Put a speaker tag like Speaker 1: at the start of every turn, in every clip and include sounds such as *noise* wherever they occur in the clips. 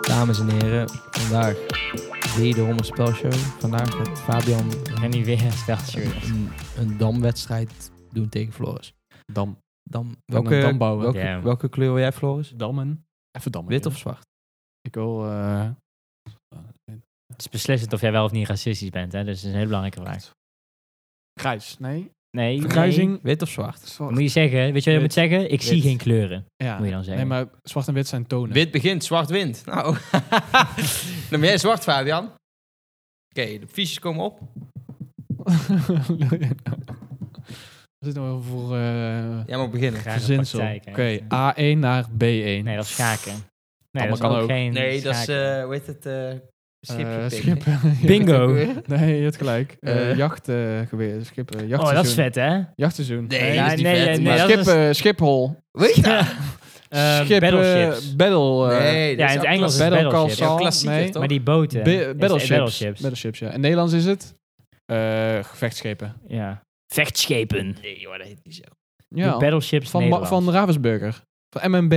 Speaker 1: Dames en heren, vandaag wederom een spelshow. Vandaag gaat Fabian
Speaker 2: Rennie weer een spelshow.
Speaker 1: een, een damwedstrijd doen tegen Floris.
Speaker 3: Dam.
Speaker 1: Dam,
Speaker 3: een
Speaker 2: eh,
Speaker 3: dam bouwen.
Speaker 1: Welke,
Speaker 2: Ja.
Speaker 1: welke kleur wil jij, Floris?
Speaker 3: Dammen. Even dammen.
Speaker 1: Wit
Speaker 3: joh.
Speaker 1: of zwart?
Speaker 3: Ik wil... eh,
Speaker 2: Het is beslissend of jij wel of niet racistisch bent, hè? Dus dat is een hele belangrijke vraag.
Speaker 3: grijs. Nee.
Speaker 2: Nee,
Speaker 3: Vergrijzing.
Speaker 2: nee.
Speaker 1: Wit of zwart?
Speaker 3: Zwart.
Speaker 2: Moet je zeggen, weet je wat je moet
Speaker 3: Wit.
Speaker 2: zeggen? Ik zie
Speaker 3: Wit.
Speaker 2: geen kleuren.
Speaker 3: ja.
Speaker 2: moet je dan zeggen.
Speaker 3: Nee, maar zwart en wit zijn tonen. *laughs*
Speaker 1: Wit begint, zwart wint. Nou, *laughs* dan ben jij zwart, Fabian. Oké, de fiches komen op.
Speaker 3: Wil je nou- Wat is nou voor eh,
Speaker 1: Jij mag beginnen.
Speaker 2: Graag een
Speaker 3: verzinsel?
Speaker 2: praktijk,
Speaker 3: Oké,
Speaker 2: hè.
Speaker 3: A1 naar B1.
Speaker 2: Nee, dat is schaken. Nee,
Speaker 3: Allemaal
Speaker 2: dat is
Speaker 3: kan
Speaker 2: ook
Speaker 3: ook.
Speaker 2: geen
Speaker 1: Nee, dat is,
Speaker 2: schaken.
Speaker 1: eh hoe heet het? eh schipje
Speaker 3: Eh,
Speaker 1: pikken.
Speaker 3: schip.
Speaker 2: *laughs*
Speaker 3: Ja.
Speaker 2: Bingo.
Speaker 3: *laughs* Nee, je hebt gelijk.
Speaker 2: *laughs*
Speaker 3: Eh
Speaker 1: Eh.
Speaker 3: jacht eh geweer, schip, eh,
Speaker 2: Oh, dat is
Speaker 3: jachtseizoen.
Speaker 2: vet, hè?
Speaker 3: Jachtseizoen.
Speaker 1: Nee,
Speaker 2: Ja,
Speaker 1: dat is niet
Speaker 2: nee,
Speaker 1: vet,
Speaker 2: nee,
Speaker 1: maar-
Speaker 2: nee, dat
Speaker 3: schip,
Speaker 2: is-
Speaker 3: eh, Schiphol.
Speaker 1: Weet je
Speaker 2: *laughs*
Speaker 1: dat?
Speaker 2: Eh,
Speaker 3: schip, eh,
Speaker 2: battleships.
Speaker 3: battle. eh,
Speaker 2: *laughs*
Speaker 1: Nee, dat
Speaker 2: ja,
Speaker 1: is
Speaker 2: in het
Speaker 1: ook
Speaker 2: Engels is
Speaker 1: klassiek.
Speaker 2: battle
Speaker 3: Battle Call
Speaker 2: ships.
Speaker 3: Saul.
Speaker 1: Ja, klassiek
Speaker 3: Nee.
Speaker 1: is toch?
Speaker 2: Maar die boten.
Speaker 3: Ba-
Speaker 2: is- eh,
Speaker 3: battleships.
Speaker 2: battleships.
Speaker 3: Battleships, ja. In het Nederlands is het eh, gevechtsschepen.
Speaker 2: Ja. Vechtschepen.
Speaker 1: Nee, joh, dat heet niet zo.
Speaker 2: Ja.
Speaker 3: Ja,
Speaker 2: Battleships
Speaker 3: van, Ma-
Speaker 2: Nederland.
Speaker 3: van Ravensburger. Van MMB.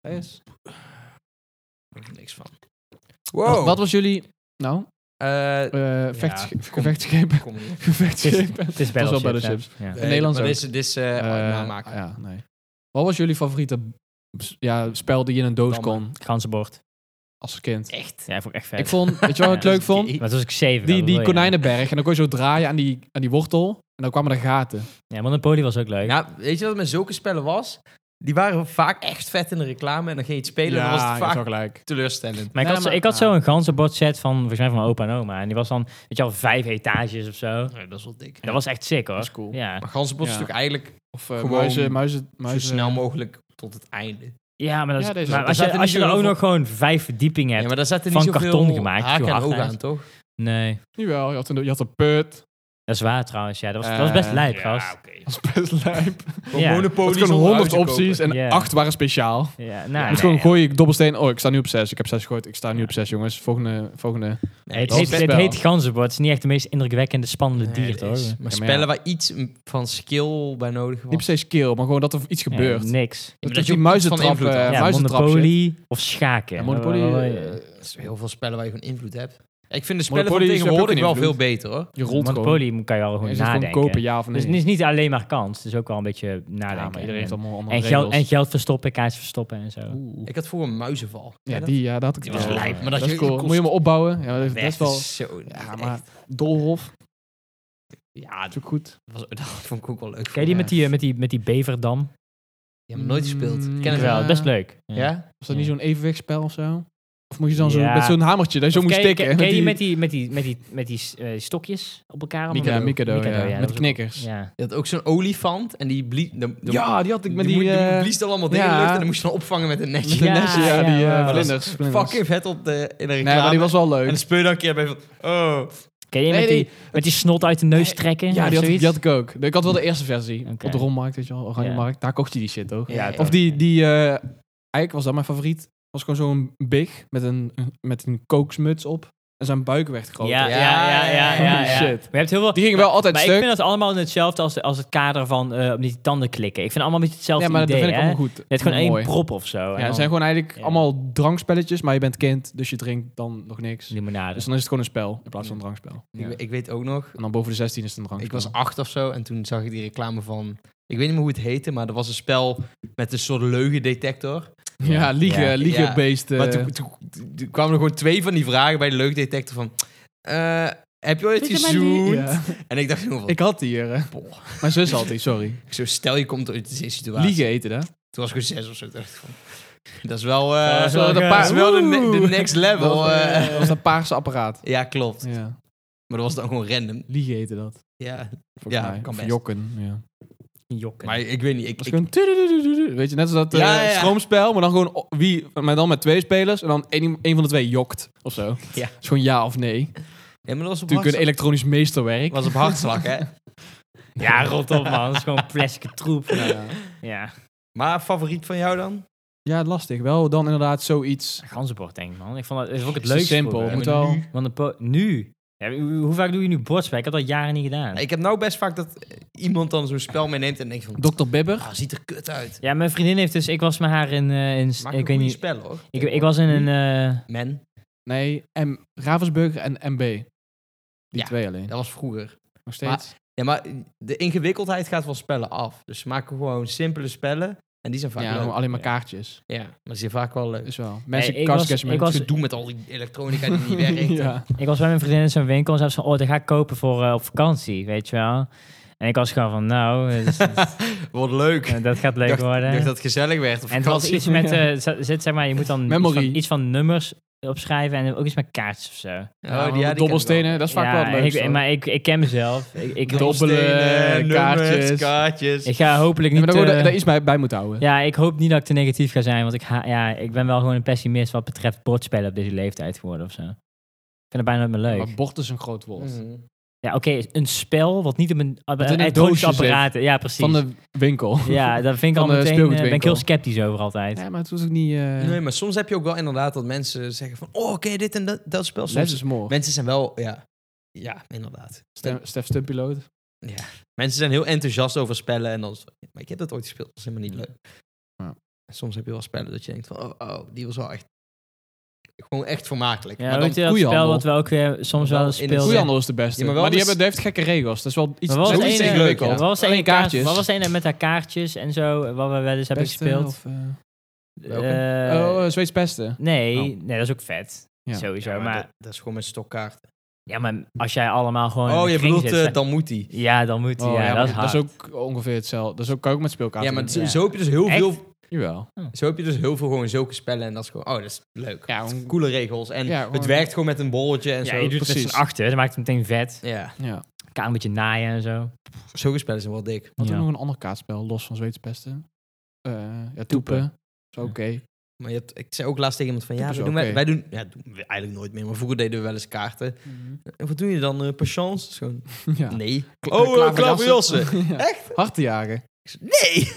Speaker 2: *laughs*
Speaker 1: Ik heb niks van.
Speaker 3: Wat, wat was jullie... Nou,
Speaker 1: Eh,
Speaker 3: eh vechts-
Speaker 2: kom. *laughs*
Speaker 3: gevechtsschepen.
Speaker 1: kom niet.
Speaker 3: Gevechtsschepen.
Speaker 2: het is
Speaker 3: was wel
Speaker 2: battleships. hè. Ja.
Speaker 1: Nee,
Speaker 3: Nederlands
Speaker 1: maar
Speaker 3: ook.
Speaker 1: Dit is, dit is eh,
Speaker 3: Eh,
Speaker 1: namaken.
Speaker 3: ja, nee. Wat was jullie favoriete s- ja, spel die je in een doos
Speaker 1: Dammen.
Speaker 3: kon
Speaker 2: Ganzenbord.
Speaker 3: als kind?
Speaker 1: Echt?
Speaker 2: Ja, vond ik echt vet.
Speaker 3: Ik vond, weet je wat ik
Speaker 2: *laughs*
Speaker 3: leuk vond?
Speaker 2: Maar toen was ik zeven.
Speaker 3: Die,
Speaker 2: dat
Speaker 3: die
Speaker 2: wil je.
Speaker 3: konijnenberg. En dan kon je zo draaien aan die, aan die wortel. En dan kwamen er gaten.
Speaker 2: Ja, Monopoly was ook leuk.
Speaker 1: Nou, weet je wat het met zulke spellen was? Die waren vaak echt vet in de reclame en dan ging je het spelen en dan was
Speaker 3: ja,
Speaker 1: het
Speaker 3: dat is
Speaker 1: vaak
Speaker 3: wel gelijk.
Speaker 1: teleurstellend.
Speaker 2: Maar ik,
Speaker 3: Nee,
Speaker 2: had, zo-
Speaker 3: maar-
Speaker 2: ik had
Speaker 3: ah.
Speaker 2: zo een ganzenbord set van, volgens mij van mijn opa en oma. En die was dan, weet je al, vijf etages of zo. En
Speaker 1: dat is wel dik.
Speaker 2: dat was echt sick hoor.
Speaker 3: Dat is cool.
Speaker 2: Ja.
Speaker 1: Maar ganzenbos is
Speaker 3: Ja.
Speaker 1: natuurlijk eigenlijk
Speaker 3: Of eh,
Speaker 1: Gewoon
Speaker 3: muizen, muizen, muizen.
Speaker 1: zo snel mogelijk tot het einde.
Speaker 2: ja, maar, dat is-
Speaker 3: Ja, deze-
Speaker 2: maar
Speaker 3: daar
Speaker 2: als, je,
Speaker 1: zaten
Speaker 2: als
Speaker 1: niet
Speaker 2: je dan ook
Speaker 1: zoveel-
Speaker 2: nog gewoon vijf verdiepingen
Speaker 1: Ja,
Speaker 2: hebt.
Speaker 1: maar daar zaten
Speaker 2: van
Speaker 1: niet zoveel
Speaker 2: karton gemaakt,
Speaker 1: haken
Speaker 2: zo
Speaker 1: en
Speaker 2: hard
Speaker 1: ogen aan,
Speaker 2: uit.
Speaker 1: toch?
Speaker 2: Nee.
Speaker 3: Jawel, je had een, je had een put.
Speaker 2: Dat is waar trouwens, ja. Dat was, dat was best
Speaker 3: Eh,
Speaker 2: lijp, gast.
Speaker 1: oké.
Speaker 3: Dat is best *laughs* lijp.
Speaker 2: Ja.
Speaker 3: Het
Speaker 1: Monopoly
Speaker 3: gewoon
Speaker 1: zonder
Speaker 3: 100
Speaker 1: huizen
Speaker 3: opties en
Speaker 2: kopen. Ja.
Speaker 3: 8 waren speciaal. Het
Speaker 2: Ja, nou,
Speaker 3: is
Speaker 2: nee,
Speaker 3: gewoon gooi ik dobbelsteen. Oh, ik sta nu op 6. Ik heb 6 gegooid. Ik sta nu
Speaker 2: Ja.
Speaker 3: op 6, jongens. Volgende. volgende.
Speaker 1: kopen.
Speaker 2: Nee, het,
Speaker 3: Dat
Speaker 2: heet,
Speaker 3: is
Speaker 2: het
Speaker 3: best
Speaker 2: heet
Speaker 3: wel.
Speaker 2: ganzenbord. Het is niet echt de meest indrukwekkende, spannende
Speaker 1: Nee,
Speaker 2: dier,
Speaker 1: dat
Speaker 2: toch?
Speaker 1: is-
Speaker 2: Ja,
Speaker 1: Maar
Speaker 3: ja.
Speaker 1: spellen waar iets m- van skill bij nodig was.
Speaker 3: Niet per se skill, maar gewoon dat er iets gebeurt.
Speaker 1: Ja,
Speaker 2: niks.
Speaker 1: maar
Speaker 3: Dat
Speaker 1: dat
Speaker 3: is
Speaker 1: je
Speaker 3: die
Speaker 1: ook iets van
Speaker 3: muizentrap.
Speaker 1: invloed had.
Speaker 3: eh,
Speaker 2: Ja,
Speaker 3: muizentrap shit.
Speaker 2: Monopoly of schaken.
Speaker 3: Ja, Monopoly,
Speaker 2: Wel, wel,
Speaker 3: eh,
Speaker 2: wel, ja. Dus
Speaker 1: Er zijn heel veel spellen waar je gewoon invloed hebt. Ik vind de spellen
Speaker 3: Monopoly
Speaker 1: van
Speaker 3: is- heb je ook
Speaker 1: tegenwoordig
Speaker 3: geen
Speaker 1: wel veel
Speaker 3: invloed.
Speaker 1: beter, hoor.
Speaker 3: Je rolt gewoon.
Speaker 2: Monopoly kan je al
Speaker 3: En
Speaker 2: gewoon
Speaker 3: Is het gewoon
Speaker 2: nadenken.
Speaker 3: kopen, ja of nee?
Speaker 2: Dus het is niet alleen maar kans. Het is ook wel een beetje
Speaker 3: ja,
Speaker 2: nadenken.
Speaker 3: maar iedereen heeft
Speaker 2: en,
Speaker 3: allemaal andere
Speaker 2: en, geld, en geld verstoppen, kaars verstoppen en zo.
Speaker 3: Oeh.
Speaker 1: Ik had voor een muizenval. Ken je
Speaker 3: Ja,
Speaker 1: dat?
Speaker 3: die, ja, dat had ik
Speaker 1: Die
Speaker 3: wel.
Speaker 1: was lijp, maar dat,
Speaker 3: Dat
Speaker 1: je
Speaker 3: is cool. Moet je hem opbouwen? Ja, dat is best wel...
Speaker 1: Zo,
Speaker 3: Ja, maar Dolhof.
Speaker 1: Ja,
Speaker 3: Dat is ook goed.
Speaker 1: dat, was- *laughs* dat vond ik ook wel leuk.
Speaker 2: Ken je die
Speaker 3: Ja.
Speaker 2: met die, eh, met die, met die beverdam?
Speaker 1: Je hebt nooit gespeeld.
Speaker 3: Mm,
Speaker 1: Ken het
Speaker 2: Wel,
Speaker 1: wel.
Speaker 3: Ja.
Speaker 2: best leuk.
Speaker 1: Ja?
Speaker 3: Was dat
Speaker 2: Ja.
Speaker 3: niet zo'n evenwichtspel of zo? Of moest je dan zo
Speaker 2: Ja.
Speaker 3: met zo'n hamertje dat je
Speaker 2: Of
Speaker 3: zo moest
Speaker 2: ken je-
Speaker 3: tikken?
Speaker 2: Ken, ken je die met
Speaker 3: met
Speaker 2: die, met die, met die, met die eh, stokjes op elkaar?
Speaker 3: die... Ja, Mikado,
Speaker 2: Mikado,
Speaker 3: ja.
Speaker 2: ja, dat
Speaker 3: Met
Speaker 2: was-
Speaker 3: knikkers.
Speaker 2: Ja.
Speaker 1: Je had ook zo'n olifant en die blies... De, de-
Speaker 3: Ja, die had ik met die...
Speaker 1: moe-
Speaker 3: eh,
Speaker 1: blies dan allemaal dingen in de
Speaker 3: ja.
Speaker 1: lucht en dan moest je dan opvangen met een netje.
Speaker 3: met de
Speaker 2: Ja,
Speaker 3: nestje, ja,
Speaker 2: ja,
Speaker 3: die eh,
Speaker 2: ja.
Speaker 3: vlinders. vlinders.
Speaker 1: Fucking vet op de, in de reclame.
Speaker 3: Nee, maar die was wel
Speaker 1: En
Speaker 3: leuk.
Speaker 1: de speurdakje bij van... Oh.
Speaker 2: Ken je
Speaker 3: Nee,
Speaker 2: met,
Speaker 3: nee.
Speaker 2: die, met die snot uit de neus trekken? of
Speaker 3: Ja, die had, ik-
Speaker 2: zoiets?
Speaker 3: die had ik ook. Ik had wel de eerste versie.
Speaker 2: Oké.
Speaker 3: Op de rommarkt, weet je wel, oranje
Speaker 2: Ja.
Speaker 3: markt. Daar kocht je die shit toch?
Speaker 1: Ja,
Speaker 2: Ja,
Speaker 3: Of die, die eh, eigenlijk was dat mijn favoriet. Was gewoon zo'n big met een, met een kooksmuts op. En zijn buik werd groter.
Speaker 2: Ja, ja, ja, ja, ja, ja.
Speaker 3: Shit.
Speaker 2: Maar je hebt heel veel...
Speaker 3: Die ging wel altijd
Speaker 2: maar
Speaker 3: stuk.
Speaker 2: ik vind dat allemaal hetzelfde als, als het kader van eh, om die tanden klikken. Ik vind allemaal een beetje hetzelfde
Speaker 3: ja, maar
Speaker 2: idee,
Speaker 3: dat vind ik
Speaker 2: hè?
Speaker 3: allemaal goed.
Speaker 2: Het is gewoon
Speaker 3: Mooi.
Speaker 2: één prop of zo. en
Speaker 3: Ja,
Speaker 2: dan
Speaker 3: het zijn gewoon eigenlijk
Speaker 2: Ja.
Speaker 3: allemaal drankspelletjes, maar je bent kind, dus je drinkt dan nog niks.
Speaker 2: limonade.
Speaker 3: Dus dan is het gewoon een spel in plaats van een drankspel.
Speaker 2: Ja.
Speaker 1: Ik, ik weet ook nog,
Speaker 3: En dan boven de 16 is het een
Speaker 1: ik
Speaker 3: drankspel.
Speaker 1: was acht of zo en toen zag ik die reclame van... Ik weet niet meer hoe het heette, maar er was een spel met een soort leugendetector.
Speaker 3: Ja, liegen,
Speaker 2: Ja.
Speaker 3: liegenbeest. eh,
Speaker 1: Maar toen, toen- toen kwamen er gewoon twee van die vragen bij de leugendetector van... eh, heb je ooit
Speaker 2: Vind je mij lief?
Speaker 1: gezoend?
Speaker 3: ja.
Speaker 1: En ik dacht gewoon van...
Speaker 3: Ik had die hier. eh.
Speaker 1: Boah.
Speaker 3: Mijn zus had die,
Speaker 1: *laughs*
Speaker 3: sorry.
Speaker 1: Ik zo, stel je komt uit deze situatie.
Speaker 3: Liegen eten, hè?
Speaker 1: Toen was ik gewoon zes of zo. Toen dacht ik van, dat is wel, eh,
Speaker 2: Ja,
Speaker 1: dat is wel,
Speaker 2: dat
Speaker 1: de,
Speaker 2: is
Speaker 1: pa-
Speaker 2: wel,
Speaker 1: dat is wel de, ne-
Speaker 3: oeh.
Speaker 1: de next
Speaker 3: dat,
Speaker 1: level.
Speaker 3: was,
Speaker 1: eh.
Speaker 3: dat was dat
Speaker 1: *laughs*
Speaker 3: paarse apparaat.
Speaker 1: Ja, klopt.
Speaker 3: Ja.
Speaker 1: Maar dat was dan gewoon random.
Speaker 3: Liegen eten dat.
Speaker 1: Ja,
Speaker 3: Volgens
Speaker 1: Ja,
Speaker 3: mij.
Speaker 1: kan
Speaker 3: Of
Speaker 1: best.
Speaker 3: jokken. Ja.
Speaker 2: Jokken.
Speaker 1: maar ik weet niet. Ik,
Speaker 3: Dat
Speaker 1: ik,
Speaker 3: is gewoon... tudududududu, Weet je, net als dat eh,
Speaker 1: Ja, ja, ja.
Speaker 3: stroomspel, maar dan gewoon o- wie, maar dan met twee spelers en dan één, één van de twee jokt of zo.
Speaker 1: Ja.
Speaker 3: Is gewoon ja of nee.
Speaker 1: ja, maar dat was op
Speaker 3: Natuurlijk een
Speaker 1: hartslag.
Speaker 3: elektronisch meesterwerk.
Speaker 1: was op hartslag, hè.
Speaker 2: Ja, rot op man. Dat is gewoon plastic troep.
Speaker 3: Ja.
Speaker 2: Ja,
Speaker 1: Maar favoriet van jou dan?
Speaker 3: Ja, lastig. Wel dan inderdaad zoiets.
Speaker 2: ganzenbord denk ik man. Ik vond dat, dat is ook het
Speaker 3: Is te
Speaker 2: leukste.
Speaker 3: simpel.
Speaker 2: vroeger.
Speaker 3: Moet wel.
Speaker 2: Want een po- nu... Ja, hoe hoe vaak doe je nu bordspel? Ik heb dat jaren niet gedaan.
Speaker 1: Ik heb nou best vaak dat iemand dan zo'n spel meeneemt en denkt van...
Speaker 3: Dr. Bibber.
Speaker 1: Ah, ziet er kut uit.
Speaker 2: Ja, mijn vriendin heeft dus... Ik was met haar in... eh, in
Speaker 1: Maak
Speaker 2: ik
Speaker 1: een
Speaker 2: weet
Speaker 1: goede
Speaker 2: niet...
Speaker 1: spel, hoor.
Speaker 2: Ik, ik was in een... eh,
Speaker 1: Men,
Speaker 3: Nee, M Ravensburger en MB. Die
Speaker 1: Ja.
Speaker 3: twee alleen.
Speaker 1: dat was vroeger.
Speaker 3: Nog steeds.
Speaker 1: Ja, maar de ingewikkeldheid gaat van spellen af. Dus ze maken gewoon simpele spellen. En die zijn vaak
Speaker 3: ja,
Speaker 1: leuk.
Speaker 3: gewoon alleen maar kaartjes.
Speaker 1: Ja, maar die zijn vaak wel leuk.
Speaker 3: Is wel. Mensen
Speaker 2: ik was-
Speaker 3: kastjes met
Speaker 2: ik was-
Speaker 1: Ze doen met al die elektronica die niet werkt.
Speaker 3: *laughs* ja.
Speaker 2: Ik was bij mijn vriendin in zo'n winkel en zei ze van, oh, dat ga ik kopen voor eh, op vakantie, weet je wel. En ik was gewoon van, nou, *laughs* eh, dus-
Speaker 1: Wordt leuk.
Speaker 2: eh, dat gaat leuk
Speaker 1: dacht,
Speaker 2: worden.
Speaker 1: dacht dat het gezellig werd. op
Speaker 2: en het was
Speaker 1: vakantie. Oh,
Speaker 2: iets met,
Speaker 3: ja.
Speaker 2: eh, z- zit, zeg maar, je moet dan iets
Speaker 3: Memory.
Speaker 2: van, iets van nummers opschrijven en ook iets met kaartjes of zo.
Speaker 1: Oh, die- ja, die ken
Speaker 3: Nou, dobbelstenen,
Speaker 1: ik
Speaker 3: dat is vaak
Speaker 2: ja,
Speaker 3: wel
Speaker 2: en
Speaker 3: leuk.
Speaker 2: ik, maar ik, ik ken mezelf. Ik, ik,
Speaker 1: wel.
Speaker 3: Dobbelen,
Speaker 1: Dobbelstenen,
Speaker 3: kaartjes.
Speaker 1: Nummers, kaartjes.
Speaker 2: ik ga hopelijk
Speaker 3: maar
Speaker 2: niet...
Speaker 3: daar,
Speaker 2: eh,
Speaker 3: daar iets bij, bij moeten houden.
Speaker 2: ja, ik hoop niet dat ik te negatief ga zijn, want ik, ha- ja, ik ben wel gewoon een pessimist wat betreft bordspellen op deze leeftijd geworden of zo. Ik vind het bijna niet meer leuk.
Speaker 3: Maar bord is een groot woord.
Speaker 1: Mhm.
Speaker 2: Ja, oké, een spel wat niet op een, op
Speaker 3: in een
Speaker 2: elektronische
Speaker 3: doosje zit.
Speaker 2: apparaten. Ja, precies.
Speaker 3: Van de winkel. *laughs*
Speaker 2: Ja, daar vind ik al
Speaker 3: Van de
Speaker 2: meteen, eh, ben ik
Speaker 3: speelgoedwinkel.
Speaker 2: heel sceptisch over altijd.
Speaker 3: Ja, maar het was ook niet... eh
Speaker 1: Nee, maar soms heb je ook wel inderdaad dat mensen zeggen van... Oh, oké, dit en dat, dat spel.
Speaker 3: Less
Speaker 1: Soms,
Speaker 3: is more.
Speaker 1: mensen zijn wel... Ja, ja inderdaad.
Speaker 3: Stef, Stef Stumpiloot.
Speaker 1: Mensen zijn heel enthousiast over spellen. En dan, zo, "Ja, maar ik heb dat ooit gespeeld. Dat is helemaal niet leuk.
Speaker 3: Ja.
Speaker 1: En soms heb je wel spellen dat je denkt van... Oh, oh, die was wel echt... Gewoon echt vermakelijk.
Speaker 2: Ja,
Speaker 1: maar dan,
Speaker 2: weet je dat
Speaker 3: koeienhandel.
Speaker 2: spel wat we ook eh, soms
Speaker 1: Wel
Speaker 2: wel
Speaker 1: in
Speaker 2: eens
Speaker 1: de
Speaker 2: speelden?
Speaker 3: Koeihandel is de beste.
Speaker 1: Ja, maar
Speaker 3: maar
Speaker 1: wel
Speaker 3: die,
Speaker 1: dus-
Speaker 3: hebben, die heeft gekke regels. Dat is wel iets,
Speaker 2: Maar wat
Speaker 3: dat
Speaker 2: was
Speaker 3: is
Speaker 2: de
Speaker 3: iets
Speaker 2: ene-
Speaker 3: ingewikkeld.
Speaker 2: Wat was de
Speaker 3: Alleen
Speaker 2: ene kaart-
Speaker 3: kaartjes.
Speaker 2: Wat was de ene met haar kaartjes en zo, eh, wat we wel eens hebben
Speaker 3: Pesten
Speaker 2: gespeeld?
Speaker 3: of, eh,
Speaker 2: Eh,
Speaker 3: oh, eh, Zweeds pesten.
Speaker 2: nee,
Speaker 3: Oh.
Speaker 2: nee, dat is ook vet.
Speaker 3: Ja.
Speaker 2: Sowieso,
Speaker 1: Ja,
Speaker 2: maar,
Speaker 1: dat, dat is gewoon met stokkaarten.
Speaker 2: ja, maar als jij allemaal gewoon in
Speaker 1: Oh,
Speaker 2: een
Speaker 1: je
Speaker 2: kring
Speaker 1: bedoelt,
Speaker 2: zit,
Speaker 1: eh,
Speaker 2: hè.
Speaker 1: dan moet die.
Speaker 2: ja, dan moet hij.
Speaker 3: Oh,
Speaker 2: ja,
Speaker 3: ja,
Speaker 2: dat is
Speaker 3: maar
Speaker 2: hard.
Speaker 3: dat is ook ongeveer hetzelfde. Dat is ook, kan ook met
Speaker 1: Ja,
Speaker 3: speelkaarten.
Speaker 1: maar
Speaker 3: doen.
Speaker 1: zo,
Speaker 2: ja.
Speaker 1: zo heb je dus heel
Speaker 2: Echt?
Speaker 1: veel...
Speaker 3: Jawel.
Speaker 1: Zo heb je dus heel veel gewoon zulke spellen. En dat is gewoon... Oh, dat is leuk.
Speaker 3: Ja,
Speaker 1: Het zijn
Speaker 3: om-
Speaker 1: coole regels. En
Speaker 3: Ja,
Speaker 1: het
Speaker 3: gewoon-
Speaker 1: werkt gewoon met een bolletje en
Speaker 2: ja,
Speaker 1: zo.
Speaker 2: je doet het met
Speaker 3: precies.
Speaker 2: z'n achter, dat maakt het meteen vet.
Speaker 1: Ja.
Speaker 3: Ja.
Speaker 2: Kaart een beetje naaien en zo.
Speaker 1: Zulke spellen zijn wel dik.
Speaker 3: Wat
Speaker 2: Ja.
Speaker 3: nog een ander kaartspel, los van Zweeds pesten? Eh, ja, toepen. Is oké. *laughs*
Speaker 1: Maar je hebt, ik zei ook laatst tegen iemand van, ja,
Speaker 3: Dat is
Speaker 1: wij doen,
Speaker 3: oké.
Speaker 1: wij, wij doen, ja, doen we eigenlijk nooit meer, maar vroeger deden we wel eens kaarten.
Speaker 2: Mhm.
Speaker 1: En wat doe je dan? eh patience? Is gewoon,
Speaker 3: Ja.
Speaker 1: nee.
Speaker 3: Kla-
Speaker 1: Oh, eh,
Speaker 3: klaverjassen. *laughs*
Speaker 1: klaverjassen.
Speaker 3: Ja.
Speaker 1: Echt?
Speaker 3: Hard te
Speaker 2: *laughs*
Speaker 3: jagen.
Speaker 1: Ik zei, nee!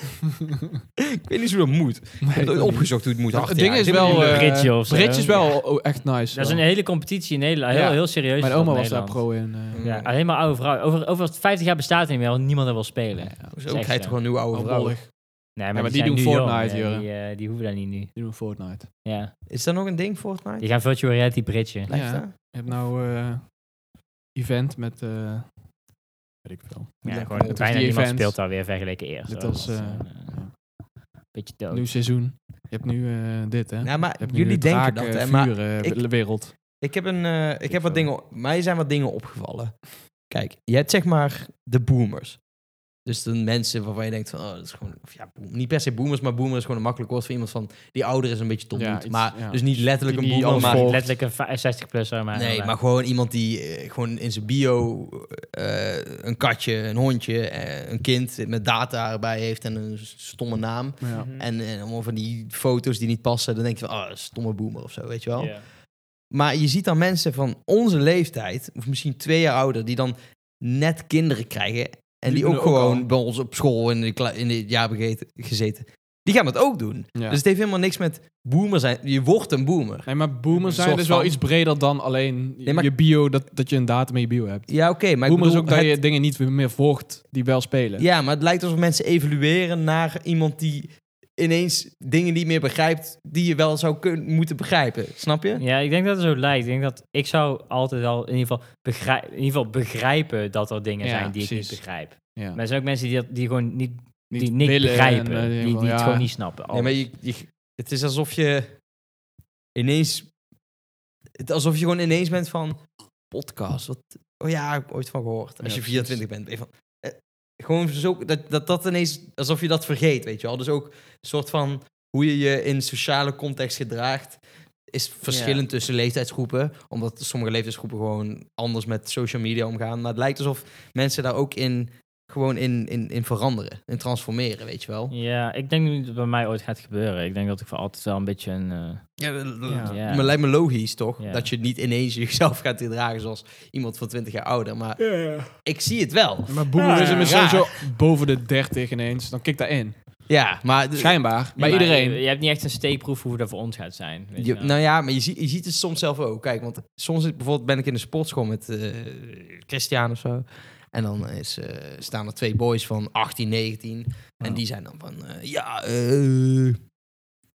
Speaker 1: *laughs* ik weet niet hoe dat moet.
Speaker 3: Nee,
Speaker 1: Ik heb
Speaker 3: dat
Speaker 1: het
Speaker 3: niet.
Speaker 1: opgezocht hoe het moet.
Speaker 3: Het
Speaker 1: Achter
Speaker 3: ding
Speaker 1: jaar.
Speaker 3: is
Speaker 1: Ik heb het
Speaker 3: wel...
Speaker 1: niet
Speaker 3: eh,
Speaker 1: meer-
Speaker 2: Britje of zo.
Speaker 3: Britje is wel oh, echt nice.
Speaker 2: Dat is een
Speaker 3: wel.
Speaker 2: hele competitie in Nederland. Heel,
Speaker 3: Ja.
Speaker 2: heel serieus.
Speaker 3: Mijn
Speaker 2: van
Speaker 3: oma was daar
Speaker 2: Nederland.
Speaker 3: pro in. eh,
Speaker 2: Ja, alleen maar oude vrouwen. Over, over 50 jaar bestaat het niet meer, want niemand dat wil spelen.
Speaker 3: ja,
Speaker 2: Nee,
Speaker 3: ja.
Speaker 1: Zo krijg je gewoon nieuwe oude
Speaker 3: Oh,
Speaker 1: vrouwen.
Speaker 3: bollig.
Speaker 2: maar,
Speaker 3: maar die
Speaker 2: zijn
Speaker 3: doen
Speaker 2: nu jong,
Speaker 3: Fortnite,
Speaker 2: hè.
Speaker 3: joh.
Speaker 2: Die, eh, die hoeven dat niet nu.
Speaker 3: Die doen Fortnite.
Speaker 2: Ja.
Speaker 1: Is dat nog een ding, Fortnite?
Speaker 2: Die gaan virtual reality bridgen.
Speaker 1: Blijft
Speaker 3: Ja.
Speaker 1: dat?
Speaker 3: Je hebt nou eh, event met... eh, weet ik veel.
Speaker 2: Ja,
Speaker 1: Ja,
Speaker 2: gewoon
Speaker 1: dus
Speaker 2: bijna
Speaker 3: die
Speaker 2: niemand
Speaker 3: events.
Speaker 2: speelt alweer vergeleken eerst.
Speaker 3: Dit
Speaker 2: hoor.
Speaker 3: als,
Speaker 2: Dat is,
Speaker 3: eh,
Speaker 2: eh,
Speaker 3: ja.
Speaker 2: Beetje dood.
Speaker 3: Nieuw seizoen. Je hebt nu eh, dit, hè?
Speaker 1: Nou, maar
Speaker 3: Je hebt nu
Speaker 1: jullie denken
Speaker 3: draken,
Speaker 1: dat, hè. Maar
Speaker 3: vuren,
Speaker 1: ik-
Speaker 3: we- wereld.
Speaker 1: ik heb, een, eh, ik heb wat
Speaker 3: wel.
Speaker 1: dingen, mij zijn wat dingen opgevallen. Kijk, je hebt zeg maar de boomers. Dus de mensen waarvan je denkt van, oh, dat is gewoon, of ja, boom- niet per se boomers, maar boomer is gewoon een makkelijk woord voor iemand van, die ouder is een beetje tot
Speaker 3: Ja,
Speaker 1: doet.
Speaker 3: iets-
Speaker 1: maar
Speaker 3: ja.
Speaker 1: Dus niet letterlijk
Speaker 3: Die
Speaker 1: een boomer,
Speaker 3: alles
Speaker 1: maar...
Speaker 3: volgt.
Speaker 2: Letterlijk een va- 60 plus maar.
Speaker 1: Nee, maar gewoon iemand die eh, gewoon in zijn bio eh, een katje, een hondje, eh, een kind met data erbij heeft en een stomme naam.
Speaker 3: Ja.
Speaker 1: En, en allemaal van die foto's die niet passen, dan denk je van, oh, stomme boomer of zo, weet je wel.
Speaker 2: Ja.
Speaker 1: Maar je ziet dan mensen van onze leeftijd, of misschien twee jaar ouder, die dan net kinderen krijgen. En die,
Speaker 3: Die
Speaker 1: ook,
Speaker 3: doen ook
Speaker 1: gewoon
Speaker 3: al.
Speaker 1: bij ons op school in, de kla- in het jaar begeten- gezeten. Die gaan dat ook doen.
Speaker 3: Ja.
Speaker 1: Dus het heeft helemaal niks met boomer zijn. Je wordt een boomer.
Speaker 3: Nee, maar boomers
Speaker 1: Een
Speaker 3: zijn
Speaker 1: soort
Speaker 3: dus wel
Speaker 1: van-
Speaker 3: iets breder dan alleen
Speaker 1: Nee, maar-
Speaker 3: je bio, dat, dat je een datum in je bio hebt.
Speaker 1: Ja, oké. maar ik
Speaker 3: Boomers is
Speaker 1: bedoel,
Speaker 3: ook dat
Speaker 1: het-
Speaker 3: je dingen niet meer volgt die wel spelen.
Speaker 1: Ja, maar het lijkt alsof mensen evolueren naar iemand die ineens dingen niet meer begrijpt die je wel zou kun- moeten begrijpen. Snap je?
Speaker 2: *laughs* Ja, ik denk dat het zo lijkt. Ik denk dat ik zou altijd wel in ieder geval, begrij- in ieder geval begrijpen dat er dingen
Speaker 3: Ja,
Speaker 2: zijn die ik
Speaker 3: precies.
Speaker 2: niet begrijp.
Speaker 3: Ja.
Speaker 2: Maar er zijn ook mensen die, dat, die gewoon niet,
Speaker 3: Niet
Speaker 2: die niet
Speaker 3: willen en,
Speaker 2: begrijpen.
Speaker 3: eh,
Speaker 2: die, die
Speaker 3: van,
Speaker 2: het
Speaker 3: ja.
Speaker 2: gewoon niet snappen.
Speaker 1: Nee, maar je, je- het is alsof je ineens... Het, alsof je gewoon ineens bent van... Podcast, wat... Oh ja, ik heb ooit van gehoord. Als
Speaker 3: Ja,
Speaker 1: je
Speaker 3: precies.
Speaker 1: 24 bent, ben je van... eh, gewoon zo, dat, dat dat ineens... Alsof je dat vergeet, weet je wel. Dus ook een soort van... Hoe je je in sociale context gedraagt... is verschillend tussen leeftijdsgroepen. Omdat sommige leeftijdsgroepen gewoon anders met social media omgaan. Maar het lijkt alsof mensen daar ook in... Gewoon in, in, in veranderen. In transformeren, weet je wel.
Speaker 2: Ja, ik denk niet dat het bij mij ooit gaat gebeuren. Ik denk dat ik voor altijd wel een beetje een... eh,
Speaker 1: Ja, dat- dat-
Speaker 3: Ja.
Speaker 2: Ja.
Speaker 1: Maar lijkt me logisch, toch?
Speaker 2: Ja.
Speaker 1: Dat je niet ineens *laughs* jezelf gaat gedragen zoals iemand van 20 jaar ouder. Maar ik zie het wel.
Speaker 3: Maar boomerism
Speaker 1: Ah, Ja.
Speaker 3: is
Speaker 1: Raar.
Speaker 3: sowieso boven de 30 ineens. Dan kik daarin.
Speaker 1: Ja, maar...
Speaker 3: Schijnbaar. Bij
Speaker 2: Nee, maar
Speaker 1: *laughs*
Speaker 3: iedereen.
Speaker 2: Je, je hebt niet echt een steekproef hoe dat voor ons gaat zijn. weet
Speaker 1: Je-
Speaker 2: je wel.
Speaker 1: nou ja, maar je, zie- je ziet het soms zelf ook. Kijk, want soms is- bijvoorbeeld ben ik in de sportschool met eh, Christian of zo. En dan is, eh, staan er twee boys van 18, 19. En
Speaker 2: Ja.
Speaker 1: die zijn dan van... eh, ja, eh,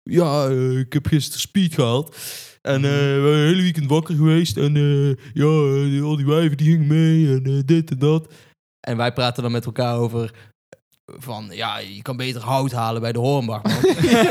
Speaker 1: ja eh, ik heb gisteren speed gehad. En eh, we zijn het hele weekend wakker geweest. En eh, ja, eh, die- al die wijven die gingen mee. En eh, dit en dat. En wij praten dan met elkaar over... eh, Van, ja, je kan beter hout halen bij de Hornbach, man.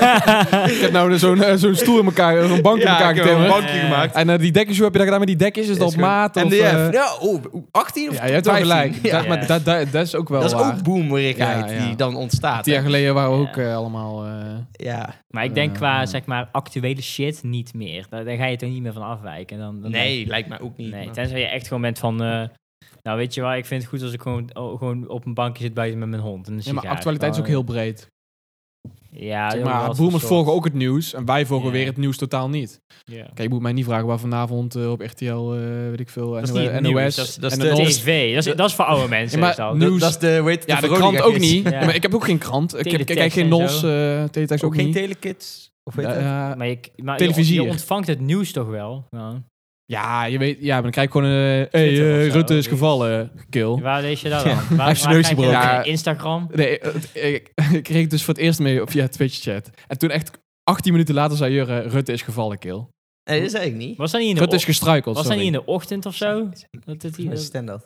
Speaker 1: *laughs*
Speaker 3: Ik heb nou zo'n eh, zo'n stoel in elkaar, eh, zo'n bank in elkaar
Speaker 1: ik heb een
Speaker 3: getimmerd.
Speaker 1: bankje
Speaker 2: Eh,
Speaker 1: gemaakt.
Speaker 3: En eh, die dekjes, hoe heb je dat gedaan met die dekjes? Is dus dat
Speaker 1: Dat
Speaker 3: op maat? Of,
Speaker 1: MDF.
Speaker 3: eh,
Speaker 1: ja, oh, 18 of
Speaker 3: ja, je hebt
Speaker 1: 15.
Speaker 3: wel gelijk.
Speaker 1: Ja.
Speaker 3: Dat, maar,
Speaker 2: Ja.
Speaker 3: dat, dat, dat is ook wel
Speaker 1: Dat is
Speaker 3: waar.
Speaker 1: ook boomerigheid
Speaker 3: Ja, ja.
Speaker 1: die dan ontstaat.
Speaker 3: Tien jaar
Speaker 1: hè?
Speaker 3: geleden waren we
Speaker 2: Ja.
Speaker 3: ook eh, allemaal... eh,
Speaker 1: Ja.
Speaker 2: Maar ik denk
Speaker 3: Eh,
Speaker 2: qua
Speaker 3: ja.
Speaker 2: zeg maar actuele shit niet meer. Daar, daar ga je toch niet meer van afwijken. En Dan, dan
Speaker 1: Nee, lijkt mij ook niet.
Speaker 2: nee.
Speaker 1: maar-
Speaker 2: Tenzij je echt gewoon bent van. eh, nou, weet je wel, ik vind het goed als ik gewoon, oh, gewoon op een bankje zit buiten met mijn hond. En een
Speaker 3: ja, maar
Speaker 2: sigaar.
Speaker 3: actualiteit is ook heel breed.
Speaker 2: Ja,
Speaker 3: Zeg
Speaker 2: ook wel
Speaker 3: maar,
Speaker 2: wat
Speaker 3: boomers
Speaker 2: voor soort.
Speaker 3: volgen ook het nieuws. En wij volgen
Speaker 2: Ja.
Speaker 3: weer het nieuws totaal niet.
Speaker 2: Ja.
Speaker 3: Kijk, je moet mij niet vragen waar vanavond eh, op RTL, eh, weet ik veel,
Speaker 2: is
Speaker 3: NOS...
Speaker 2: niet het nieuws, dat is-
Speaker 1: dat is
Speaker 3: en
Speaker 1: de-
Speaker 3: NOS.
Speaker 2: TV, dat is, dat is voor oude mensen.
Speaker 3: Ja, maar
Speaker 2: is dat.
Speaker 3: nu-
Speaker 1: Dat-
Speaker 3: nieuws-
Speaker 1: Dat is de, weet
Speaker 3: Ja, de krant ook niet.
Speaker 2: Ja.
Speaker 3: Maar ik heb ook geen krant. Ik, heb, ik kijk
Speaker 2: Teletext
Speaker 3: geen
Speaker 2: en
Speaker 3: NOS,
Speaker 2: zo.
Speaker 3: eh Teletext ook, niet.
Speaker 1: telekids? Of weet je?
Speaker 3: Eh,
Speaker 2: Maar je, maar je-
Speaker 3: Televisier.
Speaker 2: Je, ontvangt het nieuws toch wel? Ja.
Speaker 3: ja, je weet, ja, maar dan krijg ik gewoon... eh hey,
Speaker 2: Twitter
Speaker 3: eh,
Speaker 2: of zo,
Speaker 3: Rutte is
Speaker 2: weet ik.
Speaker 3: gevallen. Kill.
Speaker 2: Waar lees je dat
Speaker 1: Ja.
Speaker 2: dan?
Speaker 3: *laughs*
Speaker 2: Waar,
Speaker 3: heeft zijn
Speaker 2: waar
Speaker 3: neus
Speaker 2: kijk je
Speaker 3: gebroken.
Speaker 2: dat?
Speaker 3: Ja.
Speaker 2: Instagram?
Speaker 3: Nee, eh, het- ik, *laughs* ik kreeg het dus voor het eerst mee op via Twitch-chat. En toen echt 18 minuten later zei Jurre, Rutte is gevallen, kill.
Speaker 1: Nee, dat is eigenlijk niet.
Speaker 2: Was dat niet in de,
Speaker 3: Rutte is
Speaker 2: och-
Speaker 3: gestruikeld,
Speaker 2: was dat
Speaker 3: sorry.
Speaker 2: niet in de ochtend of zo? Dat
Speaker 1: Dat
Speaker 2: dit
Speaker 1: is Oh,
Speaker 2: hier,
Speaker 1: stand-up.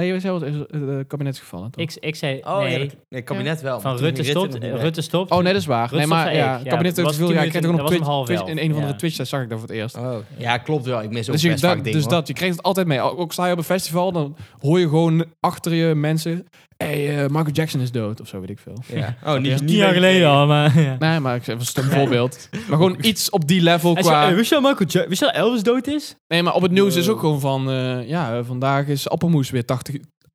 Speaker 3: Nee, je zelf is het eh, kabinet is gevallen, toch?
Speaker 2: ik, ik zei
Speaker 1: Oh, ja,
Speaker 2: nee,
Speaker 1: dat- nee, kabinet wel.
Speaker 2: van
Speaker 1: maar toen
Speaker 2: Rutte
Speaker 1: ging
Speaker 2: stopt,
Speaker 1: nog niet weg.
Speaker 2: Rutte stopt.
Speaker 3: Oh, nee, dat is waar.
Speaker 2: Rutte
Speaker 3: nee, maar
Speaker 2: zei
Speaker 3: ja,
Speaker 2: ik.
Speaker 3: het
Speaker 2: Ja,
Speaker 3: kabinet heeft
Speaker 2: was
Speaker 3: veel...
Speaker 2: tien
Speaker 3: Ja, ik kreeg het ook op
Speaker 2: minuten- dat was om
Speaker 3: Twitch,
Speaker 2: half
Speaker 3: in
Speaker 2: elf.
Speaker 3: een van de
Speaker 2: Ja.
Speaker 3: Twitch-chats zag ik dat voor het eerst.
Speaker 1: Oh, ja, klopt wel. Ik mis ook
Speaker 3: Dus, ik,
Speaker 1: best
Speaker 3: dat,
Speaker 1: vaak dingen,
Speaker 3: dus
Speaker 1: hoor.
Speaker 3: dat, je krijgt het altijd mee. Ook, ook sta je op een festival, dan hoor je gewoon achter je mensen... hey, eh, Michael Jackson is dood, of zo, weet ik veel.
Speaker 1: Ja. Oh,
Speaker 3: je?
Speaker 1: niet,
Speaker 2: Tien jaar geleden al, maar... *laughs* Ja.
Speaker 3: Nee, maar ik zeg een stom voorbeeld. Maar gewoon
Speaker 2: *laughs*
Speaker 3: iets op die level qua...
Speaker 2: wist je dat Michael Ja- wist je dat Elvis dood is?
Speaker 3: Nee, maar op het nieuws is
Speaker 1: Wow.
Speaker 3: ook gewoon van... eh, ja, eh, vandaag is appelmoes weer 80,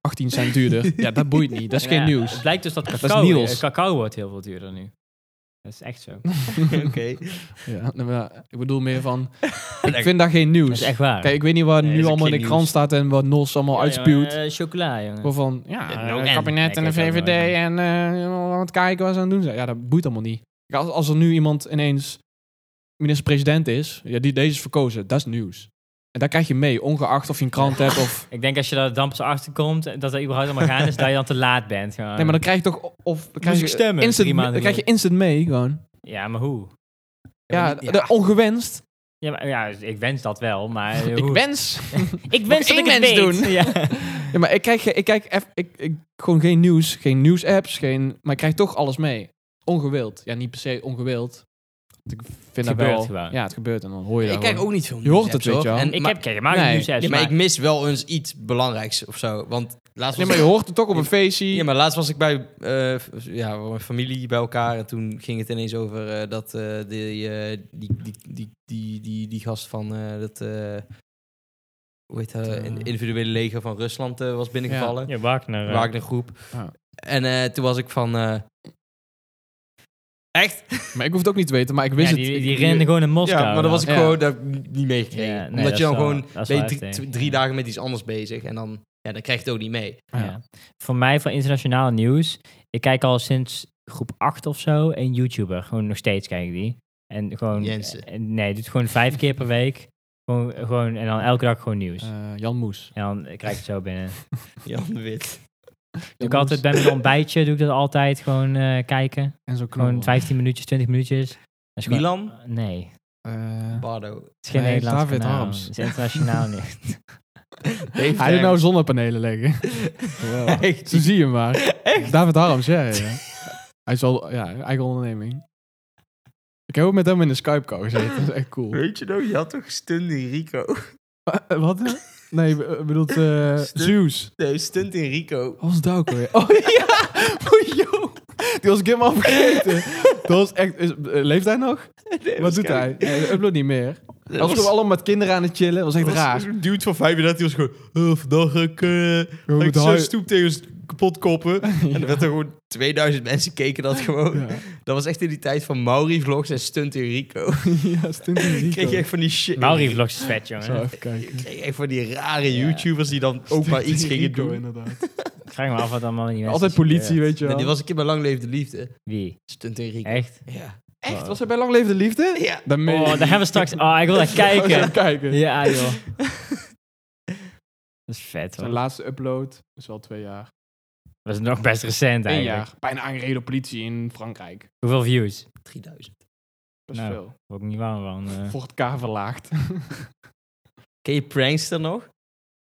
Speaker 3: 18 cent duurder. *laughs* ja, dat boeit niet. Dat is geen
Speaker 2: Ja,
Speaker 3: nieuws.
Speaker 2: Het blijkt dus dat
Speaker 3: is
Speaker 2: cacao,
Speaker 3: nieuws.
Speaker 2: eh, cacao wordt heel veel duurder nu. Dat is echt zo.
Speaker 1: Oké.
Speaker 3: Ja, nou, maar ik bedoel meer
Speaker 2: *laughs*
Speaker 3: van... Ik
Speaker 1: Lekker.
Speaker 3: vind daar geen
Speaker 2: Dat is
Speaker 3: nieuws.
Speaker 2: echt waar.
Speaker 3: Kijk, ik weet niet wat
Speaker 1: Nee,
Speaker 3: nu
Speaker 1: is ook
Speaker 3: allemaal in de
Speaker 1: geen
Speaker 3: krant
Speaker 1: nieuws.
Speaker 3: staat en wat NOS allemaal
Speaker 2: Ja,
Speaker 3: uitspuwt.
Speaker 2: jongen, eh, chocola, jongen.
Speaker 3: Gewoon van, ja,
Speaker 1: Ja,
Speaker 3: eh,
Speaker 1: nou, en?
Speaker 3: kabinet en
Speaker 2: Nee,
Speaker 3: de
Speaker 2: ik weet het
Speaker 3: VVD
Speaker 2: ook nooit.
Speaker 3: en eh, allemaal aan het kijken wat ze aan het doen zijn. Ja, dat boeit allemaal niet. Kijk, Als, als er nu iemand ineens minister-president is, ja, die deze is verkozen, dat is nieuws. En daar krijg je mee, ongeacht of je een krant hebt of...
Speaker 2: Ik denk als je daar dan pas achter komt, eh, dat dat überhaupt allemaal gaan is, dat je dan te laat bent. gewoon.
Speaker 3: Nee, maar dan krijg je toch... Of, dan krijg
Speaker 2: ik
Speaker 3: je
Speaker 2: stemmen,
Speaker 3: Instant,
Speaker 2: drie maanden
Speaker 3: dan krijg je instant mee, gewoon.
Speaker 2: Ja, maar hoe?
Speaker 3: Ja,
Speaker 1: maar niet-
Speaker 3: de- ongewenst.
Speaker 2: Ja, maar, ja, dus ik wens dat wel, maar... eh,
Speaker 3: *laughs* Ik
Speaker 2: hoe?
Speaker 3: wens.
Speaker 2: ik wens dat
Speaker 3: één
Speaker 2: ik het
Speaker 3: mens
Speaker 2: weet.
Speaker 3: doen.
Speaker 2: *laughs* Ja.
Speaker 3: *laughs* Ja, maar ik krijg, ik kijk eff- ik, ik, gewoon geen nieuws, geen nieuwsapps, geen... Maar ik krijg toch alles mee. Ongewild. Ja, niet per se ongewild. Want Ik vind dat
Speaker 2: gebeurt
Speaker 3: wel...
Speaker 2: gewoon.
Speaker 3: Ja, het gebeurt en dan hoor je
Speaker 1: Ik
Speaker 3: dat
Speaker 1: kijk
Speaker 3: gewoon.
Speaker 1: ook niet veel
Speaker 3: Je hoort het,
Speaker 1: nieuws,
Speaker 3: weet je wel.
Speaker 1: hoor. En-
Speaker 2: Ik
Speaker 1: maar-
Speaker 2: heb, kijk, maar
Speaker 3: Nee.
Speaker 2: nieuws
Speaker 1: Ja,
Speaker 2: apps,
Speaker 1: maar ik
Speaker 2: maar-
Speaker 1: mis wel eens iets belangrijks of zo. Want laatst
Speaker 3: Nee,
Speaker 1: was
Speaker 3: maar je hoort het toch op een feestje.
Speaker 1: Ja, maar laatst was ik bij eh, f- ja, mijn familie bij elkaar en toen ging het ineens over eh, dat eh, die, eh, die, die, die, die, die, die gast van eh, dat, eh, hoe heet dat,
Speaker 3: Eh.
Speaker 1: in- individuele leger van Rusland eh, was binnengevallen.
Speaker 2: Ja, Wagner. eh.
Speaker 1: Wagner groep.
Speaker 3: Ja.
Speaker 1: En eh, toen was ik van, eh, echt?
Speaker 3: Maar ik hoef het ook niet te weten, maar ik
Speaker 2: Ja,
Speaker 3: wist
Speaker 2: die,
Speaker 3: het.
Speaker 2: die rennen gewoon in Moskou.
Speaker 1: ja, maar dat was ik
Speaker 3: Ja.
Speaker 1: gewoon dat heb ik niet meegekregen.
Speaker 2: Ja, nee, dat
Speaker 1: Omdat
Speaker 2: is
Speaker 1: je dan
Speaker 2: wel-
Speaker 1: gewoon,
Speaker 2: dat is
Speaker 1: ben je
Speaker 2: wel
Speaker 1: drie,
Speaker 2: heftig.
Speaker 1: tw- drie
Speaker 2: Ja.
Speaker 1: dagen met iets anders bezig en dan, ja, dan krijg je het ook niet mee.
Speaker 3: Ja.
Speaker 2: Ja. Voor mij, voor internationaal nieuws, ik kijk al sinds groep 8 of zo een YouTuber. Gewoon nog steeds kijk ik die. En gewoon...
Speaker 1: Jensen.
Speaker 2: eh, Nee, doet gewoon vijf keer per week. Gewoon, gewoon, en dan elke dag gewoon nieuws.
Speaker 3: Eh, Jan Moes.
Speaker 2: En dan krijg ik het zo
Speaker 3: *laughs*
Speaker 2: binnen.
Speaker 1: *laughs* Jan de Wit.
Speaker 2: Doe ik altijd bij mijn ontbijtje, doe ik dat altijd gewoon eh, kijken.
Speaker 3: En zo
Speaker 2: Gewoon
Speaker 3: knobbel.
Speaker 2: 15 minuutjes, 20 minuutjes. Dat is gewoon-
Speaker 1: Milan?
Speaker 2: Nee, het
Speaker 3: Eh,
Speaker 1: Bardo.
Speaker 2: is geen
Speaker 3: Nee,
Speaker 2: Nederlands
Speaker 3: David
Speaker 2: kanaal.
Speaker 3: Harms.
Speaker 2: Het is internationaal
Speaker 3: *laughs*
Speaker 2: niet. *laughs*
Speaker 1: *laughs*
Speaker 3: hij doet nou zonnepanelen leggen. *laughs* Wow.
Speaker 1: Echt?
Speaker 3: Zo zie je hem maar. David Harms, ja, ja, ja. Hij is wel, ja, eigen onderneming. Ik heb ook met hem in de Skype-call gezeten. Dat is echt cool.
Speaker 1: Weet je nou, je had toch stunt in Rico? *laughs*
Speaker 3: Eh, Wat? Nee, be- eh, bedoelt eh
Speaker 1: Stu-
Speaker 3: *laughs* Zeus.
Speaker 1: Nee, stunt in Rico. *laughs*
Speaker 3: Wat was dat ook alweer? Oh *laughs* ja! Oh, joh. Die was ik helemaal vergeten. Dat was echt... is- eh, leeft hij nog? Wat doet hij? Hij upload niet meer.
Speaker 1: Dat
Speaker 3: Als we allemaal met kinderen aan het chillen, was echt
Speaker 1: was
Speaker 3: raar.
Speaker 1: Een dude van 35 die was gewoon... Oh, vandaag ga ik, eh, ga ik
Speaker 3: moeten
Speaker 1: zo'n
Speaker 3: huilen.
Speaker 1: stoep tegen ze kapot
Speaker 3: *laughs*
Speaker 1: koppen. En er werd er gewoon 2000 mensen keken dat gewoon.
Speaker 3: Ja,
Speaker 1: Dat was echt in die tijd van Mauri vlogs en stunt in Rico.
Speaker 3: ja stunt *laughs* in Nou, Zico.
Speaker 1: kreeg je echt van die shit.
Speaker 2: Mauri Vlogs is vet,
Speaker 3: Zo,
Speaker 2: jongen.
Speaker 3: even kijken.
Speaker 1: kreeg je echt van die rare
Speaker 2: Ja.
Speaker 1: YouTubers die dan ook maar iets
Speaker 3: Stunt in
Speaker 1: gingen
Speaker 3: Zico,
Speaker 1: doen.
Speaker 3: inderdaad.
Speaker 2: Ik vraag me af wat allemaal in die mensen
Speaker 3: Altijd politie, weet je wel.
Speaker 1: die was een keer bij Lang Leef de Liefde.
Speaker 2: Wie?
Speaker 1: Stunt in Rieke.
Speaker 2: Echt?
Speaker 1: Ja.
Speaker 3: Echt? Was hij bij Lang Leven de Liefde?
Speaker 1: Ja.
Speaker 3: Dan
Speaker 2: Oh, daar hebben we straks... Oh, ik
Speaker 3: *laughs*
Speaker 2: wil daar
Speaker 1: *laughs*
Speaker 2: kijken.
Speaker 3: kijken.
Speaker 2: Ja, joh.
Speaker 3: *laughs*
Speaker 2: Dat is vet,
Speaker 3: Zijn
Speaker 2: hoor.
Speaker 3: laatste upload is wel twee jaar.
Speaker 2: Dat is nog best recent,
Speaker 3: Eén
Speaker 2: eigenlijk.
Speaker 3: jaar. Bijna aangereden door politie in Frankrijk.
Speaker 2: Hoeveel views?
Speaker 1: 3000.
Speaker 3: Best
Speaker 2: Nou.
Speaker 3: veel.
Speaker 2: Word ik niet warm van. eh.
Speaker 3: Voor het K verlaagd. *laughs*
Speaker 1: Ken je Prankster nog?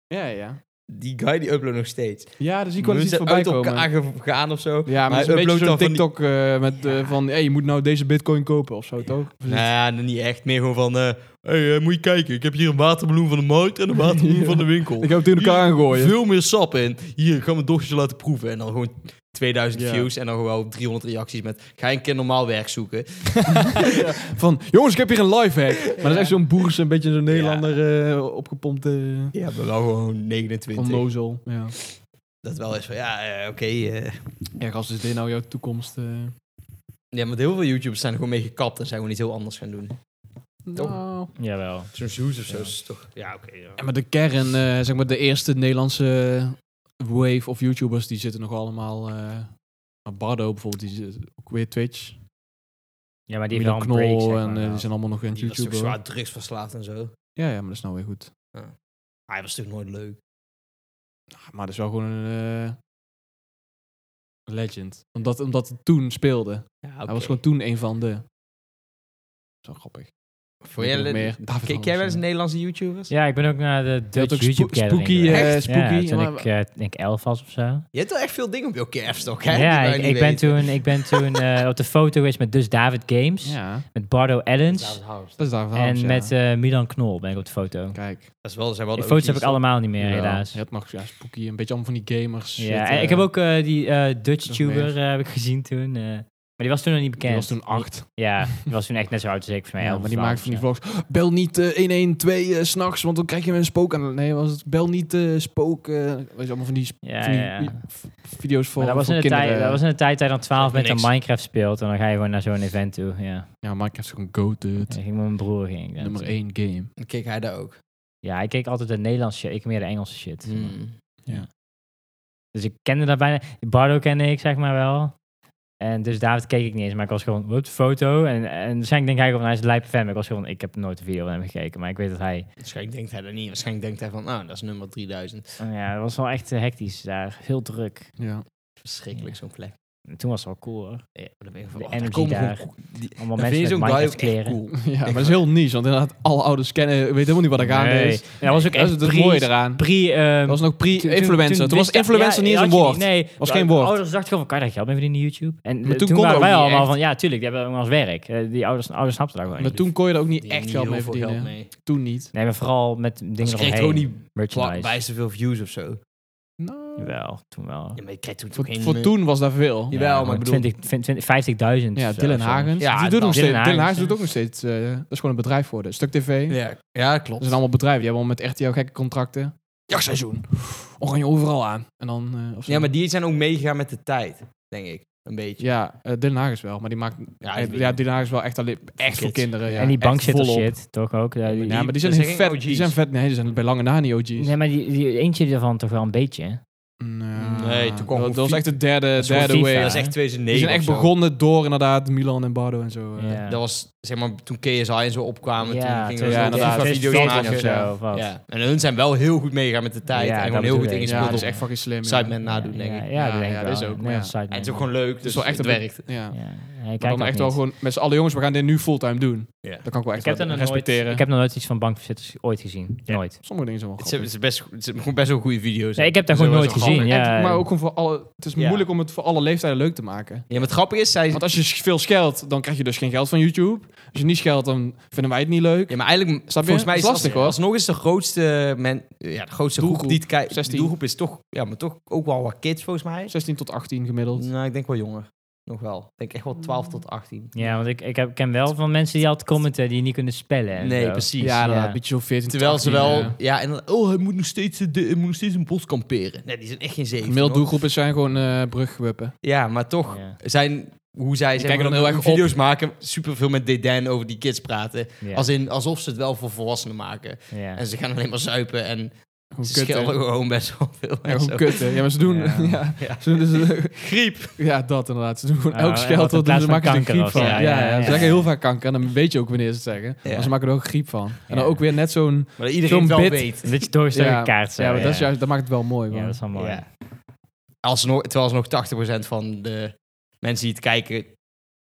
Speaker 3: ja, ja.
Speaker 1: Die guy die upload nog steeds.
Speaker 3: Ja, dus ik
Speaker 1: Die
Speaker 3: kon het
Speaker 1: mensen
Speaker 3: niet
Speaker 1: zijn
Speaker 3: voorbij
Speaker 1: uit
Speaker 3: komen.
Speaker 1: elkaar ge- gegaan of zo.
Speaker 3: Ja, maar
Speaker 1: Hij
Speaker 3: het is een
Speaker 1: uploadt
Speaker 3: beetje zo'n
Speaker 1: dan van die-
Speaker 3: TikTok eh, met eh,
Speaker 1: Ja.
Speaker 3: van... hey, je moet nou deze bitcoin kopen of zo, toch? Of is het-
Speaker 1: Nou, ja, niet echt. Meer gewoon van... eh hey, eh, moet je kijken. Ik heb hier een waterbloem van de markt en een waterbloem
Speaker 3: *laughs* Ja.
Speaker 1: van de winkel.
Speaker 3: Ik heb het in elkaar aangooien.
Speaker 1: Veel meer sap in. Hier, ik ga mijn dochtertje laten proeven. En dan gewoon 2000
Speaker 3: Ja.
Speaker 1: views en dan gewoon 300 reacties met... Ga je een keer normaal werk zoeken?
Speaker 3: Van, jongens, ik heb hier een live *laughs* hack. Maar dat is echt zo'n boers, een beetje zo'n Nederlander eh, opgepompte
Speaker 1: Ja, maar wel gewoon
Speaker 3: van
Speaker 1: 29.
Speaker 3: Nozel. Ja.
Speaker 1: Dat wel is van... Ja, eh, oké. eh.
Speaker 3: ja, gast, is dit nou jouw toekomst? eh?
Speaker 1: Ja, maar heel veel YouTubers zijn er gewoon mee gekapt en zijn gewoon iets heel anders gaan doen. Toch?
Speaker 3: Nou.
Speaker 2: Jawel.
Speaker 1: Zo'n Zeus of zo is toch... Ja, oké. ja.
Speaker 3: Ja, maar de kern, eh, zeg maar de eerste Nederlandse wave of YouTubers, die zitten nog allemaal... eh, Bardo bijvoorbeeld, die zit ook weer Twitch.
Speaker 2: Ja, maar die heeft
Speaker 3: Milan
Speaker 2: wel een break,
Speaker 3: Knol,
Speaker 2: zeg maar,
Speaker 3: en eh,
Speaker 2: wel.
Speaker 3: die zijn allemaal nog aan
Speaker 1: Die was toch
Speaker 3: YouTube.
Speaker 1: zwaar drugs verslaafd en zo. Ah,
Speaker 3: Ja, ja, maar dat is nou weer goed.
Speaker 1: Hij was natuurlijk nooit leuk.
Speaker 3: Ah, Maar dat is wel gewoon een eh, legend. Omdat, omdat het toen speelde.
Speaker 1: Ja,
Speaker 3: Hij was gewoon toen een van de. Zo grappig.
Speaker 1: Vond jij
Speaker 3: Ik nog
Speaker 1: le-
Speaker 3: meer. David
Speaker 1: Kijk jij wel eens
Speaker 3: Anders,
Speaker 1: Nederlandse YouTubers?
Speaker 2: Ja, ik ben ook naar de Dutch
Speaker 3: ook spo-
Speaker 2: YouTube Gathering
Speaker 3: spooky, eh,
Speaker 2: geweest.
Speaker 3: spooky,
Speaker 2: Ja, toen
Speaker 3: maar-
Speaker 2: ik, eh, denk ik elf was of zo.
Speaker 1: Je hebt wel echt veel dingen op je kerfstok, hè? die
Speaker 2: Ja,
Speaker 1: wij
Speaker 2: ik,
Speaker 1: niet
Speaker 2: ik ben
Speaker 1: weten.
Speaker 2: toen, ik ben toen eh, op de foto geweest met dus David Games,
Speaker 3: Ja,
Speaker 2: met Bardo Ellens
Speaker 3: dat is daar van.
Speaker 2: en met eh, Milan Knol ben ik op de foto.
Speaker 3: Kijk.
Speaker 1: Dat is wel, zijn wel
Speaker 2: De
Speaker 1: de
Speaker 2: foto's heb ik
Speaker 1: OG's.
Speaker 2: allemaal niet meer,
Speaker 3: Ja,
Speaker 2: helaas.
Speaker 3: Je hebt nog ja, spooky, een beetje allemaal van die gamers.
Speaker 2: Ja, en ik heb ook eh, die eh Dutch
Speaker 3: Nog
Speaker 2: tuber
Speaker 3: meer.
Speaker 2: eh, heb ik gezien toen. eh, maar die was toen nog niet
Speaker 3: Die
Speaker 2: bekend.
Speaker 3: was toen acht.
Speaker 2: Ja, die was toen echt net zo oud als ik, voor mij
Speaker 3: Ja,
Speaker 2: elf
Speaker 3: maar die
Speaker 2: of
Speaker 3: maakte van die
Speaker 2: twaalf
Speaker 3: vlogs. Bel niet eh, 112 eh, s'nachts, want dan krijg je een spook aan. Nee, was het bel niet eh, spook. eh weet je, allemaal van die, sp-
Speaker 2: of zo. Ja,
Speaker 3: van die
Speaker 2: ja, ja.
Speaker 3: i- f- video's voor,
Speaker 2: Maar dat was,
Speaker 3: voor
Speaker 2: in de
Speaker 3: kinderen.
Speaker 2: tijd, dat was in de tijd dat je dan 12
Speaker 1: Zegt
Speaker 2: met
Speaker 1: me
Speaker 2: een
Speaker 1: niks.
Speaker 2: Minecraft speelt. En dan ga je gewoon naar zo'n event toe. Ja.
Speaker 3: Ja, Minecraft is gewoon goated.
Speaker 2: En ik ging met mijn broer ging. ik dan.
Speaker 3: Nummer 1 game.
Speaker 1: Dan keek hij daar ook.
Speaker 2: Ja, ik keek altijd de Nederlandse shit. Ik meer de Engelse shit.
Speaker 3: Hmm.
Speaker 1: Hmm.
Speaker 3: Ja.
Speaker 2: Dus ik kende dat bijna. Bardo kende ik, zeg maar wel. En dus David keek ik niet eens. Maar ik was gewoon, wat, foto. En, en waarschijnlijk denk hij gewoon, hij is een lijpe fan. Maar ik was gewoon, ik heb nooit een video van hem gekeken. Maar ik weet dat hij...
Speaker 1: Waarschijnlijk denkt hij dat niet. Waarschijnlijk denkt hij van, nou, dat is nummer 3000.
Speaker 2: Ja, dat was wel echt eh, hectisch daar. Heel druk.
Speaker 3: Ja.
Speaker 1: Verschrikkelijk,
Speaker 2: Ja.
Speaker 1: zo'n plek.
Speaker 2: En toen was het wel cool, hoor.
Speaker 1: Ja, dan ben je
Speaker 2: De
Speaker 1: van, oh,
Speaker 2: energy
Speaker 1: komen
Speaker 2: daar.
Speaker 1: gewoon-
Speaker 2: Allemaal
Speaker 1: Dan vind
Speaker 2: mensen
Speaker 1: je
Speaker 2: met
Speaker 1: zo'n guy ook
Speaker 2: Minecraft
Speaker 1: echt
Speaker 2: kleren.
Speaker 1: cool.
Speaker 3: *laughs* Ja, maar dat is heel niche, want inderdaad, alle ouders kennen, weet helemaal niet wat er gaande
Speaker 2: Nee.
Speaker 3: is.
Speaker 2: Ja, dat was ook
Speaker 3: dus- Dat is
Speaker 2: echt
Speaker 3: het
Speaker 2: pre-
Speaker 3: mooie eraan. Dat
Speaker 2: Pre, ehm,
Speaker 3: was nog
Speaker 2: Toen- toen-
Speaker 3: pre-influencer. Toen, was
Speaker 2: wist-
Speaker 3: influencer
Speaker 2: ja,
Speaker 3: niet eens
Speaker 2: had
Speaker 3: een
Speaker 2: je
Speaker 3: woord.
Speaker 2: nee,
Speaker 3: Was
Speaker 2: Maar
Speaker 3: geen woord.
Speaker 2: Ouders dachten gewoon van, kan je dat geld mee verdienen in YouTube? En eh,
Speaker 3: Maar toen
Speaker 2: toen,
Speaker 3: kon
Speaker 2: waren
Speaker 3: dat
Speaker 2: wij
Speaker 3: ook niet
Speaker 2: allemaal
Speaker 3: echt.
Speaker 2: van, ja, tuurlijk, die hebben allemaal als werk. Eh, die ouders, ouders snapten daar gewoon
Speaker 3: Maar
Speaker 2: niet.
Speaker 3: toen kon je er ook niet
Speaker 1: Die
Speaker 3: echt
Speaker 1: hebben
Speaker 3: geld
Speaker 1: niet
Speaker 3: mee
Speaker 1: heel veel
Speaker 3: verdienen.
Speaker 1: geld mee.
Speaker 3: Toen niet.
Speaker 2: Nee, maar vooral met dingen
Speaker 1: Ze kreeg
Speaker 2: eromheen.
Speaker 1: gewoon niet plak-
Speaker 2: merchandise.
Speaker 1: bij zoveel views of zo.
Speaker 3: Nou,
Speaker 2: Wel, toen wel.
Speaker 1: Ja, maar je krijgt toen
Speaker 3: voor,
Speaker 1: toch geen...
Speaker 3: voor
Speaker 1: eh,
Speaker 3: toen was daar veel.
Speaker 1: Ja. Jawel, maar ik bedoel-
Speaker 2: 20 20 50.000.
Speaker 3: Ja,
Speaker 2: of zo,
Speaker 3: Dylan
Speaker 2: zo.
Speaker 3: Hagens.
Speaker 1: Ja,
Speaker 3: die doet
Speaker 1: dat-
Speaker 3: nog steeds.
Speaker 2: Dylan
Speaker 3: Dylan Hagens
Speaker 2: Hagens,
Speaker 3: doet
Speaker 2: ja.
Speaker 3: ook nog steeds. eh, dat is gewoon een bedrijf geworden. Stuk TV.
Speaker 1: Ja, ja,
Speaker 3: Dat
Speaker 1: klopt.
Speaker 3: zijn allemaal bedrijven. Die hebben al met RTL gekke contracten. Jachtseizoen. Oranje overal aan. En dan, eh, of zo.
Speaker 1: Ja, maar die zijn ook meegegaan met de tijd, denk ik. Een beetje.
Speaker 3: Ja, eh, Dylan Hagens wel. Maar die maakt...
Speaker 1: Ja, ik
Speaker 3: eh,
Speaker 1: weet
Speaker 3: Ja,
Speaker 1: niet.
Speaker 3: Dylan Hagens wel echt, alleen, echt voor
Speaker 1: Kids.
Speaker 3: kinderen. Ja.
Speaker 2: en die
Speaker 3: Echt
Speaker 2: bankzitter
Speaker 3: volop.
Speaker 2: shit, toch ook? Ja, die,
Speaker 3: Ja, maar die zijn,
Speaker 1: dat
Speaker 3: heel
Speaker 1: zijn
Speaker 3: vet.
Speaker 1: geen
Speaker 3: Die
Speaker 1: OG's.
Speaker 3: zijn vet. Nee, die zijn bij lange na niet OG's.
Speaker 2: nee, maar die, die eentje daarvan toch wel een beetje.
Speaker 3: Nou,
Speaker 1: Nee, toen kwam gewoon
Speaker 3: dat, dat was
Speaker 1: FIFA.
Speaker 3: echt de derde,
Speaker 2: gewoon
Speaker 3: derde
Speaker 2: FIFA.
Speaker 3: wave.
Speaker 1: Dat is echt
Speaker 3: Die
Speaker 1: 2009
Speaker 3: zijn echt
Speaker 1: of zo.
Speaker 3: begonnen door inderdaad Milan en Bardo en zo. eh.
Speaker 2: Ja.
Speaker 1: Dat was, zeg maar, toen KSI en zo opkwamen. toen gingen we
Speaker 3: ja,
Speaker 1: zo
Speaker 3: inderdaad.
Speaker 1: FIFA video's
Speaker 2: 2014
Speaker 1: maken.
Speaker 2: of zo. of wat.
Speaker 1: Ja. En hun zijn wel heel goed meegegaan met de tijd.
Speaker 2: Ja,
Speaker 1: en
Speaker 2: dat
Speaker 1: gewoon heel goed
Speaker 2: bedoel ik.
Speaker 3: Ja,
Speaker 1: ingespeeld
Speaker 3: dat dus is
Speaker 1: op
Speaker 3: echt fucking slim. ja.
Speaker 1: Sidemen nadoen, denk ik. En
Speaker 2: Ja, ja,
Speaker 3: Ja,
Speaker 2: dat denk ik
Speaker 3: ja,
Speaker 2: wel.
Speaker 3: dat is ook, maar
Speaker 2: Nederlandse site,
Speaker 1: het is
Speaker 2: man.
Speaker 1: ook gewoon leuk, dus
Speaker 3: Het is wel echt
Speaker 1: het
Speaker 3: een-
Speaker 1: werkt.
Speaker 3: Ja. Maar
Speaker 2: Ja, hij kijkt
Speaker 3: dan
Speaker 2: dat
Speaker 3: echt wel
Speaker 2: niet.
Speaker 3: gewoon met z'n allen jongens, we gaan dit nu fulltime doen.
Speaker 1: Ja.
Speaker 3: Dat kan ik wel echt
Speaker 2: Ik heb,
Speaker 3: wel
Speaker 2: er nog nooit,
Speaker 3: respecteren.
Speaker 2: ik heb nog nooit iets van bankverzitters ooit gezien.
Speaker 1: Ja.
Speaker 2: Nooit.
Speaker 3: Sommige dingen zijn wel
Speaker 1: Het zijn,
Speaker 3: grappig.
Speaker 1: het zijn best, het zijn gewoon best wel goede video's.
Speaker 2: Nee, ik heb dat
Speaker 1: Zo
Speaker 2: gewoon
Speaker 1: is
Speaker 2: nooit
Speaker 1: het
Speaker 2: gezien.
Speaker 1: grappig.
Speaker 2: Ja.
Speaker 3: En- maar ook gewoon voor alle... Het is
Speaker 1: Ja.
Speaker 3: moeilijk om het voor alle leeftijden leuk te maken.
Speaker 1: Ja, maar het grappige is, zij...
Speaker 3: Want als je sch- veel scheldt, dan krijg je dus geen geld van YouTube. Als je niet scheldt, dan vinden wij het niet leuk.
Speaker 1: Ja, maar eigenlijk,
Speaker 3: Snap je?
Speaker 1: volgens mij is
Speaker 3: Dat is lastig,
Speaker 1: als,
Speaker 3: hoor.
Speaker 1: alsnog is de grootste, men, ja, de grootste
Speaker 3: Doelgroep,
Speaker 1: groep die het kijkt.
Speaker 3: 16.
Speaker 1: doelgroep is toch, ja, maar toch ook wel wat kids, volgens mij.
Speaker 3: 16 tot 18 gemiddeld.
Speaker 1: Nou, ik denk wel jonger. Nog wel. Ik denk echt wel 12 tot 18.
Speaker 2: Ja, want ik, ik heb, ken wel van mensen die altijd commenten die niet kunnen spellen. en
Speaker 1: Nee,
Speaker 2: zo.
Speaker 1: precies.
Speaker 3: Ja, inderdaad.
Speaker 2: Ja.
Speaker 3: Een beetje zo 14 tot
Speaker 1: Terwijl ze
Speaker 3: 18,
Speaker 1: wel,
Speaker 3: ja.
Speaker 1: ja, en dan, oh, hij moet nog steeds, eh, de, hij moet nog steeds een bos kamperen. Nee, die zijn echt geen zeven.
Speaker 3: Gemiddeld
Speaker 1: hoor.
Speaker 3: doelgroepen zijn gewoon eh brugwippen.
Speaker 1: Ja, maar toch
Speaker 2: Ja,
Speaker 1: zijn hoe zij zeg
Speaker 3: kijken
Speaker 1: maar,
Speaker 3: dan heel erg
Speaker 1: hoe
Speaker 3: op.
Speaker 1: video's maken, superveel met Deden over die kids praten.
Speaker 2: ja,
Speaker 1: Als in, alsof ze het wel voor volwassenen maken.
Speaker 2: ja.
Speaker 1: En ze gaan alleen maar zuipen en
Speaker 3: Gewoon
Speaker 1: Ze
Speaker 3: kutten.
Speaker 1: schelden gewoon best wel veel
Speaker 3: Ja, gewoon
Speaker 1: mensen.
Speaker 3: kutten. Ja, maar ze doen...
Speaker 2: Ja.
Speaker 3: *laughs* Ja.
Speaker 1: Ja.
Speaker 3: Ze doen dus- *laughs*
Speaker 1: Griep.
Speaker 3: ja, dat inderdaad. Ze doen gewoon
Speaker 2: Ah,
Speaker 3: elk
Speaker 2: ja,
Speaker 3: scheld
Speaker 2: wat in
Speaker 3: dat doen,
Speaker 2: plaats
Speaker 3: ze
Speaker 2: van
Speaker 3: maken er een
Speaker 2: kanker
Speaker 3: griep
Speaker 2: was.
Speaker 3: van.
Speaker 2: Ja,
Speaker 3: Ja,
Speaker 2: ja, ja.
Speaker 3: Ze zeggen heel vaak kanker en dan weet je ook wanneer ze het zeggen.
Speaker 1: Ja.
Speaker 3: Maar ze maken er ook griep van. En
Speaker 2: Ja.
Speaker 3: dan ook weer net zo'n...
Speaker 1: Maar dat iedereen het
Speaker 3: Zo'n
Speaker 1: wel
Speaker 3: bit.
Speaker 1: weet.
Speaker 2: Dat je doorgestoken
Speaker 3: Ja,
Speaker 2: kaart zo,
Speaker 3: ja, maar Dat, is juist, dat maakt het wel mooi.
Speaker 2: Ja,
Speaker 3: man.
Speaker 2: dat is wel mooi.
Speaker 1: Ja. Alsnog, terwijl alsnog 80% van de mensen die het kijken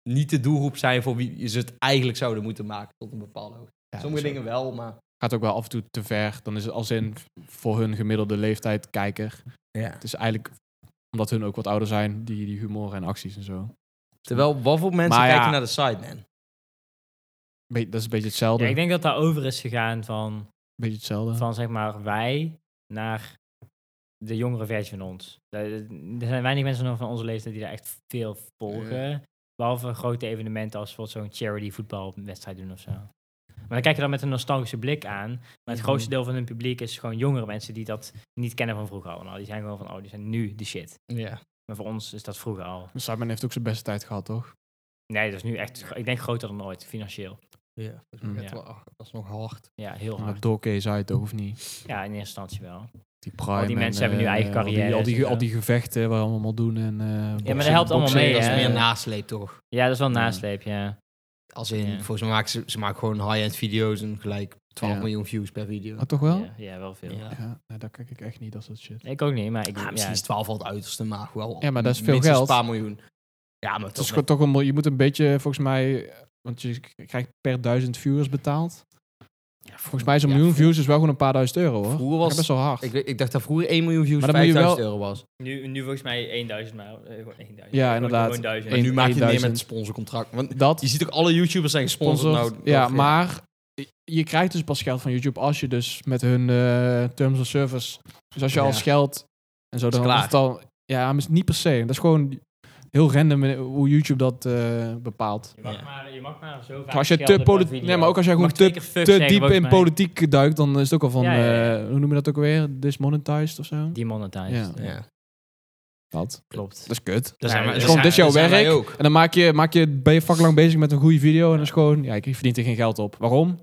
Speaker 1: niet de doelgroep zijn voor wie ze het eigenlijk zouden moeten maken tot een bepaalde hoogte.
Speaker 3: Ja,
Speaker 1: Sommige
Speaker 3: dat is-
Speaker 1: dingen wel, maar...
Speaker 3: gaat ook wel af en toe te ver. Dan is het als in voor hun gemiddelde leeftijd kijker.
Speaker 1: Ja.
Speaker 3: Het is eigenlijk omdat hun ook wat ouder zijn, die, die humor en acties en zo.
Speaker 1: Terwijl, wat voor mensen
Speaker 3: Maar ja.
Speaker 1: kijken naar de site, man?
Speaker 3: Be- dat is een beetje hetzelfde.
Speaker 2: Ja, ik denk dat daar over is gegaan van,
Speaker 3: beetje hetzelfde.
Speaker 2: van zeg maar wij naar de jongere versie van ons. Er er zijn weinig mensen nog van onze leeftijd die daar echt veel volgen. Behalve grote evenementen als bijvoorbeeld zo'n charity voetbalwedstrijd doen of zo. Maar dan kijk je dan met een nostalgische blik aan. Maar het
Speaker 1: Mhm.
Speaker 2: grootste deel van hun publiek is gewoon jongere mensen die dat niet kennen van vroeger allemaal. Die zijn gewoon van, oh, die zijn nu de shit.
Speaker 1: Ja.
Speaker 2: Maar voor ons is dat vroeger al.
Speaker 3: Simon heeft ook zijn beste tijd gehad, toch?
Speaker 2: Nee, dat is nu echt, ik denk groter dan ooit, financieel.
Speaker 1: Ja.
Speaker 3: Mm.
Speaker 2: Ja.
Speaker 1: Dat is nog hard.
Speaker 2: Ja, heel
Speaker 3: Maar
Speaker 2: hard.
Speaker 3: Doorkees uit, toch, of niet?
Speaker 2: Ja, in eerste instantie wel.
Speaker 3: Die prime.
Speaker 2: Al die mensen hebben nu
Speaker 3: eh,
Speaker 2: eigen
Speaker 3: al die-
Speaker 2: carrières
Speaker 3: Al die, al
Speaker 2: en
Speaker 3: die,
Speaker 2: zo.
Speaker 3: gevechten waar we allemaal doen. En, eh, boxing-
Speaker 2: dat helpt allemaal
Speaker 3: boxing,
Speaker 2: mee,
Speaker 1: dat is
Speaker 2: hè?
Speaker 1: meer
Speaker 2: Ja.
Speaker 1: nasleep, toch?
Speaker 2: Ja, dat is wel een
Speaker 3: Ja.
Speaker 2: nasleep, ja.
Speaker 1: Als in,
Speaker 2: Ja.
Speaker 1: volgens mij maken ze, ze maken gewoon high-end video's en gelijk 12
Speaker 3: Ja.
Speaker 1: miljoen views per video.
Speaker 3: Maar toch wel? Ja,
Speaker 2: Ja, ja, wel veel.
Speaker 1: Ja.
Speaker 3: nee, daar kijk ik echt niet, dat soort shit.
Speaker 2: Ik ook niet, maar ik...
Speaker 1: Ah, misschien
Speaker 2: ja,
Speaker 1: is 12 al het uiterste, maar wel
Speaker 3: Ja, maar dat is veel
Speaker 1: minstens
Speaker 3: geld.
Speaker 1: een paar miljoen. Ja, maar
Speaker 3: Het is
Speaker 1: toch
Speaker 3: gewoon toch een, mil- je moet een beetje, volgens mij, want je k- krijgt per duizend viewers betaald. Volgens mij is een
Speaker 1: Ja,
Speaker 3: miljoen
Speaker 1: vro-
Speaker 3: views is wel gewoon een paar duizend euro hoor.
Speaker 1: Vroeger
Speaker 3: Dat
Speaker 1: was-
Speaker 3: is best wel hard.
Speaker 1: Ik, weet- ik dacht dat vroeger 1 miljoen views
Speaker 3: Maar dan moet je
Speaker 1: 5000
Speaker 3: wel-
Speaker 1: euro was.
Speaker 2: Nu, nu volgens mij 1000, maar eh, gewoon 1000.
Speaker 3: Ja, inderdaad.
Speaker 2: Gewoon 1000.
Speaker 1: Maar nu
Speaker 3: Eén-
Speaker 1: maak je het meer met
Speaker 3: 1000.
Speaker 1: een sponsorcontract. Want
Speaker 3: dat
Speaker 1: je ziet ook alle YouTubers zijn gesponsord.
Speaker 3: sponsort.
Speaker 1: Nou,
Speaker 3: ja,
Speaker 1: nog,
Speaker 3: maar je krijgt dus pas geld van YouTube als je dus met hun eh, terms of service. Dus als je
Speaker 1: Ja.
Speaker 3: al geld en zo dan
Speaker 1: klaar.
Speaker 3: is het al. Ja, maar is niet per se. Dat is gewoon heel random eh, hoe YouTube dat eh, bepaalt.
Speaker 2: Je
Speaker 1: Ja.
Speaker 2: mag, maar, je mag maar zo vaak
Speaker 3: als je te
Speaker 2: schelden per
Speaker 3: politi-
Speaker 2: video.
Speaker 3: nee, maar ook als jij
Speaker 2: Je
Speaker 3: gewoon
Speaker 2: mag twee keer fuck
Speaker 3: Te
Speaker 2: zeggen,
Speaker 3: diep
Speaker 2: volgens
Speaker 3: in
Speaker 2: mij.
Speaker 3: politiek duikt, dan is het ook al van.
Speaker 2: Ja, ja, ja.
Speaker 3: eh, hoe noem je dat ook alweer? Dismonetized of zo?
Speaker 2: Demonetized.
Speaker 3: Ja.
Speaker 1: Ja.
Speaker 3: Wat?
Speaker 2: Klopt.
Speaker 3: Dat is kut.
Speaker 1: Daar
Speaker 2: zijn
Speaker 1: zijn
Speaker 2: we-
Speaker 1: we-
Speaker 2: dus
Speaker 1: daar
Speaker 2: gewoon,
Speaker 1: zijn-
Speaker 3: dit is jouw
Speaker 1: daar zijn wij
Speaker 3: werk.
Speaker 1: ook.
Speaker 3: En dan maak je, maak je, ben je fucking lang bezig met een goede video. En dat is gewoon, ja, ik verdient er geen geld op. Waarom?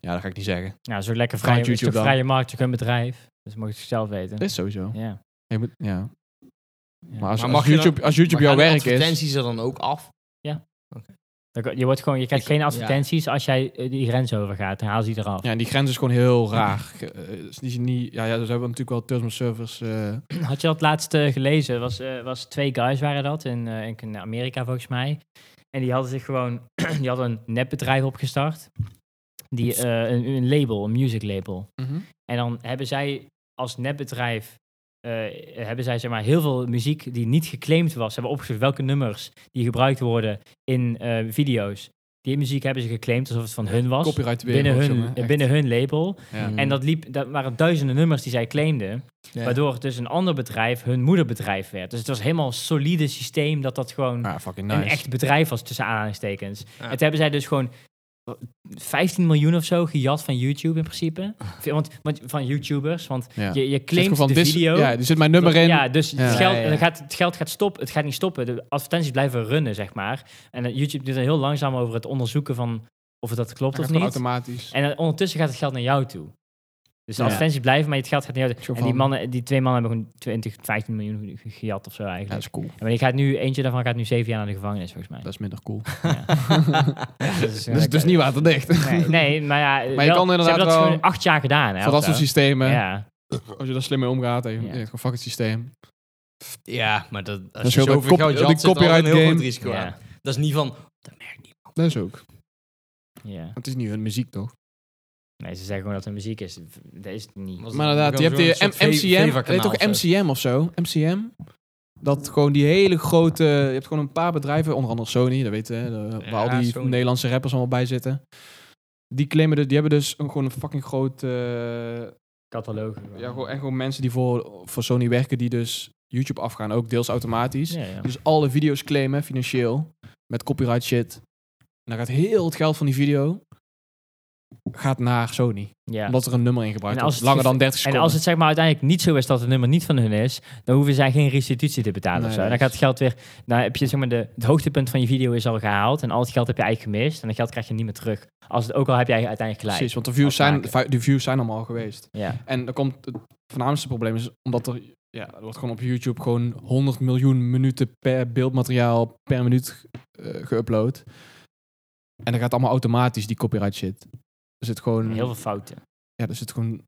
Speaker 3: Ja, dat ga ik niet zeggen.
Speaker 2: Nou, zo lekker
Speaker 3: Vraagt
Speaker 2: vrij, is
Speaker 3: YouTube
Speaker 2: toch
Speaker 3: dan.
Speaker 2: vrije markt, ook een bedrijf. Dus mocht je het zelf weten.
Speaker 3: Dat is sowieso.
Speaker 2: Ja.
Speaker 3: Je moet, ja.
Speaker 2: Ja.
Speaker 3: Maar als,
Speaker 1: Maar
Speaker 3: als
Speaker 1: mag je dan-
Speaker 3: YouTube, als YouTube
Speaker 1: Maar
Speaker 3: jouw
Speaker 1: gaan de
Speaker 3: werk is...
Speaker 1: advertenties er dan ook af?
Speaker 2: Dan- Je, wordt gewoon, je krijgt
Speaker 1: Ik-
Speaker 2: geen
Speaker 1: ja.
Speaker 2: advertenties als jij eh, die grens overgaat. Dan haal ze die eraf. *clears throat*
Speaker 3: Ja, en die grens is gewoon heel raar. Eh, is niet, niet, ja, ja, dus hebben we natuurlijk wel terms of service. eh,
Speaker 2: Had je dat laatst eh, gelezen? Was, eh, was twee guys waren dat in, eh, in Amerika volgens mij. En die hadden zich gewoon, *clears throat* die hadden een nepbedrijf opgestart. Die, eh, een, een label, een music label.
Speaker 3: Mhm.
Speaker 2: En dan hebben zij als nepbedrijf, eh, hebben zij zeg maar heel veel muziek die niet geclaimd was. Ze hebben opgezocht welke nummers die gebruikt worden in eh, video's. Die muziek hebben ze geclaimd alsof het van hun was.
Speaker 3: Copyright weer.
Speaker 2: Binnen
Speaker 3: ook,
Speaker 2: hun,
Speaker 3: jongen. Echt.
Speaker 2: binnen hun label.
Speaker 3: Ja.
Speaker 1: Mm.
Speaker 2: En dat, liep, dat waren duizenden nummers die zij claimden.
Speaker 1: Ja.
Speaker 2: Waardoor het dus een ander bedrijf hun moederbedrijf werd. Dus het was helemaal een solide systeem dat dat gewoon
Speaker 3: Ja, fucking Ah, nice.
Speaker 2: een echt bedrijf was tussen aanhalingstekens.
Speaker 1: Ja.
Speaker 2: En toen hebben zij dus gewoon 15 miljoen of zo gejat van YouTube in
Speaker 3: *laughs*
Speaker 2: principe. Want, want van YouTubers, want je,
Speaker 3: Ja.
Speaker 2: je
Speaker 3: Zegt gewoon
Speaker 2: claimt de
Speaker 3: dit-
Speaker 2: video.
Speaker 3: Ja, er zit mijn nummer in.
Speaker 2: Ja, dus
Speaker 3: Ja.
Speaker 2: Het, geld,
Speaker 1: Ja, ja, ja.
Speaker 2: Het, gaat, het geld gaat stoppen. Het gaat niet stoppen. De advertenties blijven runnen, zeg maar. En eh, YouTube doet er heel langzaam over het onderzoeken van of het dat klopt
Speaker 3: Dat gaat
Speaker 2: of
Speaker 3: gewoon
Speaker 2: niet.
Speaker 3: automatisch.
Speaker 2: En dan ondertussen gaat het geld naar jou toe. Dus de
Speaker 3: Ja.
Speaker 2: advertenties blijven, maar het geld gaat naar jou toe.
Speaker 3: Soort
Speaker 2: En die,
Speaker 3: van-
Speaker 2: mannen, die twee mannen hebben gewoon 20, 15 miljoen ge- gejat of zo
Speaker 3: Ja, dat
Speaker 2: eigenlijk.
Speaker 3: is cool.
Speaker 2: maar die gaat nu, eentje daarvan gaat nu zeven jaar naar de gevangenis, volgens mij.
Speaker 3: Dat is minder cool.
Speaker 2: Ja. Ja, dat is, eh,
Speaker 3: *laughs* Dus het is niet waterdicht. *laughs*
Speaker 2: Nee, nee, maar ja, eh,
Speaker 3: Maar je
Speaker 2: wel-
Speaker 3: kan
Speaker 2: ze
Speaker 3: inderdaad
Speaker 2: hebben dat
Speaker 3: wel-
Speaker 2: gewoon acht jaar gedaan. Hè,
Speaker 3: Voor
Speaker 2: of
Speaker 3: dat soort
Speaker 2: zo.
Speaker 3: systemen.
Speaker 2: Ja.
Speaker 3: Als je daar slim mee omgaat. En je
Speaker 2: Ja.
Speaker 3: je denkt gewoon fuck het systeem.
Speaker 1: Ja, maar dat, als
Speaker 3: is
Speaker 1: je
Speaker 3: heel dat
Speaker 1: zoveel
Speaker 3: kop-
Speaker 1: geld
Speaker 3: die
Speaker 1: jat, zit er al een
Speaker 3: copyright
Speaker 1: heel groot
Speaker 3: game.
Speaker 1: risico
Speaker 2: Ja.
Speaker 1: aan. Dat is niet van, dat merkt niemand.
Speaker 3: Dat is ook.
Speaker 2: ja.
Speaker 3: Het is niet hun muziek, toch?
Speaker 2: Nee, ze zeggen gewoon dat er muziek is. Dat is het niet.
Speaker 1: Was
Speaker 3: Maar
Speaker 1: het-
Speaker 3: inderdaad, je hebt
Speaker 1: gewoon
Speaker 3: die
Speaker 1: een soort
Speaker 3: M- MCM.
Speaker 1: Veva-kanaal
Speaker 3: Heet toch
Speaker 1: of zo.
Speaker 3: MCM of zo? MCM? Dat gewoon die hele grote... Je hebt gewoon een paar bedrijven, onder andere Sony, dat weten hè, de-
Speaker 1: Ja,
Speaker 3: waar al die
Speaker 1: Sony.
Speaker 3: Nederlandse rappers allemaal bij zitten. Die claimen, de, die hebben dus een, gewoon een fucking groot... eh,
Speaker 2: Catalogen.
Speaker 3: ja, gewoon, en gewoon mensen die voor, voor Sony werken, die dus YouTube afgaan, ook deels automatisch.
Speaker 2: Ja, ja.
Speaker 3: Dus alle video's claimen, financieel, met copyright shit. En dan gaat heel het geld van die video gaat naar Sony.
Speaker 2: Ja.
Speaker 3: Omdat er een nummer in gebruikt
Speaker 2: En als
Speaker 3: wordt.
Speaker 2: het
Speaker 3: Langer dan 30
Speaker 2: En
Speaker 3: seconden.
Speaker 2: als het zeg maar uiteindelijk niet zo is dat het nummer niet van hun is, dan hoeven zij geen restitutie te betalen
Speaker 3: Nee,
Speaker 2: of zo.
Speaker 3: dat
Speaker 2: Dan
Speaker 3: is-
Speaker 2: gaat het geld weer, dan heb je zeg maar de, het hoogtepunt van je video is al gehaald en al het geld heb je eigenlijk gemist en dat geld krijg je niet meer terug. Als het ook al heb jij uiteindelijk gelijk.
Speaker 3: Precies, want de views, zijn,
Speaker 2: afmaken.
Speaker 3: de views zijn allemaal geweest.
Speaker 2: Ja.
Speaker 3: En dan komt het voornaamste probleem is omdat er, ja, er wordt gewoon op YouTube gewoon 100 miljoen minuten per beeldmateriaal per minuut eh, geüpload. En dan gaat allemaal automatisch die copyright shit. Er zit gewoon,
Speaker 2: Heel veel fouten.
Speaker 3: ja, er zit gewoon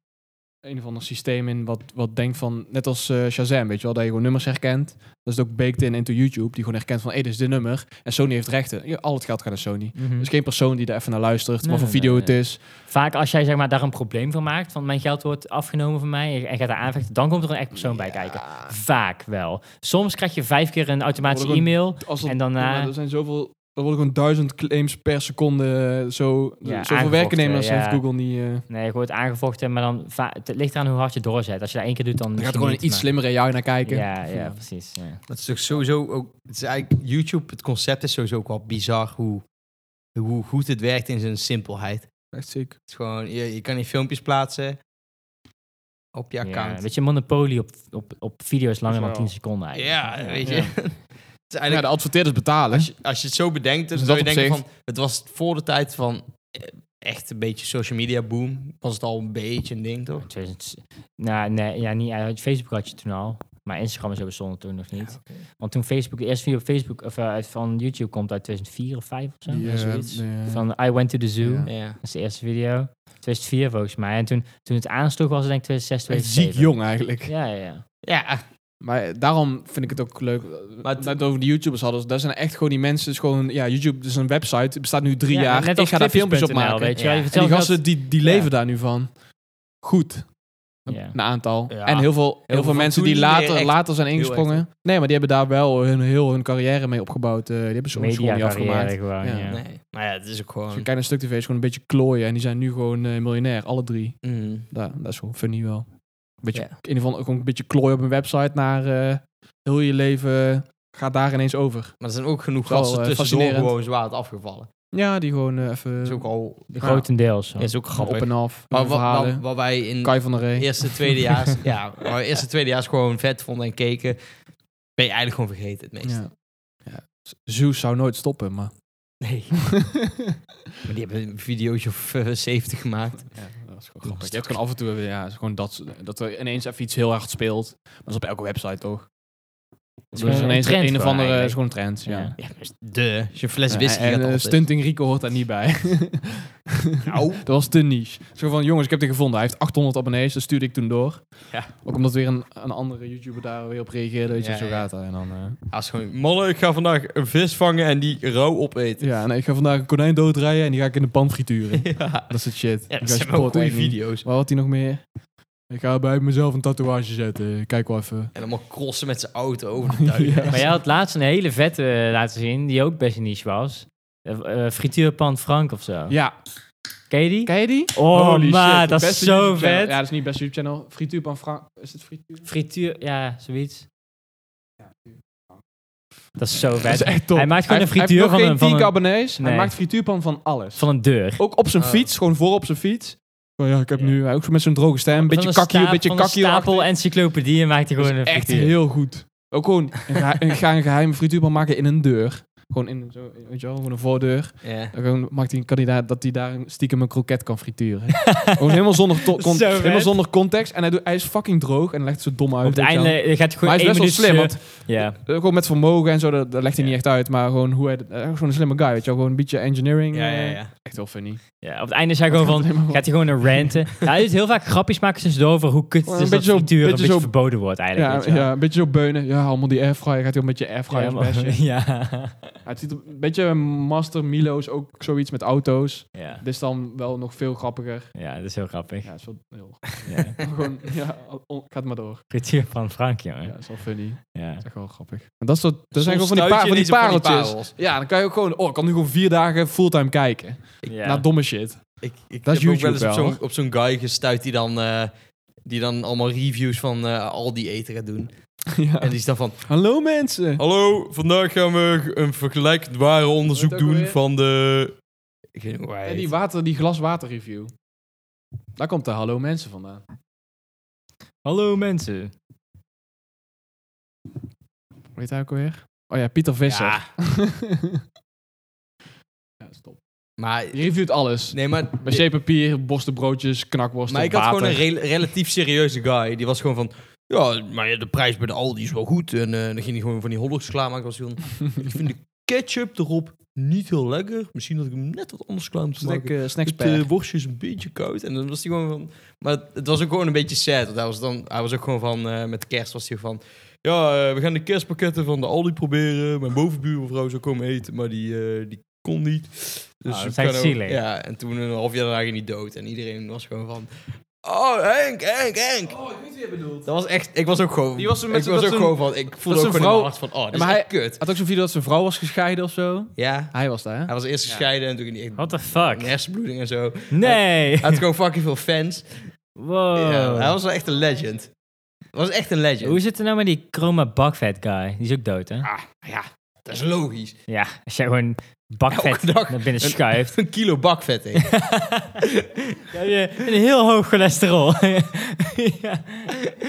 Speaker 3: een of ander systeem in wat, wat denkt van, net als eh, Shazam, weet je wel, dat je gewoon nummers herkent. Dat is ook baked in into YouTube, die gewoon herkent van, hé, dit is dit nummer. En Sony heeft rechten. Ja, al het geld gaat naar Sony.
Speaker 2: Mhm.
Speaker 3: Er is geen persoon die er even naar luistert,
Speaker 2: Nee,
Speaker 3: wat voor
Speaker 2: nee,
Speaker 3: video
Speaker 2: nee,
Speaker 3: het
Speaker 2: nee.
Speaker 3: is.
Speaker 2: Vaak als jij zeg maar, daar een probleem van maakt, van mijn geld wordt afgenomen van mij en gaat daar aanvechten, dan komt er een echt persoon bij kijken.
Speaker 3: Ja.
Speaker 2: Vaak wel. Soms krijg je vijf keer een automatische
Speaker 3: Worden
Speaker 2: e-mail.
Speaker 3: Als
Speaker 2: En eh, daarna-
Speaker 3: Ja, maar er zijn zoveel... Er worden gewoon duizend claims per seconde eh, zo...
Speaker 2: Ja,
Speaker 3: zoveel
Speaker 2: aangevochten,
Speaker 3: werknemers
Speaker 2: ja.
Speaker 3: heeft Google niet... eh
Speaker 2: Nee, je wordt aangevochten, maar dan va- het ligt eraan hoe hard je doorzet. Als je dat één keer doet, dan.
Speaker 3: er gaat
Speaker 2: misschien
Speaker 3: gewoon
Speaker 2: niet,
Speaker 3: een iets
Speaker 2: maar-
Speaker 3: slimmere jou naar kijken.
Speaker 2: Ja, ja, precies. Ja.
Speaker 1: Dat is toch sowieso ook... Het is eigenlijk, YouTube, het concept is sowieso ook wel bizar hoe, hoe goed het werkt in zijn simpelheid. Het
Speaker 3: Echt ziek.
Speaker 1: is gewoon, je, je kan die filmpjes plaatsen op je account.
Speaker 2: Ja, weet je, monopolie op, op, op video's langer
Speaker 3: Dat
Speaker 2: dan
Speaker 3: is
Speaker 2: 10
Speaker 3: wel-
Speaker 2: seconden eigenlijk.
Speaker 1: Ja, weet je. *laughs*
Speaker 3: Ja.
Speaker 1: het is
Speaker 3: Ja,
Speaker 1: eigenlijk,
Speaker 3: de adverteerders betalen.
Speaker 1: als, je, als je het zo bedenkt, dan
Speaker 3: Dus
Speaker 1: zou je
Speaker 3: dat op
Speaker 1: denken van... Het was voor de tijd van eh, echt een beetje social media boom. Was het al een beetje een ding, toch?
Speaker 2: 2000 nou, nee, ja, niet, eh, Facebook had je toen al. Maar Instagram en zo bestond toen nog niet. Want toen Facebook, de eerste video op Facebook, of, eh, van YouTube komt uit 2004 of 5 of zo.
Speaker 3: Die, eh,
Speaker 2: zoiets.
Speaker 3: ja.
Speaker 2: Van I Went to the Zoo.
Speaker 3: Ja.
Speaker 2: Dat is de eerste video. 2004 volgens mij. En toen, toen het aansloeg was het denk ik 2006,
Speaker 3: Echt ziek
Speaker 2: 2007.
Speaker 3: jong eigenlijk.
Speaker 2: Ja, ja, ja.
Speaker 1: Ja,
Speaker 3: Maar eh, daarom vind ik het ook leuk.
Speaker 1: Maar
Speaker 3: Maar
Speaker 1: het-
Speaker 3: net over die YouTubers hadden. Dus daar zijn echt gewoon die mensen. Is gewoon, ja, YouTube is een website. Het bestaat nu drie
Speaker 2: Ja,
Speaker 3: jaar.
Speaker 2: net
Speaker 3: ik
Speaker 2: als
Speaker 3: ga daar filmpjes op
Speaker 2: clipjes.nl,
Speaker 3: maken.
Speaker 2: Weet je, wel.
Speaker 1: Ja.
Speaker 2: Je
Speaker 3: En die
Speaker 2: vertelt
Speaker 3: gasten die, die leven
Speaker 2: Ja.
Speaker 3: daar nu van. Goed.
Speaker 2: dat- Ja.
Speaker 3: Een aantal.
Speaker 1: Ja.
Speaker 3: En heel veel, heel
Speaker 1: veel
Speaker 3: veel mensen die
Speaker 1: toen
Speaker 3: later,
Speaker 1: echt-
Speaker 3: later zijn
Speaker 1: heel
Speaker 3: ingesprongen. Nee, maar die hebben daar wel hun, heel hun carrière mee opgebouwd. Eh, die hebben soms gewoon niet
Speaker 2: Media
Speaker 3: afgemaakt.
Speaker 2: carrière gewoon, ja.
Speaker 3: Ja.
Speaker 1: *laughs* Nee. Maar ja, het is ook
Speaker 3: Als
Speaker 1: gewoon...
Speaker 3: je kijkt naar stuk tv, is gewoon een beetje klooien. En die zijn nu gewoon eh, miljonair, alle drie.
Speaker 1: Mm.
Speaker 3: Da- dat is gewoon funny wel. Beetje,
Speaker 1: Ja.
Speaker 3: In ieder geval gewoon een beetje klooien op een website naar eh, heel je leven gaat daar ineens over.
Speaker 1: Maar er zijn ook genoeg
Speaker 3: Wel,
Speaker 1: gasten
Speaker 3: eh,
Speaker 1: tussendoor
Speaker 3: fascinerend.
Speaker 1: gewoon zwaar afgevallen.
Speaker 3: Ja, die gewoon eh,
Speaker 1: Dat is
Speaker 3: even
Speaker 1: ook al...
Speaker 2: Ja. Grotendeels. hoor.
Speaker 1: Dat is ook
Speaker 3: op
Speaker 1: grappig.
Speaker 3: en af.
Speaker 1: Maar
Speaker 3: Maar
Speaker 1: wat,
Speaker 3: verhalen.
Speaker 1: wat, wat wij in
Speaker 3: Kai van der Rey.
Speaker 1: eerste, tweedejaars...
Speaker 3: *laughs*
Speaker 1: ja, wat we eerste, tweedejaars gewoon vet vonden en keken... Ben je eigenlijk gewoon vergeten het meest.
Speaker 3: Ja. Ja. Zeus zou nooit stoppen, maar...
Speaker 1: *laughs* Nee. Maar die hebben een videootje of eh, 70 gemaakt.
Speaker 3: Ja, dat is gewoon grappig. Je hebt gewoon af en toe eh, ja, is gewoon dat, dat er ineens even iets heel hard speelt. Maar dat is op elke website toch?
Speaker 2: is
Speaker 3: Dus er is
Speaker 2: gewoon
Speaker 3: ineens
Speaker 2: een trend
Speaker 3: een of
Speaker 2: gewoon
Speaker 3: andere is
Speaker 2: eigenlijk.
Speaker 3: gewoon een trend. Ja.
Speaker 2: Ja.
Speaker 1: Ja, dus de. Als je een fles
Speaker 3: Ja,
Speaker 1: whisky
Speaker 3: en
Speaker 1: gaat
Speaker 3: eh,
Speaker 1: altijd.
Speaker 3: Stunting Rico hoort daar niet bij.
Speaker 1: Nou.
Speaker 3: dat was te niche. Zo van, jongens, ik heb dit gevonden. Hij heeft 800 abonnees, dat stuurde ik toen door.
Speaker 1: Ja.
Speaker 3: Ook omdat weer een, een andere YouTuber daar weer op reageerde. Weet je,
Speaker 1: Ja,
Speaker 3: zo
Speaker 1: ja.
Speaker 3: gaat dat. En dan, eh,
Speaker 1: *laughs* Als gewoon... Malle, ik ga vandaag een vis vangen en die rauw
Speaker 3: *laughs*
Speaker 1: opeten.
Speaker 3: ja, nee, ik ga vandaag een konijn doodrijden en die ga ik in de pan frituren.
Speaker 1: *laughs* ja.
Speaker 3: dat is het shit.
Speaker 1: Ja, dat
Speaker 3: Ik ga
Speaker 1: zijn
Speaker 3: support
Speaker 1: wel goede
Speaker 3: echt niet.
Speaker 1: video's.
Speaker 3: Waar had hij nog meer? Ik ga bij mezelf een tatoeage zetten. Kijk wel even.
Speaker 1: En allemaal crossen met zijn auto
Speaker 3: *laughs*
Speaker 1: over de duinen.
Speaker 3: Ja.
Speaker 2: Maar jij had laatst een hele vette eh, laten zien, die ook best niche was. Eh, eh, frituurpan Frank of zo.
Speaker 3: Ja,
Speaker 2: Ken je die?
Speaker 3: Ken je die?
Speaker 2: Oh,
Speaker 3: Oh. Holy
Speaker 2: maar
Speaker 3: shit,
Speaker 2: dat is
Speaker 3: beste
Speaker 2: zo
Speaker 3: YouTube channel.
Speaker 2: vet.
Speaker 3: Ja, dat is niet best YouTube channel. Frituur van Frank. Is het frituur?
Speaker 2: Frituur, ja, zoiets. Dat is zo vet.
Speaker 3: Dat is echt top.
Speaker 2: Hij maakt gewoon
Speaker 3: Hij
Speaker 2: een
Speaker 3: heeft-
Speaker 2: frituur van
Speaker 3: hij
Speaker 2: een,
Speaker 3: heeft
Speaker 2: van,
Speaker 3: nog geen 10
Speaker 2: een,
Speaker 3: abonnees.
Speaker 2: Nee.
Speaker 3: Hij maakt frituurpan van alles.
Speaker 2: van een deur.
Speaker 3: ook op zijn
Speaker 1: Oh.
Speaker 3: fiets, gewoon voor op zijn fiets. Van, ja, ik heb
Speaker 2: Ja.
Speaker 3: nu ook zo met zo'n droge stem, een beetje
Speaker 2: Van
Speaker 3: kakkie, een
Speaker 2: staap-
Speaker 3: beetje
Speaker 2: van
Speaker 3: kakkie.
Speaker 2: Een stapel encyclopedieën maakt hij
Speaker 3: Dat
Speaker 2: gewoon
Speaker 3: is
Speaker 2: een
Speaker 3: echt
Speaker 2: frituur.
Speaker 3: heel goed. Ook gewoon, een gehe- een- ga een geheime frituurpan maken in een deur. Gewoon in zo, weet je wel, gewoon een voordeur.
Speaker 1: Ja.
Speaker 3: Dan gewoon maakt hij een kandidaat dat hij daar een- stiekem een kroket
Speaker 2: *laughs*
Speaker 3: kan frituren. gewoon helemaal zonder, to- con-
Speaker 2: Zo vet.
Speaker 3: helemaal zonder context. En hij, doet, hij is fucking droog en legt ze dom uit.
Speaker 2: Op het
Speaker 3: weet je wel.
Speaker 2: einde gaat hij
Speaker 3: Maar
Speaker 2: gewoon
Speaker 3: hij is
Speaker 2: één
Speaker 3: best wel
Speaker 2: minuut...
Speaker 3: slim, want
Speaker 2: ja.
Speaker 3: Eh, Gewoon met vermogen en zo, dat, dat legt hij
Speaker 2: Ja.
Speaker 3: niet echt uit. Maar gewoon hoe hij... dat- eh, Gewoon een slimme guy, weet je wel. Gewoon een beetje engineering.
Speaker 1: Ja, ja,
Speaker 3: eh,
Speaker 1: ja.
Speaker 3: Echt wel funny.
Speaker 2: ja, op het einde is hij gewoon van...
Speaker 3: helemaal
Speaker 2: Gaat hij gewoon een
Speaker 3: *laughs*
Speaker 2: ranten. Ja, hij doet heel vaak grapjes maken tussendoor over hoe kut het
Speaker 3: Een
Speaker 2: is dat
Speaker 3: beetje zo-
Speaker 2: frituur een
Speaker 3: beetje
Speaker 2: beetje
Speaker 3: zo-
Speaker 2: verboden wordt eigenlijk.
Speaker 3: Ja,
Speaker 2: weet je wel.
Speaker 3: ja, een beetje zo beunen. Ja, allemaal die airfryer. Gaat hij ook met je airfryer
Speaker 2: maar-
Speaker 3: smashen.
Speaker 2: *laughs* ja.
Speaker 3: Het ziet er een beetje Master Milo's ook zoiets met auto's.
Speaker 2: ja.
Speaker 3: Dit is dan wel nog veel grappiger.
Speaker 2: Ja, dat is heel grappig.
Speaker 3: Ja, het is wel heel...
Speaker 2: Ja.
Speaker 3: gewoon, ja, on- gaat maar door.
Speaker 2: Frituur van Frank, jongen.
Speaker 3: Ja,
Speaker 2: Ja.
Speaker 3: het is wel funny. Het
Speaker 2: Ja.
Speaker 3: is echt wel grappig. En dat, is dat, dat zijn
Speaker 1: Soms
Speaker 3: gewoon van die,
Speaker 1: stuit
Speaker 3: pa-
Speaker 1: je
Speaker 3: van die
Speaker 1: ineens op
Speaker 3: pareltjes.
Speaker 1: parels.
Speaker 3: Ja, dan kan je ook gewoon... Oh, ik kan nu gewoon vier dagen fulltime kijken. Naar domme shit. *laughs*
Speaker 1: Ik, ik
Speaker 3: Dat is
Speaker 1: heb ook wel
Speaker 3: YouTube
Speaker 1: eens
Speaker 3: wel,
Speaker 1: op zo'n, op zo'n guy gestuurd die dan, eh, die dan allemaal reviews van eh, al die eten gaat doen.
Speaker 3: ja.
Speaker 1: En die is dan van...
Speaker 3: Hallo mensen!
Speaker 1: Hallo, vandaag gaan we een vergelijkend ware onderzoek
Speaker 3: Wat ook
Speaker 1: doen
Speaker 3: alweer?
Speaker 1: van de Ik weet niet hoe hij
Speaker 3: En die,
Speaker 1: heet.
Speaker 3: water, die glas water review. Daar komt de hallo mensen vandaan.
Speaker 2: Hallo mensen.
Speaker 3: Weet hij ook alweer? Oh ja, Pieter Visser. *laughs* Ja, stop.
Speaker 1: Maar,
Speaker 3: Die reviewt alles.
Speaker 1: nee, maar,
Speaker 3: Wc papier, borstenbroodjes, knakworsten,
Speaker 1: maar ik had
Speaker 3: water.
Speaker 1: gewoon een rel- relatief serieuze guy. Die was gewoon van, ja, maar ja, de prijs bij de Aldi is wel goed. En eh, dan ging hij gewoon van die hotdogs klaarmaken. Was hij van, ik vind de ketchup erop niet heel lekker. Misschien dat ik hem net wat anders klaar moet maken.
Speaker 3: snack, eh,
Speaker 1: Het
Speaker 3: snackspair.
Speaker 1: eh, worstje is een beetje koud. En dan was hij gewoon van... Maar het- het was ook gewoon een beetje sad. Want hij was, dan, hij was ook gewoon van... eh, met kerst was hij van... Ja, eh, we gaan de kerstpakketten van de Aldi proberen. Mijn bovenbuurvrouw zou komen eten, maar die, eh, die kon niet. Dus
Speaker 2: dat
Speaker 1: we
Speaker 2: zijn
Speaker 1: gaan ook-
Speaker 2: zielig.
Speaker 1: Ja, en toen een half jaar daarna ging hij dood. En iedereen was gewoon van... Oh, Henk, Henk, Henk.
Speaker 3: Oh, ik weet wie je bedoelt.
Speaker 1: Dat was echt... Ik was ook gewoon...
Speaker 3: Die was er met
Speaker 1: ik
Speaker 3: z'n-
Speaker 1: was ook
Speaker 3: dat
Speaker 1: gewoon van... Ik voelde ook gewoon in mijn
Speaker 3: zijn vrouw-
Speaker 1: hart van... Oh, dit
Speaker 3: maar
Speaker 1: is
Speaker 3: hij-
Speaker 1: echt kut.
Speaker 3: Had ook zo'n video dat zijn vrouw was gescheiden of zo.
Speaker 1: Ja,
Speaker 3: Hij was daar, hè?
Speaker 1: hij was eerst gescheiden en toen ging hij echt...
Speaker 2: What the
Speaker 1: Een
Speaker 2: fuck?
Speaker 1: hersenbloeding en zo.
Speaker 2: Nee.
Speaker 1: Hij had gewoon fucking veel fans.
Speaker 2: Wow.
Speaker 1: Ja, hij was wel echt een legend. Hij was echt een legend.
Speaker 2: Hoe zit het nou met die chroma bakvet guy? Die is ook dood, hè?
Speaker 1: Ah, ja, dat is logisch.
Speaker 2: Ja, als jij gewoon bakvet
Speaker 1: Elke dag
Speaker 2: naar binnen
Speaker 1: een-
Speaker 2: schuift.
Speaker 1: Een kilo bakvet eten.
Speaker 2: dan heb je een heel hoog cholesterol. ja.
Speaker 1: *laughs*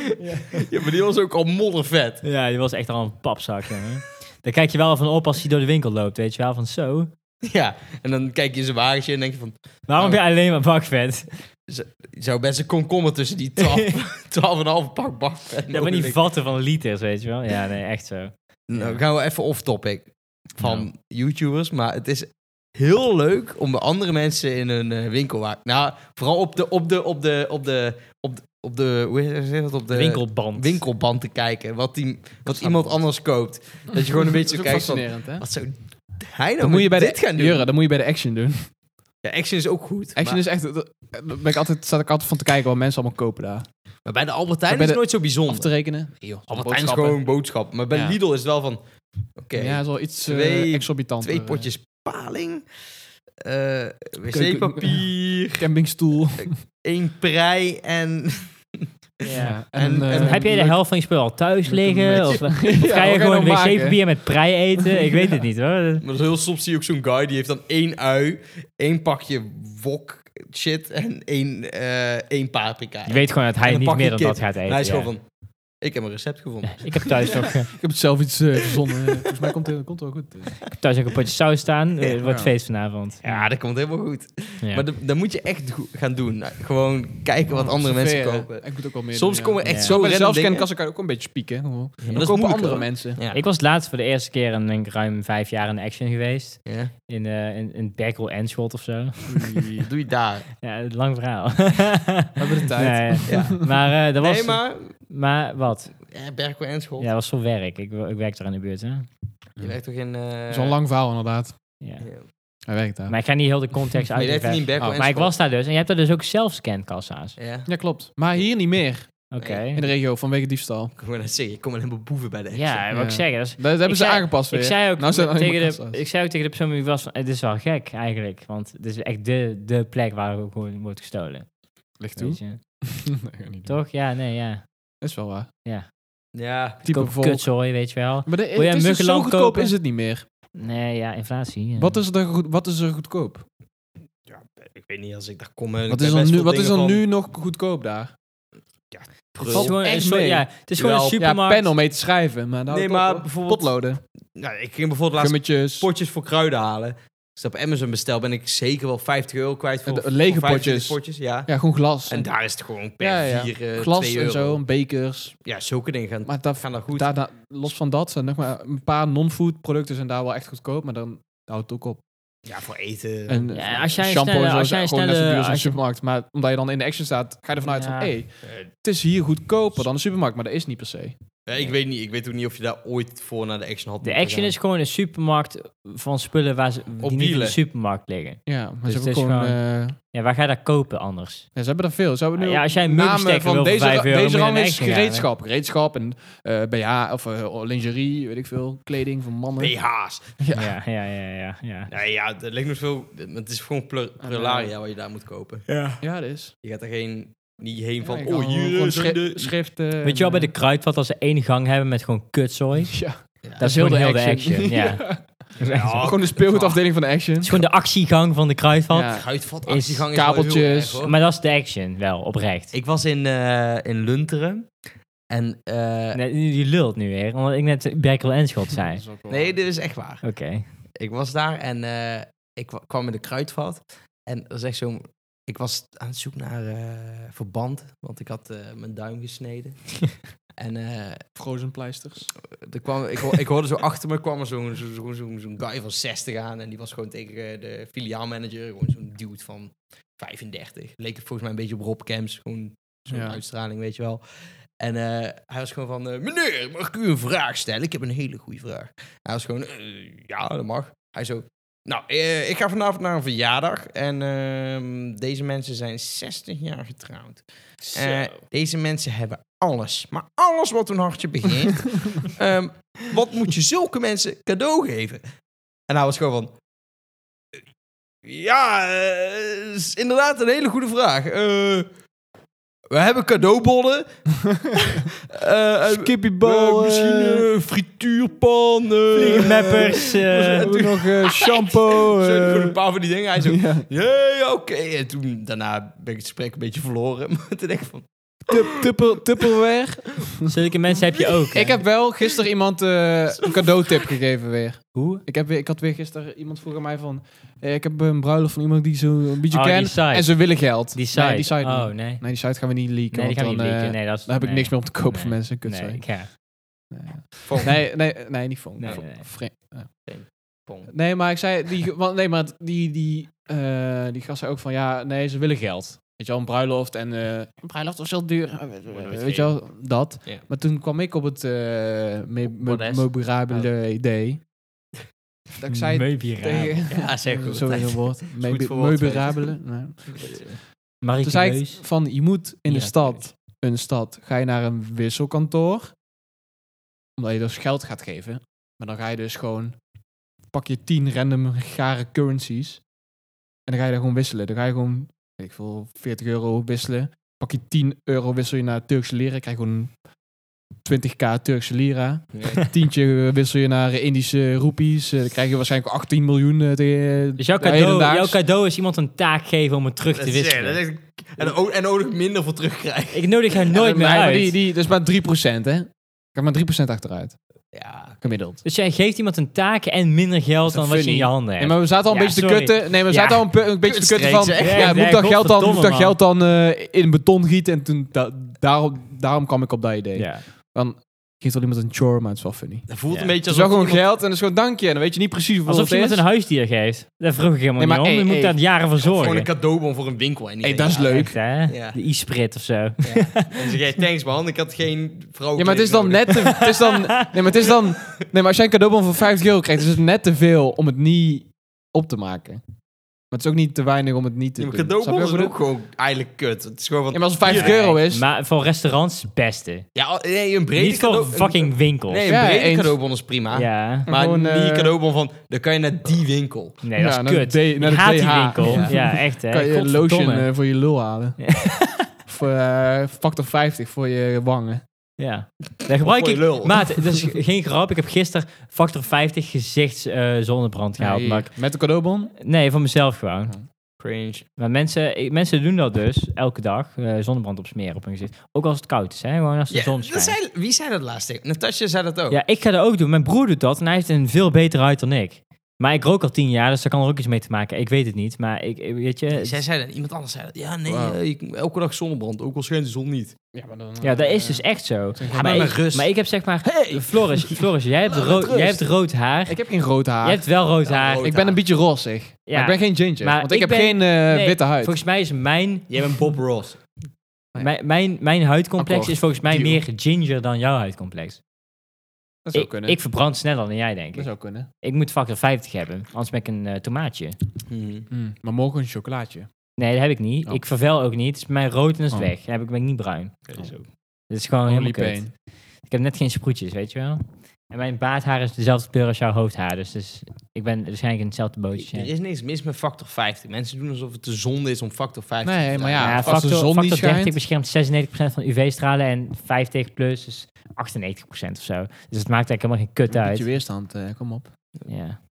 Speaker 1: ja, maar die was ook al moddervet.
Speaker 2: ja, die was echt al een papzak, jongen. Daar kijk je wel van op als hij door de winkel loopt, weet je wel. Van zo,
Speaker 1: *laughs* Ja, en dan kijk je in zijn wagentje en denk je van...
Speaker 2: waarom heb je alleen maar bakvet?
Speaker 1: Je zou best een komkommer tussen die *laughs* 12 12,5 pak bakvet
Speaker 2: Ja, maar
Speaker 1: mogen
Speaker 2: die
Speaker 1: liggen.
Speaker 2: vatten van liters, weet je wel. Ja, nee, echt zo.
Speaker 1: Nou, gaan we even off-topic van YouTubers. Maar het is heel leuk om bij andere mensen in een eh, winkel... wa- Nou, vooral op de... Op de, op de, op de, op de op de, hoe heet dat? Op de
Speaker 2: Winkelband.
Speaker 1: winkelband te kijken. Wat, die, wat iemand anders koopt. Dat je gewoon een beetje zo
Speaker 3: dat
Speaker 1: kijkt
Speaker 3: is
Speaker 1: van...
Speaker 3: fascinerend, hè?
Speaker 1: Wat zou hij nou
Speaker 3: Dan moet je bij
Speaker 1: dit
Speaker 3: de,
Speaker 1: gaan doen?
Speaker 3: Jurre, dan moet je bij de action doen.
Speaker 1: Ja, Action is ook goed.
Speaker 3: *laughs* Action
Speaker 1: maar,
Speaker 3: is echt... dat- Daar ben ik altijd, zat ik altijd van te kijken wat mensen allemaal kopen daar.
Speaker 1: maar bij de Albert Heijn
Speaker 3: Maar bij
Speaker 1: is
Speaker 3: de-
Speaker 1: het nooit zo
Speaker 3: Af te
Speaker 1: bijzonder.
Speaker 3: rekenen.
Speaker 1: Albert Heijn is
Speaker 3: boodschappen.
Speaker 1: gewoon een boodschap. Maar bij
Speaker 3: Ja.
Speaker 1: Lidl is het wel van... Oké,
Speaker 3: Ja, dat is wel iets
Speaker 1: Twee-
Speaker 3: eh exorbitant.
Speaker 1: twee potjes paling... eh, wc-papier,
Speaker 3: Campingstoel.
Speaker 1: één prei en...
Speaker 2: Ja. eh,
Speaker 1: En- en
Speaker 3: eh,
Speaker 2: Heb jij de helft van je spul al thuis
Speaker 3: leuk
Speaker 2: liggen? Of,
Speaker 3: mix.
Speaker 2: of ga
Speaker 3: Ja, wat
Speaker 2: je
Speaker 3: ga je
Speaker 2: gewoon
Speaker 3: nou maken?
Speaker 2: wc-papier met prei eten? Ik weet het niet, hoor.
Speaker 1: *laughs* Maar heel soms zie je ook zo'n guy, die heeft dan één ui, één pakje wok shit en één, eh, één paprika.
Speaker 2: Je weet gewoon dat hij
Speaker 1: En dan
Speaker 2: niet
Speaker 1: pak je
Speaker 2: meer dan
Speaker 1: kip.
Speaker 2: dat gaat
Speaker 1: En
Speaker 2: eten.
Speaker 1: hij is
Speaker 2: ja.
Speaker 1: gewoon van... Ik heb een recept gevonden.
Speaker 2: *laughs* Ik heb thuis nog eh,
Speaker 3: Ik heb zelf iets eh, verzonnen. Volgens mij komt het eh, komt het wel goed.
Speaker 2: ik heb thuis ook een potje saus staan. Eh,
Speaker 1: Ja.
Speaker 2: Het wordt feest vanavond.
Speaker 1: Ja, dat komt helemaal goed.
Speaker 2: Ja.
Speaker 1: Maar dat- dat moet je echt go- gaan doen. Nou, Gewoon kijken wat andere mensen
Speaker 3: Serveren.
Speaker 1: kopen.
Speaker 3: Ik moet ook wel meer
Speaker 1: Soms
Speaker 3: doen,
Speaker 1: komen
Speaker 2: Ja.
Speaker 1: echt
Speaker 3: ja.
Speaker 1: zo
Speaker 3: Bij de
Speaker 1: random dingen.
Speaker 3: zelfscankassen kan je ook een beetje spieken. hè. Dan
Speaker 1: Ja, maar dat is
Speaker 3: kopen
Speaker 1: moeilijk,
Speaker 3: andere
Speaker 1: hoor. *laughs*
Speaker 3: mensen.
Speaker 1: Ja.
Speaker 2: Ik was laatst voor de eerste keer in denk ik, ruim vijf jaar in de action geweest.
Speaker 1: Ja.
Speaker 2: In, eh in, in Berkel Enschot of zo. *laughs*
Speaker 1: Dat doe je *laughs* daar.
Speaker 2: Ja, lang verhaal.
Speaker 3: We hebben de tijd.
Speaker 2: Nee, Maar eh, dat was...
Speaker 1: Nee, maar...
Speaker 2: maar wat?
Speaker 1: Ja, Berkel en school.
Speaker 2: Ja, dat was voor werk. Ik, ik werk daar in de buurt, hè?
Speaker 1: Je werkt toch in... eh,
Speaker 3: Zo'n lang verhaal inderdaad.
Speaker 2: Ja.
Speaker 1: Ja.
Speaker 3: Hij werkt daar.
Speaker 2: Maar ik ga niet heel de context
Speaker 1: Maar je werkt
Speaker 2: uitleggen.
Speaker 1: niet in Berkel
Speaker 3: Oh,
Speaker 1: en
Speaker 2: Maar ik
Speaker 1: school.
Speaker 2: was daar dus. En je hebt daar dus ook zelfscankassa's.
Speaker 1: Ja.
Speaker 3: Ja, klopt. Maar hier niet meer.
Speaker 2: Oké.
Speaker 3: In de regio, vanwege diefstal.
Speaker 1: Ik wou net zeggen, je komt met helemaal boeven bij de action.
Speaker 2: Ja, wat ik
Speaker 3: Ja.
Speaker 2: zeg. Dat is-
Speaker 3: Dat, dat hebben ze
Speaker 2: zei-
Speaker 3: aangepast weer.
Speaker 2: Ik zei, ook
Speaker 3: Nou zijn er alleen maar
Speaker 2: tegen de,
Speaker 3: kassa's.
Speaker 2: ik zei ook tegen de persoon die was van, het is wel gek eigenlijk. Want het is echt de, de plek waar ook gewoon wordt gestolen.
Speaker 3: Ligt toe.
Speaker 2: Weet je?
Speaker 3: *laughs* Dat ga ik niet doen.
Speaker 2: Toch? Ja, nee, ja.
Speaker 3: Dat is wel waar.
Speaker 1: Ja.
Speaker 3: Type
Speaker 2: Koop
Speaker 3: volk.
Speaker 2: kutzooi, weet je wel.
Speaker 3: Maar de,
Speaker 2: jij
Speaker 3: het is dus zo
Speaker 2: muggenlamp
Speaker 3: goedkoop
Speaker 2: kopen?
Speaker 3: is het niet meer.
Speaker 2: Nee, ja, inflatie. ja.
Speaker 3: Wat is er, goed, wat is er goedkoop?
Speaker 1: Ik weet niet, als ik daar kom... eh, ik
Speaker 3: Wat is
Speaker 1: ben
Speaker 3: er,
Speaker 1: best
Speaker 3: nu,
Speaker 1: veel
Speaker 3: wat is
Speaker 1: dingen
Speaker 3: er
Speaker 1: van
Speaker 3: nu nog goedkoop daar?
Speaker 2: Het is
Speaker 1: prul.
Speaker 2: gewoon een
Speaker 3: echt
Speaker 2: soort,
Speaker 3: mee.
Speaker 2: ja, het is gewoon een
Speaker 1: Jawel. Ja,
Speaker 2: supermarkt.
Speaker 3: Ja, pen om mee te schrijven. Maar
Speaker 1: Nee, maar bijvoorbeeld...
Speaker 3: Potloden,
Speaker 1: Nou, ik ging bijvoorbeeld laatst
Speaker 3: gummetjes,
Speaker 1: potjes voor kruiden halen. Als ik dat op Amazon bestel, ben ik zeker wel 50 euro kwijt voor...
Speaker 3: En de-
Speaker 1: voor
Speaker 3: lege
Speaker 1: 25
Speaker 3: potjes.
Speaker 1: potjes. Ja.
Speaker 3: ja, gewoon glas.
Speaker 1: En daar is het gewoon per
Speaker 3: Ja, ja.
Speaker 1: vier, eh,
Speaker 3: glas
Speaker 1: 2
Speaker 3: en
Speaker 1: euro.
Speaker 3: zo, en bekers.
Speaker 1: Ja, zulke dingen gaan,
Speaker 3: Maar daar,
Speaker 1: gaan daar goed.
Speaker 3: daarna- los van dat zijn nog maar een paar non-food producten zijn daar wel echt goedkoop, maar dan houdt het ook op.
Speaker 1: Ja, voor eten.
Speaker 3: En
Speaker 2: Ja, als jij een
Speaker 3: shampoo
Speaker 2: snelle-
Speaker 3: en zo
Speaker 2: als
Speaker 3: is
Speaker 2: jij een
Speaker 3: gewoon net zo
Speaker 2: snelle-
Speaker 3: duur als een
Speaker 2: als je-
Speaker 3: supermarkt. Maar omdat je dan in de action staat, ga je ervan uit van,
Speaker 2: Ja.
Speaker 3: hé, hey,
Speaker 1: Eh,
Speaker 3: het is hier goedkoper dan de supermarkt. Maar dat is niet per se.
Speaker 1: Ja, ik weet niet. Ik weet ook niet of je daar ooit voor naar de action had.
Speaker 2: De
Speaker 1: moeten
Speaker 2: action
Speaker 1: gaan.
Speaker 2: is gewoon een supermarkt van spullen waar ze die niet in de
Speaker 1: wielen.
Speaker 2: supermarkt liggen.
Speaker 3: Ja, maar
Speaker 2: Dus
Speaker 3: ze
Speaker 2: het is
Speaker 3: hebben gewoon... eh,
Speaker 2: Ja, waar ga je dat kopen anders?
Speaker 3: ja, ze hebben er veel. Ze hebben nu
Speaker 2: Ja, als jij een
Speaker 3: Oh, namen
Speaker 2: muggenstekker wil
Speaker 3: van
Speaker 2: voor
Speaker 3: deze,
Speaker 2: vijf euro, moet
Speaker 3: deze
Speaker 2: je
Speaker 3: rang
Speaker 2: naar de
Speaker 3: is
Speaker 2: Action gaan, hè?
Speaker 3: gereedschap. Gereedschap en eh, BH of eh, lingerie, weet ik veel. Kleding van mannen.
Speaker 1: BH's.
Speaker 2: Ja, ja, ja, ja, ja. ja.
Speaker 1: Nee, ja, dat lijkt me veel. Het is gewoon plur-
Speaker 3: Ah,
Speaker 1: pluralia wat je daar moet kopen.
Speaker 3: Ja, dat is.
Speaker 1: Je gaat er geen niet heen
Speaker 3: Ja,
Speaker 1: van.
Speaker 3: je kan
Speaker 1: oh, hier
Speaker 3: gewoon
Speaker 1: is
Speaker 3: schri-
Speaker 1: de.
Speaker 3: schrift. eh,
Speaker 2: Weet je wel, bij de
Speaker 3: en,
Speaker 2: kruidvat als ze één gang hebben met gewoon kutzooi.
Speaker 3: eh, *laughs* Ja,
Speaker 2: Dat is heel de action. Ja.
Speaker 3: *laughs* Ja.
Speaker 2: is echt zo.
Speaker 3: *laughs* Gewoon de speelgoedafdeling van de action.
Speaker 2: Het is gewoon de actiegang van de kruidvat.
Speaker 3: Ja.
Speaker 1: Kruidvat,
Speaker 2: Is
Speaker 1: actiegang is wel heel
Speaker 3: kabeltjes.
Speaker 1: erg, hoor.
Speaker 2: Maar dat is de action, wel, oprecht.
Speaker 1: Ik was in, eh, in Lunteren. En, eh, nee.
Speaker 2: Nee, je lult nu weer, omdat ik net Berkel en Schot zei.
Speaker 1: dit is echt waar.
Speaker 2: Oké.
Speaker 1: Ik was daar en eh, ik wa- kwam in de Kruidvat. En dat is echt zo'n... Ik was aan het zoeken naar eh, verband, want ik had eh, mijn duim gesneden. en eh,
Speaker 3: frozen pleisters.
Speaker 1: er kwam, ik, ho- ik hoorde zo achter me kwam er zo'n zo, zo, zo, zo'n guy van 60 aan. En die was gewoon tegen eh, de filiaalmanager, gewoon zo'n dude van 35. Leek het volgens mij een beetje op Rob Camps, gewoon zo'n
Speaker 3: Ja.
Speaker 1: uitstraling, weet je wel. En eh, hij was gewoon van, eh, meneer, mag ik u een vraag stellen? Ik heb een hele goede vraag. Hij was gewoon, eh, ja, dat mag. Hij zo, nou, eh, ik ga vanavond naar een verjaardag. En ehm, deze mensen zijn 60 jaar getrouwd.
Speaker 3: *laughs*
Speaker 1: Eh, deze mensen hebben alles, maar alles wat hun hartje begeert. Ehm, wat moet je zulke mensen cadeau geven? En hij was gewoon van... eh, Ja, eh, is inderdaad een hele goede vraag. Eh, we hebben
Speaker 3: *laughs*
Speaker 1: cadeaubonnen. Eh, eh, eh,
Speaker 3: Skippybal.
Speaker 1: misschien
Speaker 3: eh,
Speaker 1: eh, frituurpan. eh,
Speaker 2: Vliegenmeppers. eh,
Speaker 3: *laughs* en toen nog eh, shampoo.
Speaker 1: Zo, gewoon een
Speaker 3: eh,
Speaker 1: paar van die dingen. Hij zo...
Speaker 3: *laughs* ja.
Speaker 1: "Jee, oké. En toen, daarna ben ik het gesprek een beetje verloren. *laughs* Maar toen denk ik van...
Speaker 3: Tup- tupper- Tupperware.
Speaker 2: Zulke mensen heb je ook. hè?
Speaker 3: Ik heb wel gisteren iemand eh, een cadeautip gegeven weer.
Speaker 2: Hoe?
Speaker 3: Ik, heb weer. ik had weer gisteren iemand vroeg aan mij van... eh, ik heb een bruiloft van iemand die zo een beetje
Speaker 2: Oh, die
Speaker 3: ken.
Speaker 2: site.
Speaker 3: En ze willen geld.
Speaker 2: Die site.
Speaker 3: Nee, die site,
Speaker 2: oh,
Speaker 3: niet.
Speaker 2: nee.
Speaker 3: Nee, die site gaan we niet leaken.
Speaker 2: Nee, die
Speaker 3: want
Speaker 2: gaan we niet
Speaker 3: dan, eh,
Speaker 2: leaken. Nee, dat is...
Speaker 3: dan heb ik
Speaker 2: nee.
Speaker 3: niks meer om te kopen voor
Speaker 2: Nee.
Speaker 3: mensen. Kut
Speaker 2: Nee,
Speaker 3: zijn.
Speaker 2: ik ga.
Speaker 1: Van,
Speaker 3: Nee, nee, nee, niet Fong.
Speaker 2: Nee,
Speaker 3: Fong-
Speaker 2: nee, nee.
Speaker 3: Fre- ja.
Speaker 1: Fong.
Speaker 3: Nee, maar ik zei, die, want, nee, maar die, die, eh, die gast zei ook van, ja, nee, ze willen geld. Weet je wel, een bruiloft en eh, een bruiloft was heel duur. eh, weet je wel, dat.
Speaker 1: Ja.
Speaker 3: Maar toen kwam ik op het eh me, me-
Speaker 1: Modest.
Speaker 3: memorabele idee. *laughs* Dat ik zei
Speaker 2: Meubiraal.
Speaker 3: tegen... *laughs*
Speaker 1: Ja, zeg goed.
Speaker 3: Zo een woord. Meubi-
Speaker 1: verwoord,
Speaker 3: Memorabele. nou. Nee. Toen zei ik
Speaker 2: Marikeus.
Speaker 3: van, je moet in de
Speaker 2: Ja,
Speaker 3: stad, een stad, ga je naar een wisselkantoor. Omdat je dus geld gaat geven. Maar dan ga je dus gewoon, pak je tien random gare currencies. En dan ga je daar gewoon wisselen. Dan ga je gewoon, weet ik veel, 40 euro wisselen. Pak je 10 euro, wissel je naar Turkse lira. Krijg je gewoon 20k Turkse lira. *laughs* Tientje wissel je naar Indische roepies. eh, Dan krijg je waarschijnlijk 18 miljoen. eh, te-
Speaker 2: Dus jouw
Speaker 3: eh,
Speaker 2: cadeau,
Speaker 3: hedendaags.
Speaker 2: jouw cadeau is iemand een taak geven om het terug te
Speaker 1: Dat
Speaker 2: wisselen.
Speaker 1: is- en, ook, en ook nog minder voor terugkrijgen.
Speaker 2: Ik nodig haar
Speaker 3: Ja,
Speaker 2: nooit meer
Speaker 3: maar
Speaker 2: uit.
Speaker 3: Die, die, dat is maar 3%, hè? Ik heb maar 3% achteruit,
Speaker 1: Ja.
Speaker 3: gemiddeld.
Speaker 2: Dus jij geeft iemand een taak en minder geld
Speaker 3: Dat
Speaker 2: dan
Speaker 3: is
Speaker 2: wat je in
Speaker 3: funny.
Speaker 2: je handen
Speaker 3: Nee,
Speaker 2: hebt.
Speaker 3: maar we zaten al een
Speaker 2: Ja,
Speaker 3: beetje
Speaker 2: sorry.
Speaker 3: te kutten. Nee, we
Speaker 2: Ja.
Speaker 3: zaten al een, pe- een beetje te kutten van...
Speaker 1: Kutstreek,
Speaker 2: zeg.
Speaker 3: Ja, moet ik dat
Speaker 2: Ja,
Speaker 3: geld dan, moet ik dat
Speaker 2: godverdomme,
Speaker 3: geld dan eh, in beton gieten? En toen, da- daarom, daarom kwam ik op dat idee.
Speaker 2: ja.
Speaker 3: Dan geeft wel iemand een chore, maar het is wel funny.
Speaker 1: Dat voelt
Speaker 2: Ja.
Speaker 1: een beetje
Speaker 3: Het is wel
Speaker 1: alsof...
Speaker 3: gewoon
Speaker 1: iemand-
Speaker 3: geld en het is gewoon dankje. En dan weet je niet precies hoeveel
Speaker 2: Alsof je
Speaker 3: het
Speaker 2: iemand
Speaker 3: is.
Speaker 2: een huisdier geeft. Daar vroeg ik helemaal
Speaker 3: Nee, maar
Speaker 2: niet om.
Speaker 3: hey,
Speaker 2: je moet
Speaker 3: hey.
Speaker 2: daar jaren voor zorgen.
Speaker 1: Gewoon een cadeaubon voor een winkel. En
Speaker 3: Hey, dat is leuk.
Speaker 2: Echt, hè?
Speaker 1: Ja.
Speaker 2: De e-sprit of zo.
Speaker 1: En zeg jij, thanks man, ik had geen vrouw.
Speaker 3: Ja, maar het is dan
Speaker 2: *laughs*
Speaker 3: net te, het is dan, Nee, maar het is dan... Nee, maar als jij een cadeaubon van 50 euro krijgt, is het net te veel om het niet op te maken. Maar het is ook niet te weinig om het niet te
Speaker 1: Een
Speaker 3: doen. Snap je
Speaker 1: cadeaubon
Speaker 3: wat
Speaker 1: is
Speaker 3: ik bedoel?
Speaker 1: ook gewoon eigenlijk kut. Het is gewoon
Speaker 3: Ja,
Speaker 1: wat...
Speaker 3: maar als het 50
Speaker 2: Nee,
Speaker 3: euro is...
Speaker 2: Maar voor restaurants is het beste.
Speaker 1: Ja, oh, nee, een brede
Speaker 2: Niet voor
Speaker 1: cadeau-
Speaker 2: fucking winkels.
Speaker 1: Nee, een
Speaker 3: Ja,
Speaker 1: brede
Speaker 3: eens.
Speaker 1: cadeaubon is prima.
Speaker 2: Ja.
Speaker 1: Maar
Speaker 3: Gewoon,
Speaker 1: die
Speaker 3: eh,
Speaker 1: cadeaubon van, dan kan je naar die winkel.
Speaker 2: Nee, dat
Speaker 3: Ja,
Speaker 2: is
Speaker 3: naar de
Speaker 2: kut.
Speaker 3: D-
Speaker 2: Ik
Speaker 3: naar de
Speaker 2: haat die
Speaker 3: DH.
Speaker 2: winkel.
Speaker 3: Ja.
Speaker 2: Ja, echt hè.
Speaker 3: kan je een
Speaker 2: Godverdomme.
Speaker 3: lotion eh, voor je lul halen. *laughs*
Speaker 2: Ja.
Speaker 3: of eh, factor 50 voor je wangen.
Speaker 2: Ja. Daar gebruik
Speaker 1: Voor je lul.
Speaker 2: ik... Maat, dat is geen grap. Ik heb gisteren factor 50 gezichts eh, zonnebrand gehaald.
Speaker 3: Nee,
Speaker 2: maar ik-
Speaker 3: Met een cadeaubon?
Speaker 2: nee, van mezelf gewoon.
Speaker 1: Cringe.
Speaker 2: Maar mensen, ik- mensen doen dat dus elke dag. eh, zonnebrand opsmeren op hun gezicht. Ook als het koud is, hè? Gewoon als de
Speaker 1: Ja,
Speaker 2: zon
Speaker 1: dat
Speaker 2: schijnt.
Speaker 1: zei, wie zei dat laatst tegen? Natasja zei
Speaker 3: Oh.
Speaker 1: dat ook.
Speaker 2: Ja, ik ga dat ook doen. Mijn broer doet dat en hij heeft een veel betere huid dan ik. Maar ik rook al tien jaar, dus daar kan er ook iets mee te maken. Ik weet het niet, maar ik, ik- weet je...
Speaker 1: Zij zei dat, iemand anders zei dat. Ja, nee,
Speaker 3: Wauw.
Speaker 1: eh, ik- elke dag zonnebrand, ook al schijnt de zon niet.
Speaker 3: Ja, maar dan,
Speaker 2: Ja,
Speaker 1: eh,
Speaker 2: dat is dus echt zo.
Speaker 1: maar
Speaker 2: maar,
Speaker 1: met
Speaker 2: ik,
Speaker 1: rust.
Speaker 2: maar ik heb zeg maar...
Speaker 1: Hey!
Speaker 3: *laughs*
Speaker 2: Floris, Floris jij, hebt
Speaker 1: Laat met
Speaker 2: rood,
Speaker 1: rust.
Speaker 2: jij hebt rood haar.
Speaker 3: Ik heb geen rood haar.
Speaker 2: Jij hebt wel rood
Speaker 1: Ja,
Speaker 2: haar.
Speaker 1: rood.
Speaker 3: ik ben een beetje rossig.
Speaker 2: Ja.
Speaker 3: Maar ik ben geen ginger.
Speaker 2: Maar
Speaker 3: want ik,
Speaker 2: ik
Speaker 3: heb
Speaker 2: ben-
Speaker 3: geen eh,
Speaker 2: Nee,
Speaker 3: witte huid.
Speaker 2: Volgens mij is mijn,
Speaker 1: Jij bent Bob Ross.
Speaker 3: Nee.
Speaker 2: mijn, mijn, mijn huidcomplex
Speaker 3: Akkoord.
Speaker 2: is volgens mij
Speaker 3: Deal.
Speaker 2: meer ginger dan jouw huidcomplex.
Speaker 3: dat zou
Speaker 2: Ik,
Speaker 3: kunnen.
Speaker 2: ik verbrand sneller dan jij, denk
Speaker 3: dat
Speaker 2: ik.
Speaker 3: zou kunnen.
Speaker 2: Ik moet factor 50 hebben, anders ben ik een eh, tomaatje.
Speaker 1: Mhm.
Speaker 2: Hmm.
Speaker 3: Maar morgen een
Speaker 2: Oh,
Speaker 3: chocolaatje.
Speaker 2: Nee, dat heb ik niet.
Speaker 3: Oh.
Speaker 2: Ik vervel ook niet. Het is mijn rood en dat is
Speaker 3: Oh.
Speaker 2: weg. Dan heb ik, ben ik niet bruin.
Speaker 1: Dat is ook.
Speaker 2: Dat is gewoon
Speaker 3: Only
Speaker 2: helemaal kut.
Speaker 3: pain.
Speaker 2: Ik heb net geen sproetjes, weet je wel. En mijn baardhaar is dezelfde kleur als jouw hoofdhaar. Dus, dus ik ben waarschijnlijk in hetzelfde bootje.
Speaker 1: Er is niks mis met factor 50. Mensen doen alsof het de zonde is om factor 50
Speaker 3: Nee,
Speaker 1: te
Speaker 3: maar
Speaker 1: dragen.
Speaker 3: ja, als de
Speaker 2: factor,
Speaker 3: zon niet
Speaker 2: factor 30
Speaker 3: schijnt.
Speaker 2: beschermt 96% van UV-stralen en 50 plus is 98% of zo. Dus het maakt eigenlijk helemaal geen kut
Speaker 3: Een beetje
Speaker 2: uit.
Speaker 3: weerstand, eh, kom op.
Speaker 2: Ja.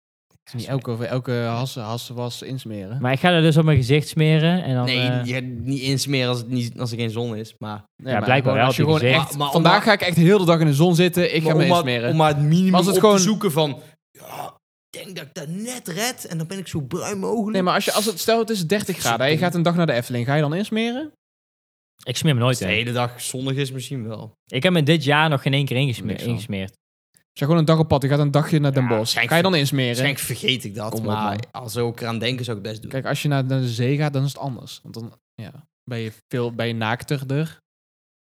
Speaker 3: is niet elke, elke hassen, hassen was insmeren.
Speaker 2: Maar ik ga er dus op mijn gezicht smeren en dan...
Speaker 1: nee,
Speaker 2: eh,
Speaker 1: je gaat niet insmeren als, het niet, als er geen zon is. Maar,
Speaker 3: Nee,
Speaker 2: ja,
Speaker 3: maar
Speaker 2: blijkbaar
Speaker 3: gewoon
Speaker 2: wel,
Speaker 3: Als je
Speaker 2: heb je
Speaker 3: gewoon
Speaker 2: gezegd.
Speaker 3: echt,
Speaker 1: Maar- maar
Speaker 3: vandaag
Speaker 1: om-
Speaker 3: ga ik echt heel de dag in de zon zitten. Ik ga
Speaker 1: maar
Speaker 3: me
Speaker 1: om, maar,
Speaker 3: insmeren.
Speaker 1: om maar het minimum
Speaker 3: Als het
Speaker 1: op
Speaker 3: gewoon-
Speaker 1: te zoeken van... Ja, ik denk dat ik dat net red en dan ben ik zo bruin mogelijk.
Speaker 3: Nee, maar als je, als het, stel het is 30 graden en je gaat een dag naar de Efteling, ga je dan insmeren?
Speaker 2: Ik smeer me nooit
Speaker 1: Als het
Speaker 2: in.
Speaker 1: de hele dag zonnig is misschien wel.
Speaker 2: Ik heb me dit jaar nog geen één keer
Speaker 3: Niks
Speaker 2: ingesmeerd.
Speaker 3: van.
Speaker 2: ingesmeerd.
Speaker 3: Als je gewoon een dag op pad, je gaat een dagje naar Den
Speaker 1: Ja,
Speaker 3: Bosch,
Speaker 1: schijnt-
Speaker 3: ga je dan insmeren?
Speaker 1: Waarschijnlijk vergeet ik dat,
Speaker 3: Kom op,
Speaker 1: maar
Speaker 3: man.
Speaker 1: als ik eraan denken zou ik best doen.
Speaker 3: Kijk, als je naar, naar de zee gaat, dan is het anders. Want dan ja, ben je veel ben je naakterder.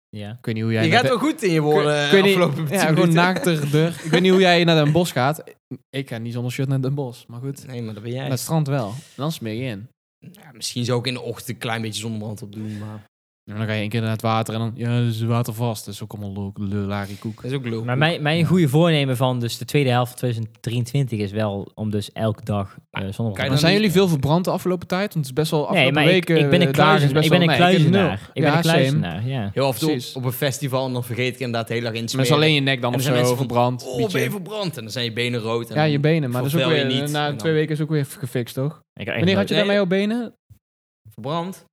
Speaker 2: Ja.
Speaker 3: Ik weet niet hoe jij...
Speaker 1: je
Speaker 3: naar
Speaker 1: gaat
Speaker 3: de-
Speaker 1: wel goed in je woorden
Speaker 3: Ik weet niet-
Speaker 1: afgelopen
Speaker 3: Ja,
Speaker 1: 10
Speaker 3: gewoon
Speaker 1: minuten.
Speaker 3: naakterder. Ik weet niet hoe jij naar Den Bosch gaat. Ik ga niet zonder shirt naar Den Bosch, maar goed.
Speaker 1: Nee, maar dat ben jij.
Speaker 3: Naar het strand wel. En dan smeer je in.
Speaker 1: Ja, misschien zou ik in de ochtend een klein beetje zonnebrand op doen, maar...
Speaker 3: En dan ga je één keer naar het water en dan... Ja, dat is watervast. Dat is ook allemaal lo- lulari koek.
Speaker 1: Dat is ook leuk.
Speaker 2: Maar mijn, mijn goede voornemen van dus de tweede helft van 2023 is wel om dus elke dag
Speaker 3: Nou,
Speaker 2: eh zonder
Speaker 1: kan je
Speaker 3: Maar
Speaker 1: dan
Speaker 3: zijn
Speaker 1: niet-
Speaker 3: jullie veel verbrand de afgelopen tijd? Want het is best wel
Speaker 2: Nee,
Speaker 3: afgelopen
Speaker 2: maar ik,
Speaker 3: weken...
Speaker 2: ik ben een
Speaker 3: eh, dagen is
Speaker 2: kluizenaar.
Speaker 3: best
Speaker 2: Ik ben een
Speaker 3: wel- nee, heb nul.
Speaker 2: kluizenaar. Ik ben
Speaker 3: Ja,
Speaker 2: een
Speaker 3: same.
Speaker 2: kluizenaar, ja.
Speaker 1: Heel af en
Speaker 3: Precies.
Speaker 1: toe op een festival en dan vergeet ik inderdaad heel erg in te
Speaker 3: Maar is
Speaker 1: smeren.
Speaker 3: alleen je nek dan
Speaker 1: En
Speaker 3: of
Speaker 1: er
Speaker 3: zo
Speaker 1: zijn mensen van,
Speaker 3: verbrand.
Speaker 1: Oh,
Speaker 3: beetje.
Speaker 1: ben je verbrand? En dan zijn je benen rood. En
Speaker 3: ja, je Nou.
Speaker 1: dan-
Speaker 3: benen. Maar dat is ook
Speaker 1: vervel
Speaker 3: weer,
Speaker 1: je niet.
Speaker 3: na
Speaker 1: En
Speaker 3: twee
Speaker 1: dan-
Speaker 3: weken is ook weer gefixt, toch?
Speaker 2: Ik heb echt
Speaker 3: Wanneer had
Speaker 2: nooit-
Speaker 3: je daarmee
Speaker 1: Nee.
Speaker 3: op benen? Dat
Speaker 1: Verbrand?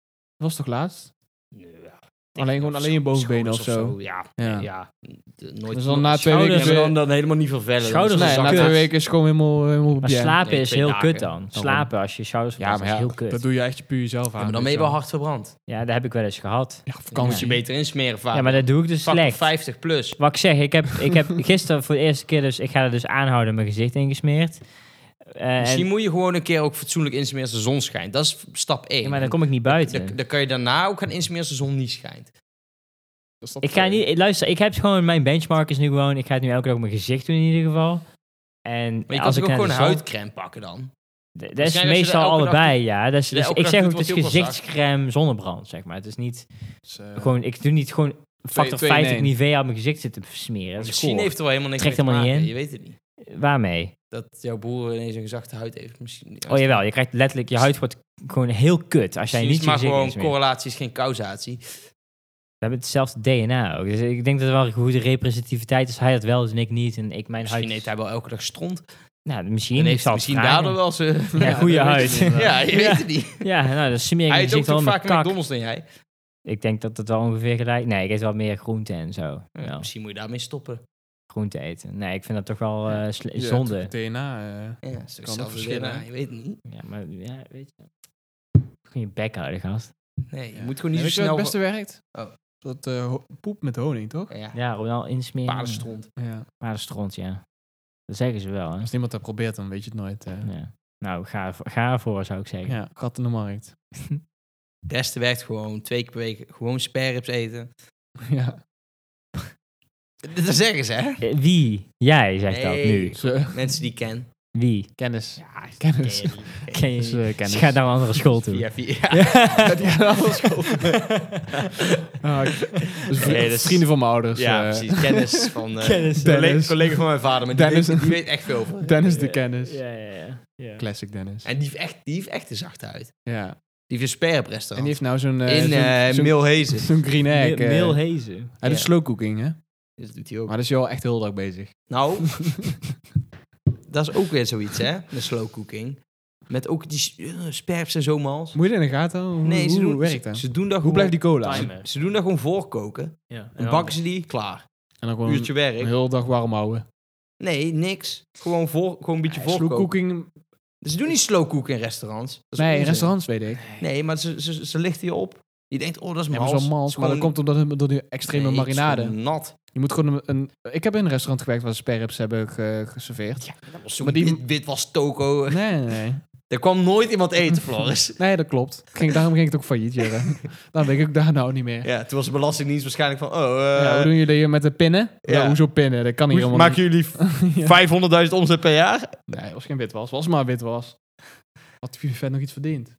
Speaker 3: was toch laatst?
Speaker 1: Nee, ja, ik denk
Speaker 3: Alleen gewoon
Speaker 1: dat
Speaker 3: alleen je
Speaker 1: scho-
Speaker 3: bovenbenen
Speaker 1: schouders
Speaker 3: of zo.
Speaker 1: Ja,
Speaker 3: Ja.
Speaker 1: ja. De- nooit.
Speaker 3: Dus dan na twee
Speaker 1: Schouders-
Speaker 3: weken
Speaker 1: Ja, maar
Speaker 3: weer-
Speaker 1: dan, dan helemaal niet vervellen.
Speaker 2: Schouders
Speaker 1: Dat
Speaker 3: Nee,
Speaker 1: is
Speaker 3: na
Speaker 1: een
Speaker 3: twee
Speaker 1: zak-
Speaker 3: weken is gewoon helemaal... helemaal
Speaker 2: Maar
Speaker 3: ja.
Speaker 2: slapen
Speaker 1: Nee,
Speaker 2: is
Speaker 1: twee
Speaker 2: heel
Speaker 1: dagen.
Speaker 2: kut dan.
Speaker 3: Daarom.
Speaker 2: Slapen als je schouders
Speaker 3: Ja,
Speaker 2: verbrand
Speaker 3: maar
Speaker 2: is
Speaker 3: ja,
Speaker 2: heel kut.
Speaker 3: dat doe je echt puur jezelf aan. dus
Speaker 1: Ja, maar dan ben je wel hard verbrand.
Speaker 2: Ja, dat heb ik wel eens gehad.
Speaker 3: Ja,
Speaker 1: Dan moet je
Speaker 3: vakantie.
Speaker 1: beter insmeren vaak.
Speaker 2: Ja, maar dat doe ik dus
Speaker 1: Factor
Speaker 2: slecht.
Speaker 1: 50 plus.
Speaker 2: Wat ik zeg, ik heb, ik heb *laughs* gisteren voor de eerste keer dus... Ik ga er dus aanhouden mijn gezicht ingesmeerd. Eh,
Speaker 1: Misschien
Speaker 2: en,
Speaker 1: moet je gewoon een keer ook fatsoenlijk insmeren als de zon schijnt. Dat is stap 1.
Speaker 2: ja, maar dan kom ik
Speaker 3: Eh,
Speaker 2: niet buiten.
Speaker 1: Dan, dan kan je daarna ook gaan insmeren als de zon niet schijnt.
Speaker 2: Ik ga niet... Luister, ik heb gewoon... Mijn benchmark is nu gewoon... Ik ga het nu elke dag op mijn gezicht doen in ieder geval. En
Speaker 1: Maar je kan
Speaker 2: als
Speaker 1: toch
Speaker 2: ik
Speaker 1: ook
Speaker 2: naar
Speaker 1: gewoon
Speaker 2: de
Speaker 1: een
Speaker 2: zon-
Speaker 1: huidcreme pakken dan?
Speaker 2: D- Dat is
Speaker 1: Waarschijnlijk als je
Speaker 2: meestal
Speaker 1: dat elke dag
Speaker 2: allebei, ja. Dat is,
Speaker 1: je dat
Speaker 2: dus,
Speaker 1: elke
Speaker 2: ik
Speaker 1: dag
Speaker 2: zeg
Speaker 1: doet,
Speaker 2: ook, het is
Speaker 1: wordt heel veel zacht.
Speaker 2: gezichtscreme zonnebrand, zeg maar. Het is niet gewoon... Ik doe niet gewoon factor
Speaker 3: Dus, eh, twee in
Speaker 2: 50
Speaker 3: één.
Speaker 2: Nivea op mijn gezicht zitten smeren. Dat is
Speaker 1: Misschien
Speaker 2: cool.
Speaker 1: heeft er wel helemaal niks
Speaker 2: Trekt
Speaker 1: mee te
Speaker 2: helemaal niet
Speaker 1: maken.
Speaker 2: in.
Speaker 1: Je weet het niet.
Speaker 2: Waarmee?
Speaker 1: Dat jouw broer ineens een gezakte huid heeft. Misschien,
Speaker 2: Oh jawel, je krijgt letterlijk... Je huid wordt gewoon heel kut als
Speaker 1: Misschien
Speaker 2: jij niet
Speaker 1: is
Speaker 2: je
Speaker 1: maar
Speaker 2: gezicht
Speaker 1: gewoon
Speaker 2: insmeert.
Speaker 1: correlatie is geen causatie.
Speaker 2: We hebben hetzelfde DNA ook. Dus ik denk dat er wel een goede representativiteit is. Hij had wel, dus en ik niet. En ik mijn
Speaker 1: Misschien
Speaker 2: huid...
Speaker 1: eet hij wel elke dag stront.
Speaker 2: Nou, misschien.
Speaker 1: En
Speaker 2: ik
Speaker 1: heeft
Speaker 2: zal
Speaker 1: hij
Speaker 2: het
Speaker 1: misschien
Speaker 2: vragen.
Speaker 1: daardoor wel zijn...
Speaker 2: Ja, goede
Speaker 3: dat weet
Speaker 2: huid.
Speaker 3: je niet, maar-
Speaker 1: *laughs* Ja, je weet
Speaker 2: *laughs* Ja.
Speaker 1: het niet.
Speaker 2: Ja, nou, dan smeer ik
Speaker 1: Hij
Speaker 2: mijn
Speaker 1: eet ook
Speaker 2: gezicht wel
Speaker 1: toch
Speaker 2: in mijn
Speaker 1: vaker
Speaker 2: kak.
Speaker 1: McDonald's dan jij?
Speaker 2: Ik denk dat dat wel ongeveer gelijk... Nee, ik eet wel meer groente en zo.
Speaker 1: Ja,
Speaker 2: Wel.
Speaker 1: Misschien moet je daarmee stoppen.
Speaker 2: groente eten. Nee, ik vind dat toch wel eh, sle-
Speaker 3: Ja,
Speaker 2: zonde.
Speaker 3: het DNA. eh.
Speaker 1: Ja, dat is toch
Speaker 3: Kan
Speaker 1: hetzelfde
Speaker 3: ook verschillen,
Speaker 1: DNA,
Speaker 3: hè?
Speaker 1: Je weet het niet.
Speaker 2: Ja, maar ja, weet je. Gewoon je bek houden, gast.
Speaker 1: Nee, je
Speaker 3: Ja.
Speaker 1: moet gewoon niet
Speaker 3: Ja,
Speaker 1: zo
Speaker 3: weet je wat
Speaker 1: snel...
Speaker 3: het beste werkt?
Speaker 1: Oh.
Speaker 3: Dat eh, ho- poep met honing, toch?
Speaker 1: Ja,
Speaker 2: Ja, Ronald insmeren.
Speaker 1: paardenstront.
Speaker 3: Ja.
Speaker 2: Paardenstront, ja. Dat zeggen ze wel, hè.
Speaker 3: Als niemand dat probeert, dan weet je het nooit. eh.
Speaker 2: Ja. Nou, ga, ervoor- ga ervoor, zou ik zeggen.
Speaker 3: Ja, gat in de markt. *laughs*
Speaker 1: Het beste werkt gewoon twee keer per week gewoon sperrips eten.
Speaker 3: ja.
Speaker 1: Dat zeggen ze, hè?
Speaker 2: Eh, Wie? Jij zegt dat
Speaker 1: Nee.
Speaker 2: nu.
Speaker 3: Ze-
Speaker 1: Mensen die ik
Speaker 2: *laughs*
Speaker 1: ken.
Speaker 3: *laughs*
Speaker 2: Wie?
Speaker 3: Kennis.
Speaker 1: Ja,
Speaker 3: Kennis.
Speaker 1: ken je die.
Speaker 2: Ken je
Speaker 3: Dus, eh,
Speaker 2: niet?
Speaker 3: kennis.
Speaker 2: Ze gaat naar een andere school toe.
Speaker 1: Via, via.
Speaker 3: *laughs* Ja, die gaan alles kopen. Ah, *laughs* ik- dus vri-
Speaker 1: Nee, dat is-
Speaker 3: Vrienden van mijn ouders.
Speaker 1: Ja,
Speaker 3: eh,
Speaker 1: precies.
Speaker 3: *laughs*
Speaker 1: Kennis van... eh
Speaker 2: Kennis.
Speaker 1: Collega,
Speaker 3: Dennis.
Speaker 1: collega van mijn vader. Maar die,
Speaker 3: Dennis.
Speaker 1: weet, die weet echt veel van.
Speaker 3: Dennis de kennis.
Speaker 2: Ja, ja, ja. ja.
Speaker 3: Classic Dennis.
Speaker 1: En die heeft echt, die heeft echt een zachte huid.
Speaker 3: ja.
Speaker 1: Die heeft een sperriprest
Speaker 3: En die heeft nou zo'n... eh,
Speaker 1: In
Speaker 3: zo'n-
Speaker 1: eh
Speaker 3: zo'n-
Speaker 1: Milhezen.
Speaker 3: Zo'n green egg. eh.
Speaker 2: Mil Hezen.
Speaker 3: Hij doet
Speaker 1: Ja.
Speaker 3: slow cooking, hè?
Speaker 1: Dat doet hij ook.
Speaker 3: Maar dat is wel echt heel dag bezig.
Speaker 1: Nou, *laughs* dat is ook weer zoiets, hè? Met slow cooking. Met ook die s- eh, sperps en zo mals.
Speaker 3: Moet je dat in de gaten houden? Hoe-
Speaker 1: Nee, ze
Speaker 3: hoe
Speaker 1: doen,
Speaker 3: werkt
Speaker 1: ze,
Speaker 3: dat?
Speaker 1: ze doen dat
Speaker 3: Hoe
Speaker 1: gewoon,
Speaker 3: blijft die cola?
Speaker 2: Time.
Speaker 1: ze, ze doen dat gewoon voorkoken.
Speaker 2: Ja.
Speaker 1: Dan bakken ze die, klaar.
Speaker 3: En dan gewoon
Speaker 1: Uurtje
Speaker 3: een
Speaker 1: werk.
Speaker 3: hele dag warm houden.
Speaker 1: Nee, niks. Gewoon, voor, gewoon een beetje
Speaker 3: slow
Speaker 1: voorkoken.
Speaker 3: cooking...
Speaker 1: Ze doen niet slow cook in restaurants. Dat is
Speaker 3: Nee,
Speaker 1: onzin.
Speaker 3: restaurants weet ik.
Speaker 1: Nee, maar ze, ze, ze lichten je op. Je denkt, oh, dat is
Speaker 3: Ja,
Speaker 1: mals.
Speaker 3: maar zo'n mals. Maar dat komt omdat het- door die extreme marinade.
Speaker 1: nat.
Speaker 3: Je moet gewoon een, een- Ik heb in een restaurant gewerkt waar ze sperrips hebben ge- geserveerd.
Speaker 1: Dat was zo'n
Speaker 3: Maar die-
Speaker 1: wit, wit was toko.
Speaker 3: Nee, nee, nee.
Speaker 1: Er kwam nooit iemand
Speaker 3: *laughs*
Speaker 1: eten, Floris.
Speaker 3: Nee, dat klopt. Ging, daarom ging het ook failliet, *laughs* Jurre. Daarom weet ik ook daar nou niet meer.
Speaker 1: Ja, toen was de Belastingdienst waarschijnlijk van... Oh,
Speaker 3: Ja, hoe doen jullie hier met de pinnen? Eh, Ja.
Speaker 1: ja.
Speaker 3: hoezo pinnen? Dat kan hier helemaal niet. *laughs*
Speaker 1: jullie 500.000 omzet per jaar?
Speaker 3: Nee, was geen witwas. Was maar witwas. Had die vet nog iets verdiend?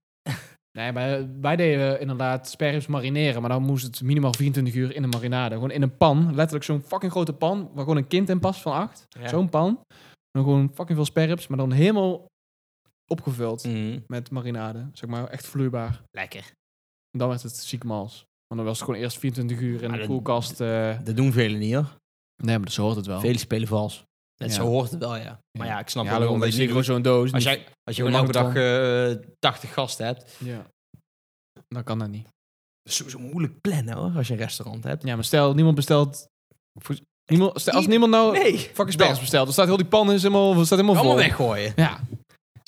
Speaker 3: Nee, maar eh, wij deden inderdaad sperrips marineren. Maar dan moest het minimaal 24 uur in de marinade. Gewoon in een pan. Letterlijk zo'n fucking grote pan. Waar gewoon een kind in past van acht. Zo'n pan. En dan gewoon fucking veel sperrips. Maar dan helemaal opgevuld
Speaker 1: Mm.
Speaker 3: met marinade. Zeg maar echt vloeibaar.
Speaker 1: Lekker.
Speaker 3: En dan werd het ziek mals. Want dan was het gewoon eerst 24 uur in
Speaker 1: Maar
Speaker 3: de
Speaker 1: dat-
Speaker 3: koelkast. eh.
Speaker 1: Dat doen velen niet, hoor.
Speaker 3: Nee, maar zo hoort het wel.
Speaker 1: Velen spelen vals. Het
Speaker 3: Ja.
Speaker 1: Zo hoort het wel, Oh. ja. Maar
Speaker 3: Ja.
Speaker 1: ja, ik snap
Speaker 3: ja,
Speaker 1: wel
Speaker 3: omdat je
Speaker 1: dat je
Speaker 3: zeker
Speaker 1: niet-
Speaker 3: zo'n doos
Speaker 1: Als,
Speaker 3: niet-
Speaker 1: jij, als je
Speaker 3: een
Speaker 1: gewoon elke dag
Speaker 3: auto-
Speaker 1: eh, 80 gasten hebt,
Speaker 3: Ja. Dan kan dat niet.
Speaker 1: dat is sowieso moeilijk plannen hoor, als je een restaurant hebt.
Speaker 3: Ja, maar stel, niemand bestelt... voor- Niemand, stel, als
Speaker 1: I-
Speaker 3: niemand nou
Speaker 1: Nee,
Speaker 3: fucking spelers bestelt, dan staat heel die pan is helemaal, staat helemaal vol.
Speaker 1: allemaal weggooien.
Speaker 3: Ja,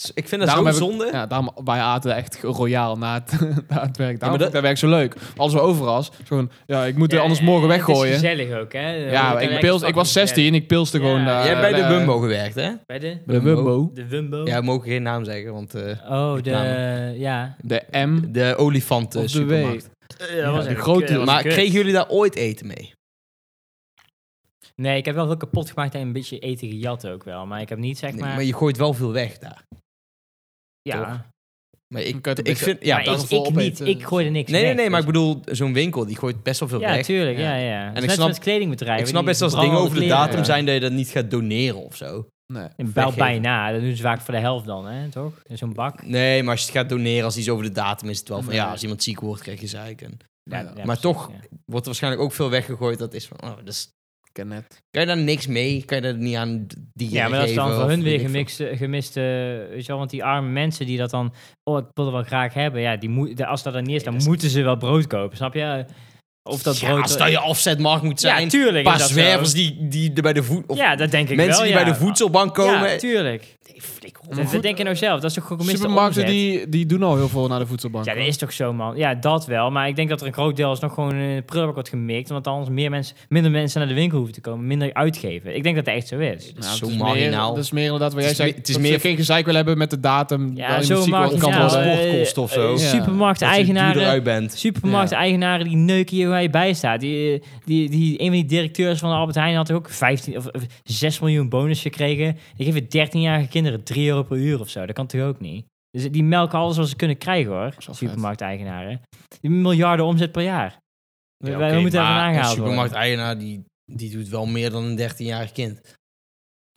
Speaker 1: Dus ik vind dat
Speaker 3: Daarom
Speaker 1: zo'n
Speaker 3: heb ik-
Speaker 1: zonde.
Speaker 3: ja daarom, wij aten echt royaal na het, *laughs* na
Speaker 1: maar
Speaker 3: het werk. Daarom vond ik
Speaker 1: dat-
Speaker 3: dat werk zo leuk. Als we overas, gewoon, ja, ik moet er anders morgen
Speaker 2: Het is
Speaker 3: weggooien.
Speaker 2: gezellig ook, hè?
Speaker 3: Ja, ik, pils, ik was 16 en ik pilste
Speaker 2: Ja.
Speaker 3: gewoon daar.
Speaker 1: Jij hebt bij de
Speaker 3: eh,
Speaker 1: Wumbo gewerkt, hè?
Speaker 2: Bij de...
Speaker 3: Bij de Wumbo.
Speaker 2: De Wumbo?
Speaker 1: Ja, we mogen geen naam zeggen, want eh,
Speaker 2: Oh, de...
Speaker 1: Namen.
Speaker 2: Ja.
Speaker 3: De M.
Speaker 1: de olifanten
Speaker 3: Op de
Speaker 1: supermarkt.
Speaker 3: W.
Speaker 2: dat was
Speaker 3: de
Speaker 2: echt
Speaker 3: grote-
Speaker 2: kut, dat was
Speaker 1: Maar
Speaker 2: kut.
Speaker 1: kregen jullie daar ooit eten mee?
Speaker 2: Nee, ik heb wel veel kapot gemaakt en een beetje eten gejat ook wel. Maar ik heb niet, zeg
Speaker 1: Nee,
Speaker 2: maar...
Speaker 1: maar je gooit wel veel weg daar.
Speaker 2: ja.
Speaker 1: Maar
Speaker 3: Dan
Speaker 1: ik,
Speaker 3: kan je het
Speaker 1: ik
Speaker 3: beter-
Speaker 1: vind... Ja, dat-
Speaker 2: maar
Speaker 3: daarom
Speaker 2: ik,
Speaker 3: vol
Speaker 2: ik niet.
Speaker 3: opeten.
Speaker 2: Ik gooide niks
Speaker 1: nee, nee,
Speaker 2: weg,
Speaker 1: nee, maar
Speaker 2: dus-
Speaker 1: ik bedoel, zo'n winkel die gooit best wel veel
Speaker 2: Ja,
Speaker 1: weg.
Speaker 2: tuurlijk.
Speaker 3: Ja.
Speaker 2: Ja, ja. En
Speaker 1: ik snap-
Speaker 2: kledingbedrijven.
Speaker 1: Ik snap
Speaker 2: die
Speaker 1: best als dingen over de
Speaker 2: verbranden
Speaker 1: datum
Speaker 2: kleren.
Speaker 1: zijn dat je dat niet gaat doneren of zo.
Speaker 3: Nee.
Speaker 2: En Wel
Speaker 1: weggeven.
Speaker 2: bijna. Dat doen ze vaak voor de helft dan, hè? Toch? In zo'n bak.
Speaker 1: Nee, maar als je het gaat doneren als iets over de datum is het wel van
Speaker 2: Nee.
Speaker 1: ja, als iemand ziek wordt krijg je zeik. En
Speaker 2: Ja,
Speaker 3: Ja,
Speaker 2: ja,
Speaker 3: maar
Speaker 2: precies,
Speaker 1: toch-
Speaker 2: ja.
Speaker 1: wordt er waarschijnlijk ook veel weggegooid. Dat is van, oh, dat is-
Speaker 3: Ik ken het.
Speaker 1: kan je daar niks mee? Kan je dat niet aan die
Speaker 2: Ja, maar dat is dan voor hun weer gemixt, gemist, eh, weet je wel, want die arme mensen die dat dan, oh, ik wil dat wel graag hebben, ja, die moet, de- als dat er niet is, dan
Speaker 1: dat is-
Speaker 2: moeten ze wel brood kopen, snap je? Of dat
Speaker 1: ja,
Speaker 2: brood...
Speaker 1: als dat je afzetmarkt moet
Speaker 2: ja,
Speaker 1: zijn.
Speaker 2: tuurlijk
Speaker 1: een paar
Speaker 2: is dat zo.
Speaker 1: zwervers die, die er bij de voet... Of
Speaker 2: ja, dat denk ik
Speaker 1: mensen
Speaker 2: wel,
Speaker 1: die
Speaker 2: ja.
Speaker 1: bij de voedselbank komen.
Speaker 2: Ja, tuurlijk.
Speaker 1: Nee, flikker op,
Speaker 2: Dat,
Speaker 1: man.
Speaker 2: dat denk je nou zelf, dat is toch gewoon gemiste
Speaker 3: Supermarkten
Speaker 2: omzet?
Speaker 3: die, die doen al heel veel naar de voedselbank.
Speaker 2: Ja, dat
Speaker 3: hoor.
Speaker 2: is toch zo, man. Ja, dat wel. Maar ik denk dat er een groot deel is nog gewoon in de prullenbak wordt gemikt. Want anders meer mensen, minder mensen naar de winkel hoeven te komen. Minder uitgeven. Ik denk dat dat echt zo is.
Speaker 1: Dat is
Speaker 3: Nou,
Speaker 1: zo
Speaker 3: het is
Speaker 1: marginaal.
Speaker 3: Meer, dat is meer inderdaad wat
Speaker 1: Het is
Speaker 3: jij zei.
Speaker 1: meer- het is
Speaker 3: dat
Speaker 1: meer-
Speaker 3: ze geen gezeik willen hebben met de datum.
Speaker 2: Ja,
Speaker 3: waarin
Speaker 2: zo
Speaker 3: muziek
Speaker 2: maakt
Speaker 3: wordt-
Speaker 2: het
Speaker 3: kan
Speaker 2: ja,
Speaker 3: worden.
Speaker 2: eh,
Speaker 1: sportkosten of zo.
Speaker 2: eh,
Speaker 3: Ja.
Speaker 1: Als je duurder
Speaker 2: Supermarkteigenaren.
Speaker 1: uit bent.
Speaker 2: Supermarkteigenaren die neuken hier waar je bij staat. Die, die, die, een van die directeurs van Albert Heijn had ook 15 of, of 6 miljoen bonus gekregen. Die geven 13-jarige kinderen 3 euro per uur of zo. Dat kan toch ook niet? Dus die melken alles wat ze kunnen krijgen hoor.
Speaker 3: is wel vet.
Speaker 2: Supermarkteigenaren. Die miljarden omzet per jaar. We,
Speaker 1: Ja,
Speaker 2: wij
Speaker 1: oké,
Speaker 2: moeten even
Speaker 1: maar Een
Speaker 2: aangehaald worden.
Speaker 1: supermarkteigenaar die, die doet wel meer dan een 13-jarig kind.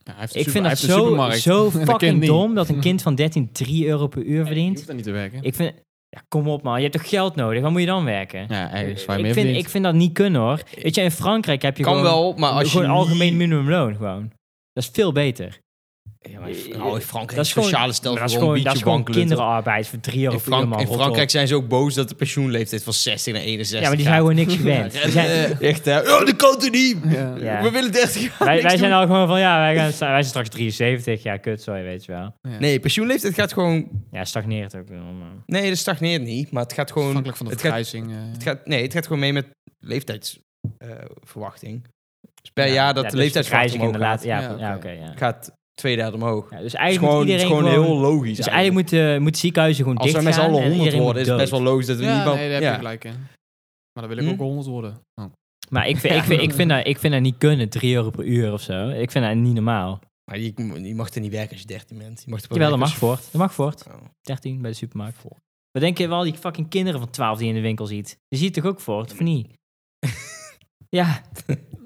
Speaker 3: Ja, hij heeft een
Speaker 2: Ik
Speaker 3: super-
Speaker 2: vind
Speaker 3: hij
Speaker 2: dat
Speaker 3: heeft een
Speaker 2: zo,
Speaker 3: supermarkt.
Speaker 2: zo
Speaker 3: *laughs* Dat kind
Speaker 2: fucking
Speaker 3: niet.
Speaker 2: dom dat een kind van 13 3 euro per uur
Speaker 3: Je
Speaker 2: verdient.
Speaker 3: hoeft dat niet te werken.
Speaker 2: Ik vind... Ja, kom op man. Je hebt toch geld nodig? Waar moet je dan werken?
Speaker 3: Ja, ergens waar je
Speaker 2: ik, vind,
Speaker 3: meer verdient.
Speaker 2: ik vind dat niet kunnen hoor. Weet je, in Frankrijk heb je
Speaker 1: Kan
Speaker 2: gewoon,
Speaker 1: wel, maar Ah, als je
Speaker 2: gewoon algemeen
Speaker 1: niet-
Speaker 2: minimumloon gewoon. Dat is veel beter.
Speaker 1: Ja, maar in- nou, in Frankrijk
Speaker 2: Dat is gewoon-
Speaker 1: sociale
Speaker 2: Maar
Speaker 1: stelsel
Speaker 2: dat is
Speaker 1: gewoon
Speaker 2: gewoon,
Speaker 1: een
Speaker 2: dat is
Speaker 1: beetje
Speaker 2: gewoon
Speaker 1: wankelend. hoor.
Speaker 2: kinderarbeid voor 3 euro
Speaker 1: In,
Speaker 2: per uur,
Speaker 1: Frank-
Speaker 2: man.
Speaker 1: in
Speaker 2: Rot op.
Speaker 1: Frankrijk zijn ze ook boos dat de pensioenleeftijd van 60 naar 61
Speaker 2: Ja, maar die zijn
Speaker 1: gaat. *laughs*
Speaker 2: gewoon niks gewend. Die zijn-
Speaker 1: Eh, Echt, hè? Ja, dat kan toch niet?
Speaker 3: *laughs* Ja.
Speaker 2: Ja.
Speaker 1: We willen 30 jaar
Speaker 2: wij,
Speaker 1: niks
Speaker 2: wij zijn
Speaker 1: doen.
Speaker 2: al gewoon van, ja, wij, gaan, wij zijn straks 73. Ja, kut, sorry, weet je wel.
Speaker 1: Nee, pensioenleeftijd gaat gewoon...
Speaker 2: Ja, stagneert ook. wel, maar-
Speaker 1: Nee, dat stagneert niet, maar het gaat gewoon...
Speaker 3: Afhankelijk van de
Speaker 1: het gaat,
Speaker 3: vergrijzing. eh.
Speaker 1: het gaat, Nee, het gaat gewoon mee met leeftijdsverwachting. dus per
Speaker 2: Ja,
Speaker 1: jaar dat
Speaker 2: ja,
Speaker 1: de
Speaker 2: dus
Speaker 1: leeftijdsverwachting
Speaker 2: vergrijzing
Speaker 1: omhoog gaat,
Speaker 2: inderdaad. Ja,
Speaker 3: Ja,
Speaker 2: ja, oké,
Speaker 3: oké.
Speaker 2: ja.
Speaker 1: gaat twee derde omhoog.
Speaker 2: Ja, Dus
Speaker 1: Het is
Speaker 2: eigenlijk
Speaker 1: gewoon,
Speaker 2: moet
Speaker 1: het is
Speaker 2: iedereen
Speaker 1: gewoon heel logisch.
Speaker 2: Dus eigenlijk moet, eh moet ziekenhuizen gewoon
Speaker 1: Als we
Speaker 2: dicht
Speaker 1: met z'n allen 100 worden, is het best wel logisch dat we
Speaker 3: Ja,
Speaker 1: niet... wel-
Speaker 3: nee, daar heb
Speaker 1: ja.
Speaker 3: je gelijk in. Maar dan wil ik
Speaker 1: Hm?
Speaker 3: ook 100 worden. Oh.
Speaker 2: Maar ik
Speaker 1: *laughs*
Speaker 2: vind, ik, vind, ik, vind dat, ik vind dat niet kunnen, 3 euro per uur of zo. Ik vind dat niet normaal.
Speaker 1: Maar je, je mag er niet werken als je 13 bent. Je mag er pas
Speaker 2: Jawel,
Speaker 1: werken
Speaker 2: dat mag
Speaker 1: als
Speaker 2: voort. Dat mag voort.
Speaker 1: je- Oh.
Speaker 2: 13 bij de supermarkt. Wat denk je wel die fucking kinderen van 12 die je in de winkel ziet? Die zie je toch ook voort, of niet? *laughs* ja,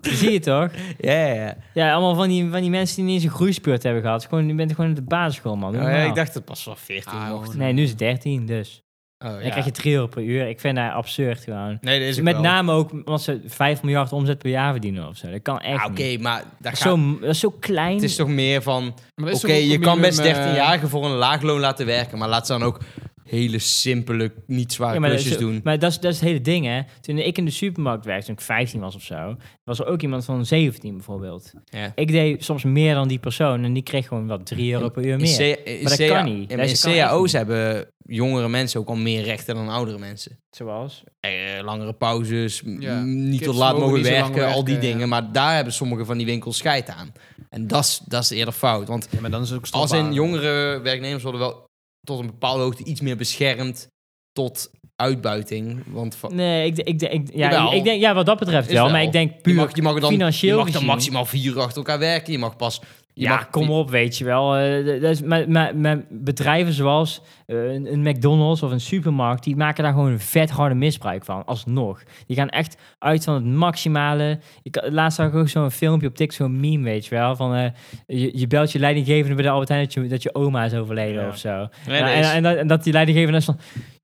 Speaker 2: die zie je toch?
Speaker 1: Ja, ja, ja.
Speaker 2: Ja, allemaal van die, van die mensen die niet eens een groeispeurt hebben gehad. Dus gewoon, je bent gewoon op de basisschool, man. Doe
Speaker 1: Oh, ja,
Speaker 2: normaal.
Speaker 1: ik dacht dat pas vanaf 14
Speaker 3: Ah,
Speaker 1: mocht.
Speaker 3: hoor.
Speaker 2: Nee, nu is het 13, dus.
Speaker 1: Oh, ja.
Speaker 2: Dan krijg je 3 euro per uur. Ik vind dat absurd gewoon.
Speaker 1: nee, dat is ook
Speaker 2: Met
Speaker 1: wel.
Speaker 2: name ook omdat ze 5 miljard omzet per jaar verdienen of zo. Dat kan echt
Speaker 1: Ah, Oké,
Speaker 2: niet.
Speaker 1: maar daar
Speaker 2: Dat is
Speaker 1: gaat,
Speaker 2: zo, dat is zo klein.
Speaker 1: het is toch meer van...
Speaker 3: Maar dat is
Speaker 1: Oké,
Speaker 3: toch ook
Speaker 1: je
Speaker 3: een
Speaker 1: kan best
Speaker 3: minimum, eh,
Speaker 1: 13-jarigen voor een laag loon laten werken. Maar laat ze dan ook hele simpele, niet zware
Speaker 2: Ja, maar dat
Speaker 1: klusjes
Speaker 2: is,
Speaker 1: doen.
Speaker 2: maar dat is, dat is het hele ding, hè. Toen ik in de supermarkt werkte, toen ik 15 was of zo, was er ook iemand van 17 bijvoorbeeld.
Speaker 1: Ja.
Speaker 2: Ik deed soms meer dan die persoon en die kreeg gewoon wat 3 euro per uur
Speaker 1: In
Speaker 2: meer.
Speaker 1: C- in
Speaker 2: Maar dat
Speaker 1: CA
Speaker 2: kan niet.
Speaker 1: ja,
Speaker 2: Dat
Speaker 1: maar in
Speaker 2: kan echt
Speaker 1: cao's
Speaker 2: niet.
Speaker 1: hebben jongere mensen ook al meer rechten dan oudere mensen.
Speaker 2: Zoals?
Speaker 1: Eh, langere pauzes, m-
Speaker 3: Ja.
Speaker 1: niet
Speaker 3: Kids
Speaker 1: tot laat
Speaker 3: mogen
Speaker 1: mogen
Speaker 3: niet zo lang
Speaker 1: werken, al die
Speaker 3: werken, ja.
Speaker 1: dingen. Maar daar hebben sommige van die winkels scheid aan. En dat is- dat is eerder fout. Want
Speaker 3: Ja, maar dan is het ook
Speaker 1: Als in
Speaker 3: strafbaar.
Speaker 1: jongere werknemers worden wel tot een bepaalde hoogte iets meer beschermd tot uitbuiting. Want va-
Speaker 2: Nee, ik, ik, ik, ja,
Speaker 1: Jawel.
Speaker 2: ik, ik denk, ja, wat dat betreft
Speaker 1: Is
Speaker 2: wel,
Speaker 1: wel.
Speaker 2: Maar ik denk
Speaker 1: je
Speaker 2: puur
Speaker 1: mag, je mag dan,
Speaker 2: financieel
Speaker 1: je mag dan
Speaker 2: gezien-
Speaker 1: maximaal vier uur achter elkaar werken. Je mag pas. Je
Speaker 2: ja,
Speaker 1: mag,
Speaker 2: kom
Speaker 1: je-
Speaker 2: op, weet je wel. Eh, dat is, maar, maar, maar bedrijven zoals eh, een, een McDonald's of een supermarkt, die maken daar gewoon een vet harde misbruik van, alsnog. Die gaan echt uit van het maximale. Ik, eh, laatst zag ik ook zo'n filmpje op TikTok, zo'n meme, weet je wel, van eh, je, je belt je leidinggevende bij de Albert Heijn dat je, dat je oma is overleden
Speaker 3: Ja.
Speaker 2: of zo.
Speaker 1: Nee,
Speaker 2: Nou,
Speaker 1: nee,
Speaker 2: en,
Speaker 1: is-
Speaker 2: en, dat- en dat die leidinggevende is van...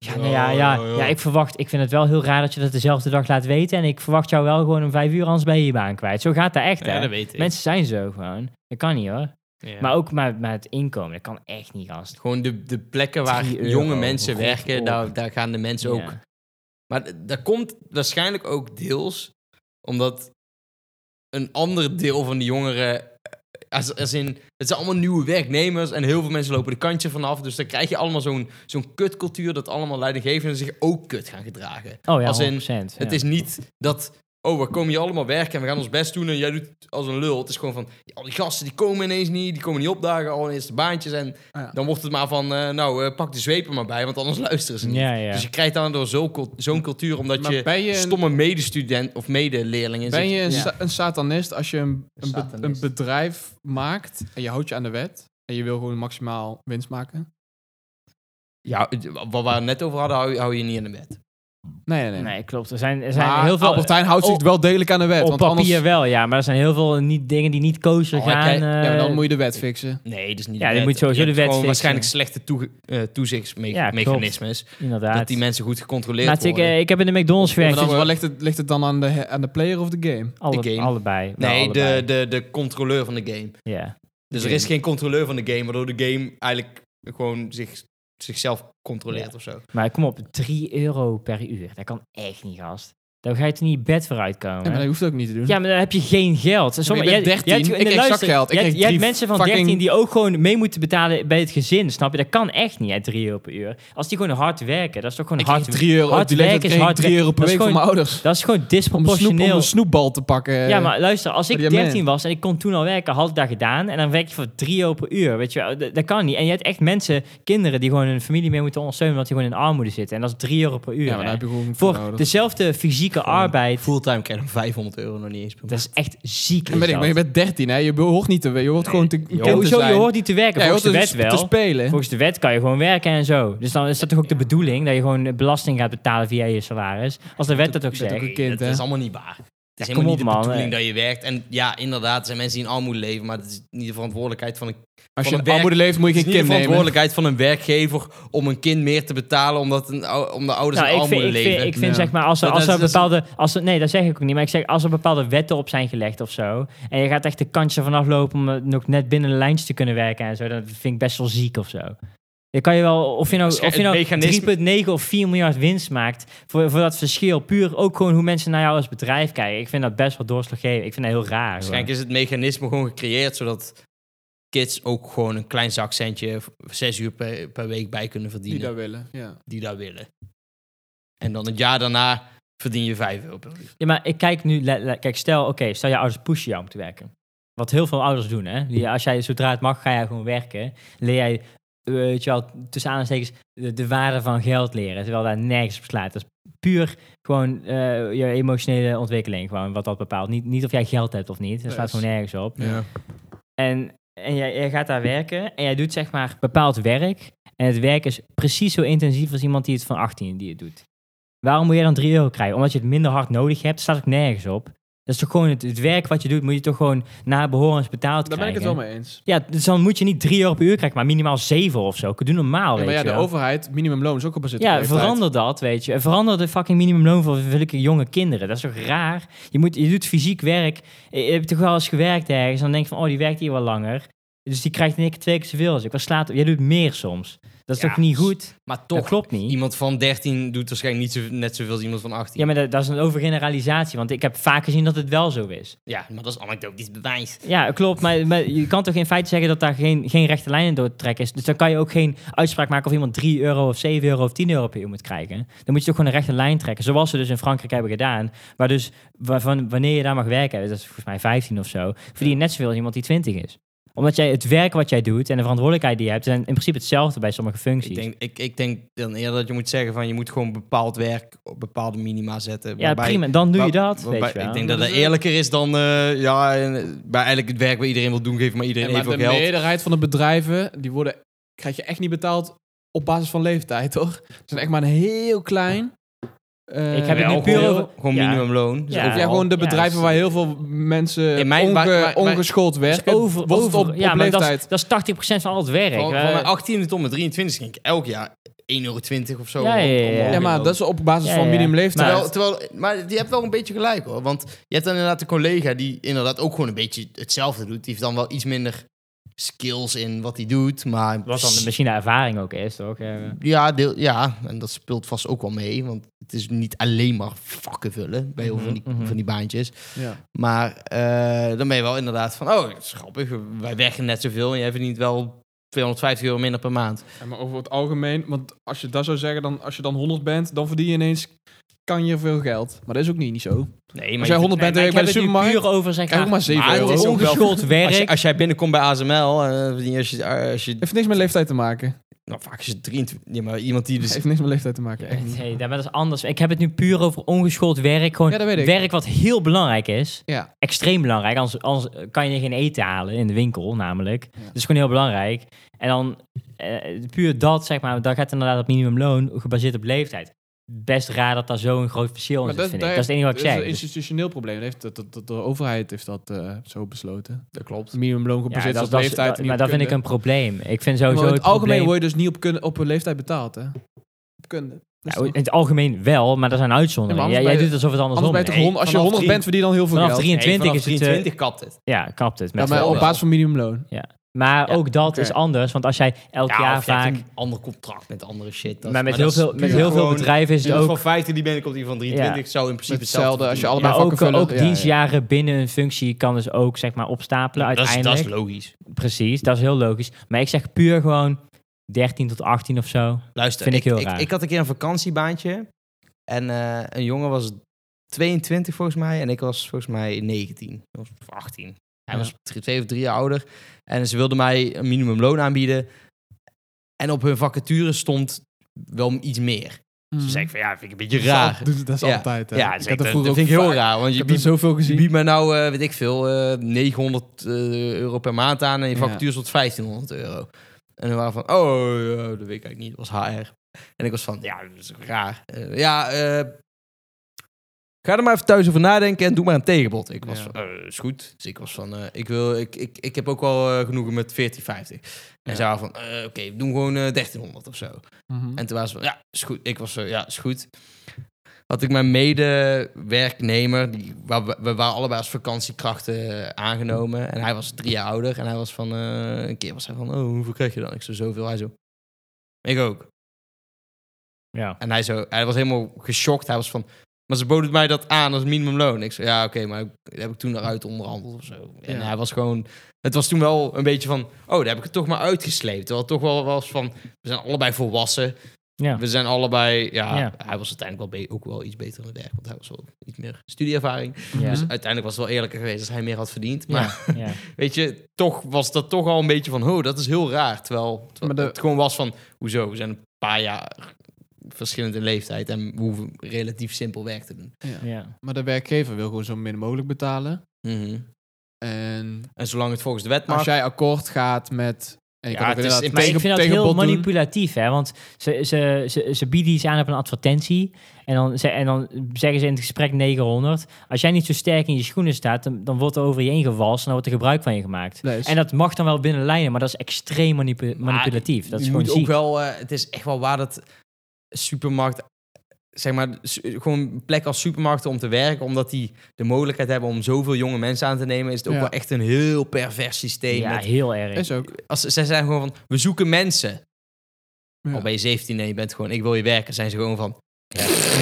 Speaker 2: Ja, nou ja,
Speaker 1: Oh,
Speaker 2: ja,
Speaker 1: joh.
Speaker 2: ja, ik verwacht... Ik vind het wel heel raar dat je dat dezelfde dag laat weten. En ik verwacht jou wel gewoon om vijf uur, anders ben je je baan kwijt. Zo gaat dat echt,
Speaker 1: ja,
Speaker 2: hè?
Speaker 1: dat weet ik.
Speaker 2: Mensen zijn zo gewoon. Dat kan niet hoor.
Speaker 1: Ja.
Speaker 2: Maar ook met, met het inkomen, dat kan echt niet, gast.
Speaker 1: Gewoon de, de plekken waar
Speaker 2: 3 euro,
Speaker 1: jonge mensen
Speaker 2: god
Speaker 1: werken,
Speaker 2: op.
Speaker 1: daar, daar gaan de mensen ook.
Speaker 2: Ja.
Speaker 1: Maar d- dat komt waarschijnlijk ook deels omdat een ander deel van de jongeren. eh, Als, als in, het zijn allemaal nieuwe werknemers en heel veel mensen lopen de kantje vanaf. Dus dan krijg je allemaal zo'n zo'n kutcultuur dat allemaal leidinggevenden zich ook kut gaan gedragen.
Speaker 2: Oh ja,
Speaker 1: Als in,
Speaker 2: 100%,
Speaker 1: Het
Speaker 2: ja.
Speaker 1: is niet dat, oh, we komen hier allemaal werken en we gaan ons best doen en jij doet het als een lul. Het is gewoon van, ja, al die gasten die komen ineens niet, die komen niet opdagen, al ineens de baantjes. En
Speaker 3: Ah, ja.
Speaker 1: dan wordt het maar van, eh, nou, eh, pak de zwepen maar bij, want anders *laughs* luisteren ze niet.
Speaker 2: Ja, ja.
Speaker 1: Dus je krijgt dan door zo'n cult- zo'n cultuur, omdat
Speaker 3: Maar
Speaker 1: je,
Speaker 3: ben je een-
Speaker 1: stomme medestudent of medeleerling in
Speaker 3: Ben je een,
Speaker 2: Ja.
Speaker 3: sa- een satanist als je een, een, be-
Speaker 1: satanist.
Speaker 3: een bedrijf maakt en je houdt je aan de wet en je wil gewoon maximaal winst maken?
Speaker 1: Ja, wat we het net over hadden, hou, hou je niet in de wet.
Speaker 3: Nee, nee, nee.
Speaker 2: Nee, klopt. Er zijn, er zijn
Speaker 3: Maar
Speaker 2: heel veel...
Speaker 3: Albert Heijn houdt zich
Speaker 2: op-
Speaker 3: wel degelijk aan de wet.
Speaker 2: op
Speaker 3: want
Speaker 2: papier
Speaker 3: anders,
Speaker 2: wel, ja. Maar er zijn heel veel niet, dingen die niet kosher
Speaker 1: Oh,
Speaker 2: gaan.
Speaker 1: kijk,
Speaker 3: ja, maar
Speaker 2: eh,
Speaker 3: dan moet je de wet fixen.
Speaker 1: Nee, dat is niet
Speaker 2: Ja,
Speaker 1: de
Speaker 2: je
Speaker 1: wet.
Speaker 2: moet sowieso
Speaker 1: hebt
Speaker 2: de wet
Speaker 1: gewoon
Speaker 2: fixen.
Speaker 1: waarschijnlijk slechte toege- eh, toezichtsmechanismes.
Speaker 2: inderdaad.
Speaker 1: dat die mensen goed gecontroleerd
Speaker 2: Laat ik,
Speaker 1: worden.
Speaker 2: eh, ik heb in de McDonald's
Speaker 3: Maar
Speaker 2: gewerkt.
Speaker 3: dan,
Speaker 2: dus
Speaker 3: wat ligt, het, ligt het dan aan de, aan de player of de game?
Speaker 2: alle-
Speaker 1: game.
Speaker 2: allebei. wel
Speaker 1: nee, de,
Speaker 2: Nou, allebei.
Speaker 1: de, de controleur van de game.
Speaker 2: Ja.
Speaker 1: Dus er
Speaker 3: Game.
Speaker 1: is geen controleur van de game, waardoor de game eigenlijk gewoon zich, zichzelf controleert of zo.
Speaker 2: Maar kom op, 3 euro per uur. Dat kan echt niet, gast. Daar ga je toch niet bed voor uitkomen?
Speaker 3: Ja, maar dat hoeft ook niet te doen.
Speaker 2: Ja, maar dan heb je geen geld. Sommige,
Speaker 3: Hm? Maar je bent
Speaker 2: jij- jij
Speaker 3: 13,
Speaker 2: hebt-
Speaker 3: ik
Speaker 2: nee,
Speaker 3: kreeg
Speaker 2: luister,
Speaker 3: zakgeld, ik
Speaker 2: jij-
Speaker 3: kreeg
Speaker 2: jij hebt
Speaker 3: drie
Speaker 2: mensen van
Speaker 3: fucking-
Speaker 2: 13 die ook gewoon mee moeten betalen bij het gezin, snap je? Dat kan echt niet, hè, 3 euro per uur. Als die gewoon hard werken, dat is toch gewoon
Speaker 3: ik
Speaker 2: hard...
Speaker 3: hard, 3 euro.
Speaker 2: hard
Speaker 3: die leeftijd
Speaker 2: werken is
Speaker 3: kreeg ik
Speaker 2: hard
Speaker 3: 3 euro per
Speaker 2: Dat is
Speaker 3: week van
Speaker 2: gewoon-
Speaker 3: mijn ouders.
Speaker 2: Dat is gewoon
Speaker 3: Om een, snoep, om
Speaker 2: disproportioneel.
Speaker 3: een snoepbal te pakken.
Speaker 2: Ja, maar luister, als
Speaker 3: die
Speaker 2: ik
Speaker 3: hebben-
Speaker 2: 13 was en ik kon toen al werken, had ik dat gedaan. En dan werk je voor 3 euro per uur, weet je wel. Dat, dat kan niet. En je hebt echt mensen, kinderen, die gewoon hun familie mee moeten ondersteunen, omdat die gewoon in armoede zitten. En dat is 3 euro per uur,
Speaker 3: Ja, maar
Speaker 2: hè.
Speaker 3: dan heb je gewoon
Speaker 2: Voor
Speaker 3: nodig.
Speaker 2: dezelfde fysieke arbeid.
Speaker 1: Fulltime krijg je 500 euro nog niet eens per
Speaker 2: Dat
Speaker 1: maand.
Speaker 2: is echt ziek.
Speaker 3: En ben ik,
Speaker 2: is
Speaker 3: maar je
Speaker 2: dat.
Speaker 3: bent 13, hè? Je hoort niet te, je hoort gewoon te, kind
Speaker 2: Ja,
Speaker 3: te
Speaker 2: hoezo?
Speaker 3: zijn.
Speaker 2: Je hoort niet te werken.
Speaker 3: Ja, je hoort
Speaker 2: volgens de
Speaker 3: te,
Speaker 2: wet
Speaker 3: sp-
Speaker 2: wel.
Speaker 3: te spelen.
Speaker 2: Volgens de wet kan je gewoon werken en zo. Dus dan is dat toch ook de bedoeling dat je gewoon belasting gaat betalen via je salaris. Als de wet dat ook
Speaker 3: Je bent ook
Speaker 2: zegt.
Speaker 3: een kind,
Speaker 1: dat
Speaker 3: hè?
Speaker 1: is allemaal niet waar. Het
Speaker 2: Ja,
Speaker 1: is
Speaker 2: kom
Speaker 1: helemaal
Speaker 2: op,
Speaker 1: niet
Speaker 2: man,
Speaker 1: de bedoeling
Speaker 2: hè.
Speaker 1: dat je werkt. En ja, inderdaad, er zijn mensen die in armoede leven, maar dat is niet de verantwoordelijkheid van een
Speaker 3: Als je
Speaker 1: van
Speaker 3: in
Speaker 1: een
Speaker 3: armoede leeft, moet je
Speaker 1: Het
Speaker 3: geen
Speaker 1: is niet de
Speaker 3: kind nemen.
Speaker 1: verantwoordelijkheid van een werkgever om een kind meer te betalen omdat een, ou- om de ouders
Speaker 2: Nou,
Speaker 1: in
Speaker 2: ik vind,
Speaker 1: armoede
Speaker 2: ik
Speaker 1: leven.
Speaker 2: vind, ik vind
Speaker 3: Ja.
Speaker 2: zeg maar, als er,
Speaker 1: Dat-
Speaker 2: als
Speaker 1: dat-
Speaker 2: er
Speaker 1: dat is-
Speaker 2: bepaalde... Als er, nee, dat zeg ik ook niet. Maar ik zeg, als er bepaalde wetten op zijn gelegd of zo... en je gaat echt de kansje vanaf lopen om eh, nog net binnen de lijntjes te kunnen werken en zo... dat vind ik best wel ziek of zo. Dan kan je wel, of je nou,
Speaker 1: Waarschijn-
Speaker 2: of je nou
Speaker 1: het mechanisme-
Speaker 2: 3,9 of 4 miljard winst maakt... Voor, voor dat verschil, puur ook gewoon hoe mensen naar jou als bedrijf kijken. Ik vind dat best wel doorslaggevend. Ik vind dat heel raar. hoor.
Speaker 1: Waarschijnlijk is het mechanisme gewoon gecreëerd zodat kids ook gewoon een klein zakcentje v- zes uur per, per week bij kunnen
Speaker 3: Die
Speaker 1: verdienen die
Speaker 3: dat willen, ja.
Speaker 1: dat, willen. En dan het jaar daarna verdien je vijf euro per uur.
Speaker 2: Ja, maar ik kijk nu, le- le- kijk, stel, oké, stel je ouders pushen jou om te werken. Wat heel veel ouders doen, hè? Die, als jij zodra het mag, ga jij gewoon werken. Leer jij, eh, weet je wel, tussen aanstekens, de, de waarde van geld leren. Terwijl daar nergens op slaat. Dat is puur gewoon eh, je emotionele ontwikkeling, gewoon wat dat bepaalt. Niet, niet of jij geld hebt of niet. Dat slaat
Speaker 3: Yes.
Speaker 2: gewoon nergens op.
Speaker 3: ja.
Speaker 2: En, en jij, jij gaat daar werken en jij doet zeg maar bepaald werk. En het werk is precies zo intensief als iemand die het van 18 die het doet. Waarom moet jij dan 3 euro krijgen? Omdat je het minder hard nodig hebt, staat ook nergens op. Dat is toch gewoon het, het werk wat je doet, moet je toch gewoon na behorens betaald
Speaker 3: Daar ben ik
Speaker 2: krijgen.
Speaker 3: het wel mee eens.
Speaker 2: Ja, dus dan moet je niet 3 euro per uur krijgen, maar minimaal 7 of zo. Doe normaal,
Speaker 3: Ja,
Speaker 2: weet
Speaker 3: maar ja,
Speaker 2: je
Speaker 3: de
Speaker 2: wel.
Speaker 3: overheid, minimumloon is ook op bezit.
Speaker 2: Ja, verander dat, weet je. Verander de fucking minimumloon voor zulke jonge kinderen. Dat is toch raar? Je, moet, je doet fysiek werk. Je je hebt toch wel eens gewerkt ergens. Dan denk je van, oh, die werkt hier wel langer. Dus die krijgt in één keer twee keer zoveel als ik. Wat slaat op? Jij doet meer soms. Dat is
Speaker 1: Ja,
Speaker 2: toch niet goed?
Speaker 1: Maar
Speaker 2: Dat
Speaker 1: toch,
Speaker 2: klopt niet.
Speaker 1: iemand van 13 doet waarschijnlijk niet zo, net zoveel als iemand van 18.
Speaker 2: Ja,
Speaker 1: Ja,
Speaker 2: maar dat, dat is een overgeneralisatie. Want ik heb vaak gezien dat het wel zo is.
Speaker 1: maar dat is anekdotisch bewijs.
Speaker 2: Ja, klopt. Maar, maar je kan toch in feite zeggen dat daar geen, geen rechte lijnen door te trekken is. Dus dan kan je ook geen uitspraak maken of iemand 3 euro of 7 euro of 10 euro per uur moet krijgen. Dan moet je toch gewoon een rechte lijn trekken. Zoals ze dus in Frankrijk hebben gedaan. Waar dus waarvan, wanneer je daar mag werken, dat is volgens mij 15 of zo, verdien je net zoveel als iemand die 20 is. Omdat jij het werk wat jij doet en de verantwoordelijkheid die je hebt, zijn in principe hetzelfde bij sommige functies.
Speaker 1: Ik denk, ik, ik denk dan eerder dat je moet zeggen van je moet gewoon bepaald werk op bepaalde minima zetten.
Speaker 2: ja,
Speaker 1: waarbij-
Speaker 2: prima. Dan doe je
Speaker 1: Waar-
Speaker 2: dat.
Speaker 1: waarbij-
Speaker 2: weet je wel.
Speaker 1: Ik denk dat dat eerlijker is dan eh, ja, en, eh, bij eigenlijk het werk wat iedereen wil doen, geef maar iedereen
Speaker 3: maar
Speaker 1: even
Speaker 3: de
Speaker 1: geld.
Speaker 3: meerderheid van de bedrijven, die worden, krijg je echt niet betaald op basis van leeftijd, toch? Ze zijn echt maar een heel klein... eh,
Speaker 2: Ik heb het
Speaker 1: Wel,
Speaker 2: nu puur
Speaker 1: gewoon-
Speaker 2: over-
Speaker 1: gewoon
Speaker 2: ja.
Speaker 1: minimumloon. Dus
Speaker 2: Ja.
Speaker 3: Of
Speaker 1: overal.
Speaker 3: ja, gewoon de
Speaker 2: Ja,
Speaker 3: bedrijven
Speaker 2: dus-
Speaker 3: waar heel veel mensen
Speaker 1: In mijn-
Speaker 3: onge-
Speaker 1: maar- maar- maar-
Speaker 3: ongeschoold
Speaker 2: Dus
Speaker 3: werken,
Speaker 2: over,
Speaker 3: wordt het
Speaker 2: over,
Speaker 3: op,
Speaker 2: ja,
Speaker 3: op
Speaker 2: maar dat
Speaker 3: leeftijd.
Speaker 2: is, dat is 80% van al het werk.
Speaker 1: Van,
Speaker 2: Eh,
Speaker 1: van mijn 18e tot mijn 23 ging ik elk jaar 1,20 euro of zo.
Speaker 2: Ja, ja, ja,
Speaker 1: om- om-
Speaker 2: ja.
Speaker 3: Ja, maar dat is op basis
Speaker 2: Ja,
Speaker 3: van
Speaker 2: ja.
Speaker 3: minimumleeftijd.
Speaker 2: Nou,
Speaker 1: Terwijl, terwijl, maar je hebt wel een beetje gelijk hoor. Want je hebt dan inderdaad een collega die inderdaad ook gewoon een beetje hetzelfde doet. Die heeft dan wel iets minder skills in wat hij doet. Maar
Speaker 2: Wat dan de- misschien de ervaring ook is, toch? Ja.
Speaker 1: ja, deel, ja, en dat speelt vast ook wel mee. Want het is niet alleen maar vakken vullen bij heel veel van, die,
Speaker 2: Mhm, mhm.
Speaker 1: van die baantjes.
Speaker 3: ja.
Speaker 1: Maar eh, dan ben je wel inderdaad van, oh, het is grappig. Wij werken net zoveel en jij verdient wel 250 euro minder per maand.
Speaker 3: Ja, maar over het algemeen, want als je dat zou zeggen, dan, als je dan 100 bent, dan verdien je ineens kan je veel geld. Maar dat is ook niet, niet zo.
Speaker 1: Nee,
Speaker 3: Als jij 100 bent en
Speaker 2: ik
Speaker 3: werkt bij
Speaker 2: heb
Speaker 3: de
Speaker 2: het nu
Speaker 3: supermarkt,
Speaker 2: puur over zijn
Speaker 3: krijg je ook maar 7
Speaker 1: Maar het
Speaker 3: euro.
Speaker 1: is
Speaker 3: Dat ook wel-
Speaker 2: ongeschoold
Speaker 1: Als, je,
Speaker 2: werk.
Speaker 1: als jij binnenkomt bij ASML, eh, verdien je als je, als je
Speaker 3: Heeft niks met leeftijd te maken.
Speaker 1: nou, vaak is het 23, ja, maar iemand die dus
Speaker 3: Heeft niks met leeftijd te maken. Echt niet.
Speaker 2: Nee, dat is anders. Ik heb het nu puur over ongeschoold werk. Gewoon
Speaker 3: Ja, dat weet ik.
Speaker 2: werk wat heel belangrijk is.
Speaker 3: Ja.
Speaker 2: Extreem belangrijk. Anders, anders kan je geen eten halen in de winkel, namelijk. Dat is gewoon heel belangrijk. En dan eh, puur dat, zeg maar, dan gaat inderdaad op minimumloon gebaseerd op leeftijd. Best raar dat daar zo'n groot verschil in zit, vind ik. Dat is het enige wat ik
Speaker 3: dat is
Speaker 2: zeg.
Speaker 3: een
Speaker 2: Dus-
Speaker 3: institutioneel probleem. Dat heeft, dat, dat- dat de overheid heeft dat eh, zo besloten.
Speaker 1: Dat klopt.
Speaker 3: Minimumloon
Speaker 2: Ja,
Speaker 3: gebaseerd
Speaker 2: dat
Speaker 3: op
Speaker 2: is- dat is-
Speaker 3: leeftijd. en
Speaker 2: dat-
Speaker 3: niet
Speaker 2: maar
Speaker 3: op
Speaker 2: dat vind ik
Speaker 3: kunde.
Speaker 2: een probleem. Ik vind sowieso
Speaker 3: Maar in
Speaker 2: het
Speaker 3: het algemeen
Speaker 2: probleem-
Speaker 3: word je dus niet op, kunde, op een leeftijd betaald, hè? Op kunde. Dat
Speaker 2: Ja,
Speaker 3: is toch-
Speaker 2: in het algemeen wel, maar dat zijn uitzonderingen.
Speaker 3: Ja, maar
Speaker 2: jij, jij
Speaker 3: anders ben je-
Speaker 2: doet alsof het andersom
Speaker 3: Anders ben
Speaker 2: is.
Speaker 3: je toch hond- als je
Speaker 1: vanaf
Speaker 3: 100 bent, verdien je dan heel veel
Speaker 2: Vanaf
Speaker 3: geld.
Speaker 2: 23
Speaker 1: Nee,
Speaker 2: is
Speaker 1: vanaf
Speaker 2: het... eh,
Speaker 1: 23 kapt het.
Speaker 2: ja, kapt het.
Speaker 3: Ja,
Speaker 2: Met
Speaker 3: maar
Speaker 2: z'n
Speaker 3: op
Speaker 2: allen.
Speaker 3: basis van minimumloon.
Speaker 2: Maar
Speaker 1: Ja.
Speaker 2: ook dat
Speaker 3: Oké.
Speaker 2: is anders, want als jij elk
Speaker 1: Ja,
Speaker 2: jaar
Speaker 1: of je hebt
Speaker 2: vaak...
Speaker 1: een ander contract met andere shit. Dat-
Speaker 2: Maar met
Speaker 1: dat
Speaker 2: heel
Speaker 1: is
Speaker 2: veel, met
Speaker 1: puur
Speaker 2: heel veel
Speaker 1: gewoon-
Speaker 2: bedrijven is het
Speaker 1: iemand
Speaker 2: ook...
Speaker 1: van 15 die binnenkomt, die van 23 zou in principe
Speaker 3: Met hetzelfde als je
Speaker 1: verdienen.
Speaker 3: allebei
Speaker 2: Maar
Speaker 1: Ja,
Speaker 3: vakken
Speaker 2: ook,
Speaker 3: vullen.
Speaker 2: ook
Speaker 3: Ja, ja.
Speaker 2: dienstjaren binnen een functie kan dus ook zeg maar, opstapelen
Speaker 1: dat is-
Speaker 2: uiteindelijk.
Speaker 1: Dat is logisch.
Speaker 2: Precies, dat is heel logisch. Maar ik zeg puur gewoon 13 tot 18 of zo.
Speaker 1: Luister,
Speaker 2: Vind
Speaker 1: ik,
Speaker 2: ik heel
Speaker 1: ik,
Speaker 2: raar.
Speaker 1: ik had een keer een vakantiebaantje. En eh, een jongen was 22 volgens mij. En ik was volgens mij 19 of 18. Hij
Speaker 3: Ja.
Speaker 1: was drie- twee of drie jaar ouder. En ze wilden mij een minimumloon aanbieden. En op hun vacature stond wel iets meer. Dus
Speaker 3: Mhm.
Speaker 1: zei ik van ja, vind ik een beetje raar.
Speaker 3: Dat is, dat is
Speaker 1: Ja.
Speaker 3: altijd, hè.
Speaker 1: Ja,
Speaker 3: ik
Speaker 1: dus ik- dat,
Speaker 3: had dat
Speaker 1: dat
Speaker 3: vroeger ook
Speaker 1: vind ik heel
Speaker 3: vaak-
Speaker 1: raar. Want
Speaker 3: Ik
Speaker 1: je
Speaker 3: heb er
Speaker 1: biedt,
Speaker 3: zoveel
Speaker 1: je
Speaker 3: gezien.
Speaker 1: biedt mij nou, eh, weet ik veel, eh, 900 eh, euro per maand aan. En je
Speaker 3: Ja.
Speaker 1: vacature tot 1500 euro. En dan waren we van, oh, ja, dat weet ik eigenlijk niet. Dat was HR. En ik was van, ja, dat is raar. Eh, ja, eh, ga er maar even thuis over nadenken en doe maar een tegenbod. Ik was
Speaker 3: Ja.
Speaker 1: van, eh, is goed. Dus ik was van, eh, ik, wil, ik, ik, ik heb ook wel eh, genoegen met 14,50. En
Speaker 3: Ja.
Speaker 1: ze waren van, eh, oké, we doen gewoon eh, 1300 of zo.
Speaker 3: Mhm.
Speaker 1: En toen was ze van, ja, is goed. Ik was zo, ja, is goed. Had ik mijn medewerknemer, die, waar we, we waren allebei als vakantiekrachten eh, aangenomen. En hij was drie jaar ouder. En hij was van, eh, een keer was hij van, oh, hoeveel krijg je dan? Ik zo, zoveel. Hij zo, ik ook.
Speaker 2: Ja.
Speaker 1: En hij zo, hij was helemaal geschokt. Hij was van, maar ze boden mij dat aan als minimumloon. Ik zo, ja, oké, maar dat heb ik toen eruit onderhandeld of zo. En
Speaker 3: Ja.
Speaker 1: hij was gewoon, het was toen wel een beetje van, oh, daar heb ik het toch maar uitgesleept. Terwijl het toch wel was van, we zijn allebei volwassen.
Speaker 2: Ja.
Speaker 1: We zijn allebei, ja,
Speaker 2: Ja.
Speaker 1: hij was uiteindelijk wel be- ook wel iets beter dan Dirk, want hij was wel iets meer studieervaring.
Speaker 2: Ja.
Speaker 1: Dus uiteindelijk was het wel eerlijker geweest als hij meer had verdiend. Maar
Speaker 2: ja.
Speaker 1: weet je, toch was dat toch al een beetje van, oh, dat is heel raar. Terwijl, terwijl
Speaker 3: Maar de-
Speaker 1: het gewoon was van, hoezo, we zijn een paar jaar verschillend in leeftijd en we hoeven relatief simpel werk te doen.
Speaker 2: Ja.
Speaker 3: Maar de werkgever wil gewoon zo min mogelijk betalen.
Speaker 2: Mhm.
Speaker 3: En
Speaker 1: En zolang het volgens de wet
Speaker 3: als
Speaker 1: mag,
Speaker 3: jij akkoord gaat met... En je
Speaker 1: Ja,
Speaker 3: kan ook
Speaker 1: het is
Speaker 3: inderdaad
Speaker 1: in
Speaker 2: Maar
Speaker 3: tegen,
Speaker 2: ik vind dat
Speaker 3: tegenbod
Speaker 2: heel
Speaker 3: doen.
Speaker 2: manipulatief, hè? Want ze, ze, ze, ze bieden iets aan op een advertentie. En dan, ze, en dan zeggen ze in het gesprek 900. Als jij niet zo sterk in je schoenen staat, dan, dan wordt er over je heen gewalst en dan wordt er gebruik van je gemaakt.
Speaker 3: Nee, is-
Speaker 2: En dat mag dan wel binnen lijnen, maar dat is extreem manipu- manipulatief. Dat is
Speaker 1: je
Speaker 2: gewoon
Speaker 1: moet ook
Speaker 2: ziek.
Speaker 1: wel, eh, het is echt wel waar dat supermarkt, zeg maar, su- gewoon een plek als supermarkten om te werken, omdat die de mogelijkheid hebben om zoveel jonge mensen aan te nemen, is het ook
Speaker 3: Ja.
Speaker 1: wel echt een heel pervers systeem.
Speaker 2: Ja,
Speaker 1: Met-
Speaker 2: heel erg.
Speaker 3: Is ook.
Speaker 1: als, ze zijn gewoon van, we zoeken mensen.
Speaker 3: Ja.
Speaker 1: Al ben je 17 en je bent gewoon, ik wil je werken, zijn ze gewoon van,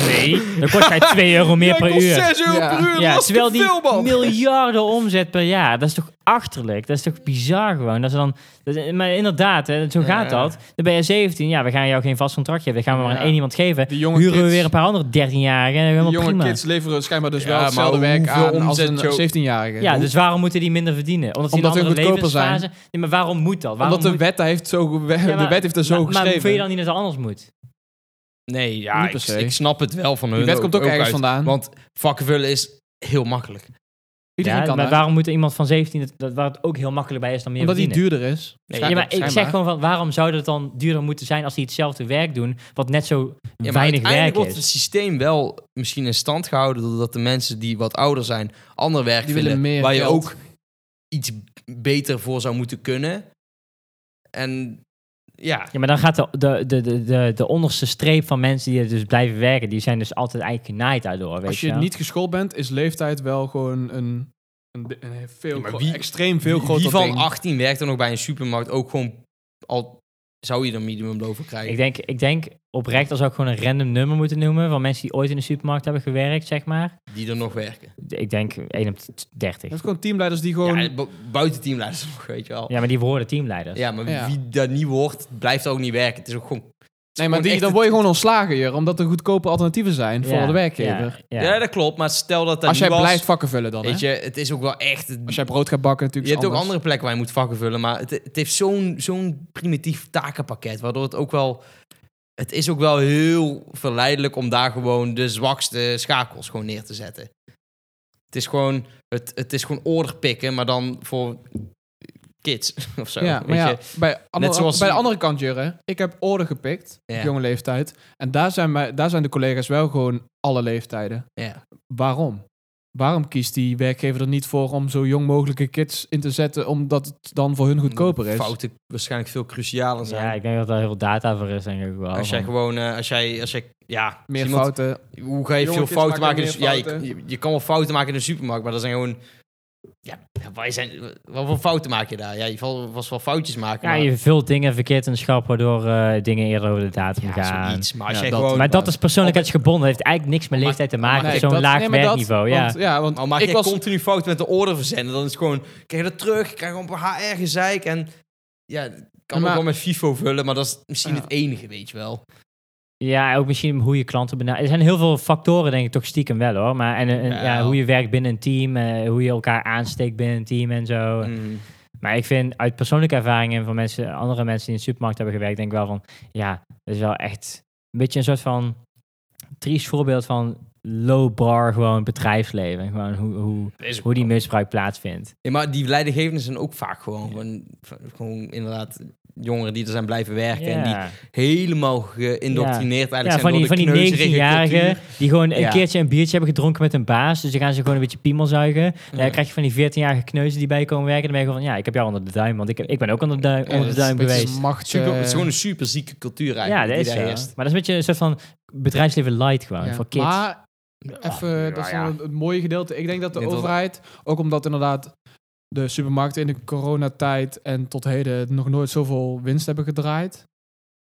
Speaker 2: Nee, dan kost hij 2 euro meer per uur.
Speaker 1: 6 euro
Speaker 3: Ja.
Speaker 1: per uur,
Speaker 2: Ja,
Speaker 1: dat is
Speaker 2: terwijl
Speaker 1: te
Speaker 2: die
Speaker 1: veel, man.
Speaker 2: miljarden omzet per jaar, dat is toch achterlijk? Dat is toch bizar gewoon? Dat ze dan, dat is- maar inderdaad, hè, zo
Speaker 1: Ja.
Speaker 2: gaat dat. Dan ben je 17, ja, we gaan jou geen vast contract geven. Dan gaan we maar
Speaker 3: Ja.
Speaker 2: aan één iemand geven.
Speaker 3: Die jonge
Speaker 2: Huren we
Speaker 3: kids-
Speaker 2: weer een paar andere 13-jarigen en
Speaker 3: Die
Speaker 2: helemaal
Speaker 3: jonge
Speaker 2: prima.
Speaker 3: kids leveren schijnbaar dus
Speaker 1: Ja,
Speaker 3: wel
Speaker 1: maar
Speaker 3: hetzelfde werk
Speaker 1: hoeveel
Speaker 3: aan als
Speaker 1: omzet
Speaker 3: een
Speaker 1: zo-
Speaker 3: 17-jarige.
Speaker 2: Ja, dus waarom moeten die minder verdienen? Omdat, die
Speaker 3: Omdat
Speaker 2: in
Speaker 3: hun
Speaker 2: een andere
Speaker 3: goedkoper zijn.
Speaker 2: levensfase... Nee, maar waarom moet dat? Waarom
Speaker 3: Omdat de
Speaker 2: moet-
Speaker 3: wet, daar heeft zo, ge-
Speaker 2: Ja, maar-
Speaker 3: de wet heeft er zo
Speaker 2: maar, maar
Speaker 3: geschreven.
Speaker 2: vind je dan niet dat het anders moet?
Speaker 1: Nee, ja,
Speaker 3: Niet
Speaker 1: ik,
Speaker 3: per se.
Speaker 1: ik snap het wel van hun.
Speaker 3: die wet komt ook, ergens
Speaker 1: uit.
Speaker 3: vandaan.
Speaker 1: Want vakken vullen is heel makkelijk.
Speaker 3: Iedereen
Speaker 2: ja,
Speaker 3: kan
Speaker 2: maar
Speaker 3: dat.
Speaker 2: waarom moet er iemand van 17, dat- dat, waar het ook heel makkelijk bij is, dan meer
Speaker 3: Omdat die
Speaker 2: verdienen?
Speaker 3: duurder is.
Speaker 1: Nee,
Speaker 2: Ja, maar ik
Speaker 3: Schijnbaar.
Speaker 2: zeg gewoon van waarom zou dat dan duurder moeten zijn als die hetzelfde werk doen, wat net zo
Speaker 1: Ja, maar
Speaker 2: weinig
Speaker 1: uiteindelijk
Speaker 2: werk
Speaker 1: wordt
Speaker 2: is?
Speaker 1: het dus- systeem wel misschien in stand gehouden doordat de mensen die wat ouder zijn ander werk
Speaker 3: Die willen
Speaker 1: vinden
Speaker 3: meer
Speaker 1: waar je
Speaker 3: geld.
Speaker 1: ook iets beter voor zou moeten kunnen. En ja.
Speaker 2: Ja, maar dan gaat de, de, de, de, de, de onderste streep van mensen die er dus blijven werken, die zijn dus altijd eigenlijk genaaid daardoor. Weet
Speaker 3: Als je
Speaker 2: wel.
Speaker 3: niet geschoold bent, is leeftijd wel gewoon een, een, een veel,
Speaker 1: Ja, maar
Speaker 3: gro-
Speaker 1: wie-
Speaker 3: extreem veel groter
Speaker 1: Wie van
Speaker 3: ding.
Speaker 1: 18 werkt er nog bij een supermarkt ook gewoon al zou je er minimum voor krijgen?
Speaker 2: Ik denk, ik denk oprecht, als ik gewoon een random nummer moeten noemen van mensen die ooit in de supermarkt hebben gewerkt, zeg maar.
Speaker 1: Die er nog werken.
Speaker 2: Ik denk 1 op t- 30.
Speaker 3: Je hebt gewoon teamleiders die gewoon...
Speaker 1: Ja, bu- buiten teamleiders *laughs* nog, weet je wel. Ja,
Speaker 2: Ja, maar die worden teamleiders.
Speaker 1: maar
Speaker 3: Ja.
Speaker 1: wie dat niet wordt, blijft ook niet werken. Het is ook gewoon...
Speaker 3: nee, maar die, dan word je gewoon ontslagen hier, omdat er goedkope alternatieven zijn voor
Speaker 2: Ja,
Speaker 3: de werkgever.
Speaker 2: Ja,
Speaker 1: Ja.
Speaker 2: ja.
Speaker 1: dat klopt. Maar stel dat dat
Speaker 3: Als jij
Speaker 1: niet was,
Speaker 3: blijft vakken vullen dan, hè?
Speaker 1: Weet je, het is ook wel echt...
Speaker 3: Als jij brood gaat bakken
Speaker 1: Je
Speaker 3: natuurlijk
Speaker 1: hebt
Speaker 3: is
Speaker 1: ook
Speaker 3: anders.
Speaker 1: andere plekken waar je moet vakken vullen, maar het, het heeft zo'n zo'n primitief takenpakket, waardoor het ook wel... Het is ook wel heel verleidelijk om daar gewoon de zwakste schakels gewoon neer te zetten. Het is gewoon, het, het is gewoon order pikken, maar dan voor kids *laughs* of zo.
Speaker 3: Ja,
Speaker 1: weet
Speaker 3: maar ja,
Speaker 1: je.
Speaker 3: bij, andere,
Speaker 1: zoals-
Speaker 3: bij de andere kant, Jurre, ik heb orde gepikt
Speaker 1: Ja.
Speaker 3: op jonge leeftijd. En daar zijn, mij, daar zijn de collega's wel gewoon alle leeftijden.
Speaker 1: Ja.
Speaker 3: Waarom? Waarom kiest die werkgever er niet voor om zo jong mogelijke kids in te zetten, omdat het dan voor hun goedkoper is?
Speaker 1: Fouten waarschijnlijk veel crucialer zijn.
Speaker 2: ik denk dat daar heel veel data voor is, denk ik ook wel.
Speaker 1: als jij
Speaker 2: van-
Speaker 1: gewoon, eh, als jij, als jij, ja,
Speaker 3: Meer
Speaker 1: als iemand-
Speaker 3: fouten.
Speaker 1: Hoe ga je
Speaker 3: Jonge
Speaker 1: veel
Speaker 3: kids
Speaker 1: fouten
Speaker 3: maken
Speaker 1: maken? Dus,
Speaker 3: meer
Speaker 1: ja, je,
Speaker 3: fouten.
Speaker 1: je, je kan wel fouten maken in de supermarkt, maar dat zijn gewoon. Ja, wij zijn. Wat voor fouten maak je daar? Ja, je zal vast wel foutjes maken.
Speaker 2: Ja,
Speaker 1: maar,
Speaker 2: je vult dingen verkeerd in de schap, waardoor eh, dingen eerder over de datum
Speaker 1: ja,
Speaker 2: gaan.
Speaker 1: zoiets. Maar als
Speaker 3: Ja,
Speaker 1: jij
Speaker 3: dat-
Speaker 1: gewoon.
Speaker 2: Maar dat is persoonlijkheidsgebonden. heeft eigenlijk niks met
Speaker 1: Maar-
Speaker 2: leeftijd te
Speaker 1: maar-
Speaker 2: maken.
Speaker 1: nee,
Speaker 2: op Zo'n
Speaker 3: dat-
Speaker 2: laag
Speaker 3: nee, maar dat-
Speaker 2: werkniveau, ja.
Speaker 3: Want, ja, want
Speaker 1: al Oh, maak
Speaker 3: ik
Speaker 1: ik
Speaker 3: was...
Speaker 1: continu fouten met de order verzenden, dan is het gewoon. Krijg je dat terug? Krijg je op HR gezeik? En ja, het kan
Speaker 3: Maar-
Speaker 1: ook wel met FIFO vullen, maar dat is misschien
Speaker 3: Ja.
Speaker 1: het enige, weet je wel.
Speaker 2: Ja, ook misschien hoe je klanten benadert. Er zijn heel veel factoren, denk ik, toch stiekem wel hoor. Maar en, en- ja,
Speaker 1: Wel.
Speaker 2: hoe je werkt binnen een team, eh, hoe je elkaar aansteekt binnen een team en zo.
Speaker 1: Mm.
Speaker 2: Maar ik vind uit persoonlijke ervaringen van mensen, andere mensen die in de supermarkt hebben gewerkt, denk ik wel van, ja, dat is wel echt een beetje een soort van triest voorbeeld van low bar gewoon bedrijfsleven. Gewoon hoe, hoe,
Speaker 1: Is ook
Speaker 2: hoe die
Speaker 1: wel.
Speaker 2: misbruik plaatsvindt.
Speaker 1: Ja, maar die leidinggevenden zijn ook vaak gewoon, gewoon, gewoon inderdaad jongeren die er zijn blijven werken en die
Speaker 2: Ja.
Speaker 1: helemaal geïndoctrineerd eigenlijk
Speaker 2: Ja,
Speaker 1: zijn
Speaker 2: van die,
Speaker 1: door
Speaker 2: van
Speaker 1: de
Speaker 2: die
Speaker 1: kneuterige
Speaker 2: 19-jarigen
Speaker 1: cultuur.
Speaker 2: die gewoon een
Speaker 1: Ja.
Speaker 2: keertje een biertje hebben gedronken met een baas. Dus dan gaan ze gewoon een beetje piemel zuigen. En
Speaker 1: Ja.
Speaker 2: dan krijg je van die 14-jarige kneuzen die bij je komen werken. Dan ben je gewoon van, ja, ik heb jou onder de duim. Want ik, heb, ik ben ook onder de duim,
Speaker 3: Ja,
Speaker 2: onder de
Speaker 3: dat is
Speaker 2: duim
Speaker 3: een beetje
Speaker 2: geweest.
Speaker 3: macht,
Speaker 1: Super,
Speaker 3: eh,
Speaker 1: het is gewoon een super zieke cultuur
Speaker 2: Ja,
Speaker 1: eigenlijk.
Speaker 2: dat
Speaker 1: die
Speaker 2: is zo.
Speaker 1: daar
Speaker 2: Maar
Speaker 1: heerst.
Speaker 2: dat is een beetje een soort van bedrijfsleven light gewoon,
Speaker 3: Ja.
Speaker 2: Oh, voor kids.
Speaker 3: Maar
Speaker 2: Oh.
Speaker 3: even, dat is
Speaker 1: ja, ja.
Speaker 3: dan het mooie gedeelte. Ik denk dat de
Speaker 1: Ik denk dat-
Speaker 3: overheid, ook omdat inderdaad de supermarkten in de coronatijd en tot heden nog nooit zoveel winst hebben gedraaid,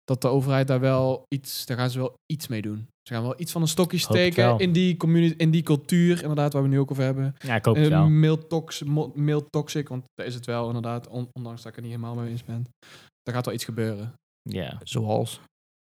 Speaker 3: dat de overheid daar wel iets, daar gaan ze wel iets mee doen. Ze gaan wel iets van een stokje
Speaker 2: Hoop het
Speaker 3: steken
Speaker 2: wel.
Speaker 3: in die, community, in die cultuur, inderdaad, waar we nu ook over hebben.
Speaker 2: ja, ik hoop het
Speaker 1: ehm,
Speaker 2: wel.
Speaker 3: Mail tox- mo- mail toxic, want daar is het wel inderdaad, on- ondanks dat ik er niet helemaal mee eens ben. Daar gaat wel iets gebeuren.
Speaker 2: Ja,
Speaker 1: Zoals.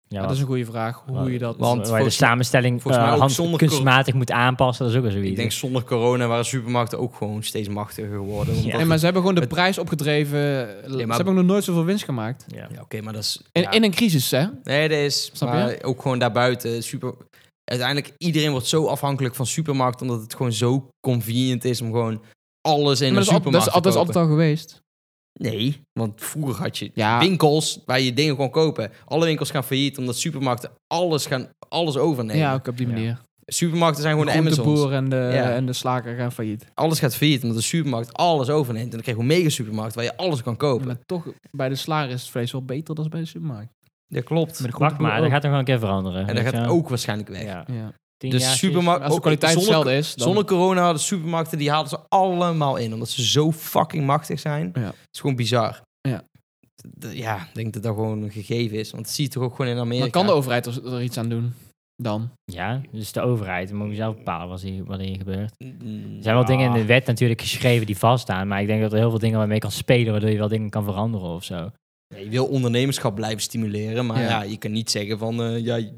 Speaker 2: ja
Speaker 3: Maar dat is een goede vraag, hoe
Speaker 2: Wel,
Speaker 3: je dat...
Speaker 1: want
Speaker 2: want waar je de
Speaker 1: volgens-
Speaker 2: samenstelling
Speaker 1: volgens mij
Speaker 2: eh,
Speaker 1: ook
Speaker 2: hand-
Speaker 1: zonder
Speaker 2: kunstmatig moet aanpassen, dat is ook wel zoiets.
Speaker 1: Ik denk zonder corona waren supermarkten ook gewoon steeds machtiger geworden. omdat-
Speaker 2: Ja.
Speaker 3: Nee, maar ze hebben gewoon de
Speaker 1: Het-
Speaker 3: prijs opgedreven. Ze hebben nog nooit zoveel winst gemaakt.
Speaker 2: ja.
Speaker 1: Ja, oké, maar dat is...
Speaker 3: In,
Speaker 1: ja.
Speaker 3: in een crisis, hè?
Speaker 1: Nee, dat is...
Speaker 3: Snap je?
Speaker 1: maar ook gewoon daarbuiten. Super... Uiteindelijk, iedereen wordt zo afhankelijk van supermarkt omdat het gewoon zo convenient is om gewoon alles in
Speaker 3: maar dat,
Speaker 1: een
Speaker 3: is al- dat,
Speaker 1: supermarkt
Speaker 3: is, al- dat
Speaker 1: te
Speaker 3: is altijd
Speaker 1: kopen.
Speaker 3: al geweest.
Speaker 1: Nee, want vroeger had je
Speaker 3: Ja,
Speaker 1: winkels waar je dingen kon kopen. Alle winkels gaan failliet omdat supermarkten alles, gaan, alles overnemen.
Speaker 3: ja ook op die
Speaker 2: Ja.
Speaker 3: manier.
Speaker 1: Supermarkten zijn
Speaker 3: De
Speaker 1: gewoon de Amazons.
Speaker 3: boer en de,
Speaker 1: Ja.
Speaker 3: en de slager gaan failliet.
Speaker 1: Alles gaat failliet omdat de supermarkt alles overneemt. En dan krijg je een mega supermarkt waar je alles kan kopen.
Speaker 3: Maar toch, bij de slager is het vlees wel beter dan bij de supermarkt.
Speaker 1: dat klopt.
Speaker 3: Met de
Speaker 2: Wacht
Speaker 3: groenteboer
Speaker 2: maar, dat gaat nog wel een keer veranderen.
Speaker 1: En
Speaker 2: weet
Speaker 1: dat
Speaker 2: je
Speaker 1: gaat
Speaker 2: wel.
Speaker 1: ook waarschijnlijk weg.
Speaker 2: Ja.
Speaker 3: Ja.
Speaker 2: Tien
Speaker 1: De
Speaker 2: jaartjes.
Speaker 1: supermarkt...
Speaker 3: Als de
Speaker 1: ook-
Speaker 3: kwaliteit
Speaker 1: zonder,
Speaker 3: hetzelfde is, dan...
Speaker 1: zonder corona hadden supermarkten... die haalden ze allemaal in. Omdat ze zo fucking machtig zijn.
Speaker 3: Ja.
Speaker 1: Het is gewoon bizar.
Speaker 3: Ja.
Speaker 1: D- Ja, ik denk dat dat gewoon een gegeven is. Want dat zie je toch ook gewoon in Amerika.
Speaker 3: maar kan de overheid er, er iets aan doen? Dan.
Speaker 2: Ja, dus de overheid dan moet je zelf bepalen wat hier, wat hier gebeurt.
Speaker 1: Mm,
Speaker 2: Er zijn wel
Speaker 1: ja.
Speaker 2: dingen in de wet natuurlijk geschreven die vaststaan, maar ik denk dat er heel veel dingen waarmee je kan spelen, waardoor je wel dingen kan veranderen of zo.
Speaker 1: Ja, je wil ondernemerschap blijven stimuleren. Maar
Speaker 3: Ja.
Speaker 1: ja, je kan niet zeggen van... eh, ja,
Speaker 3: Je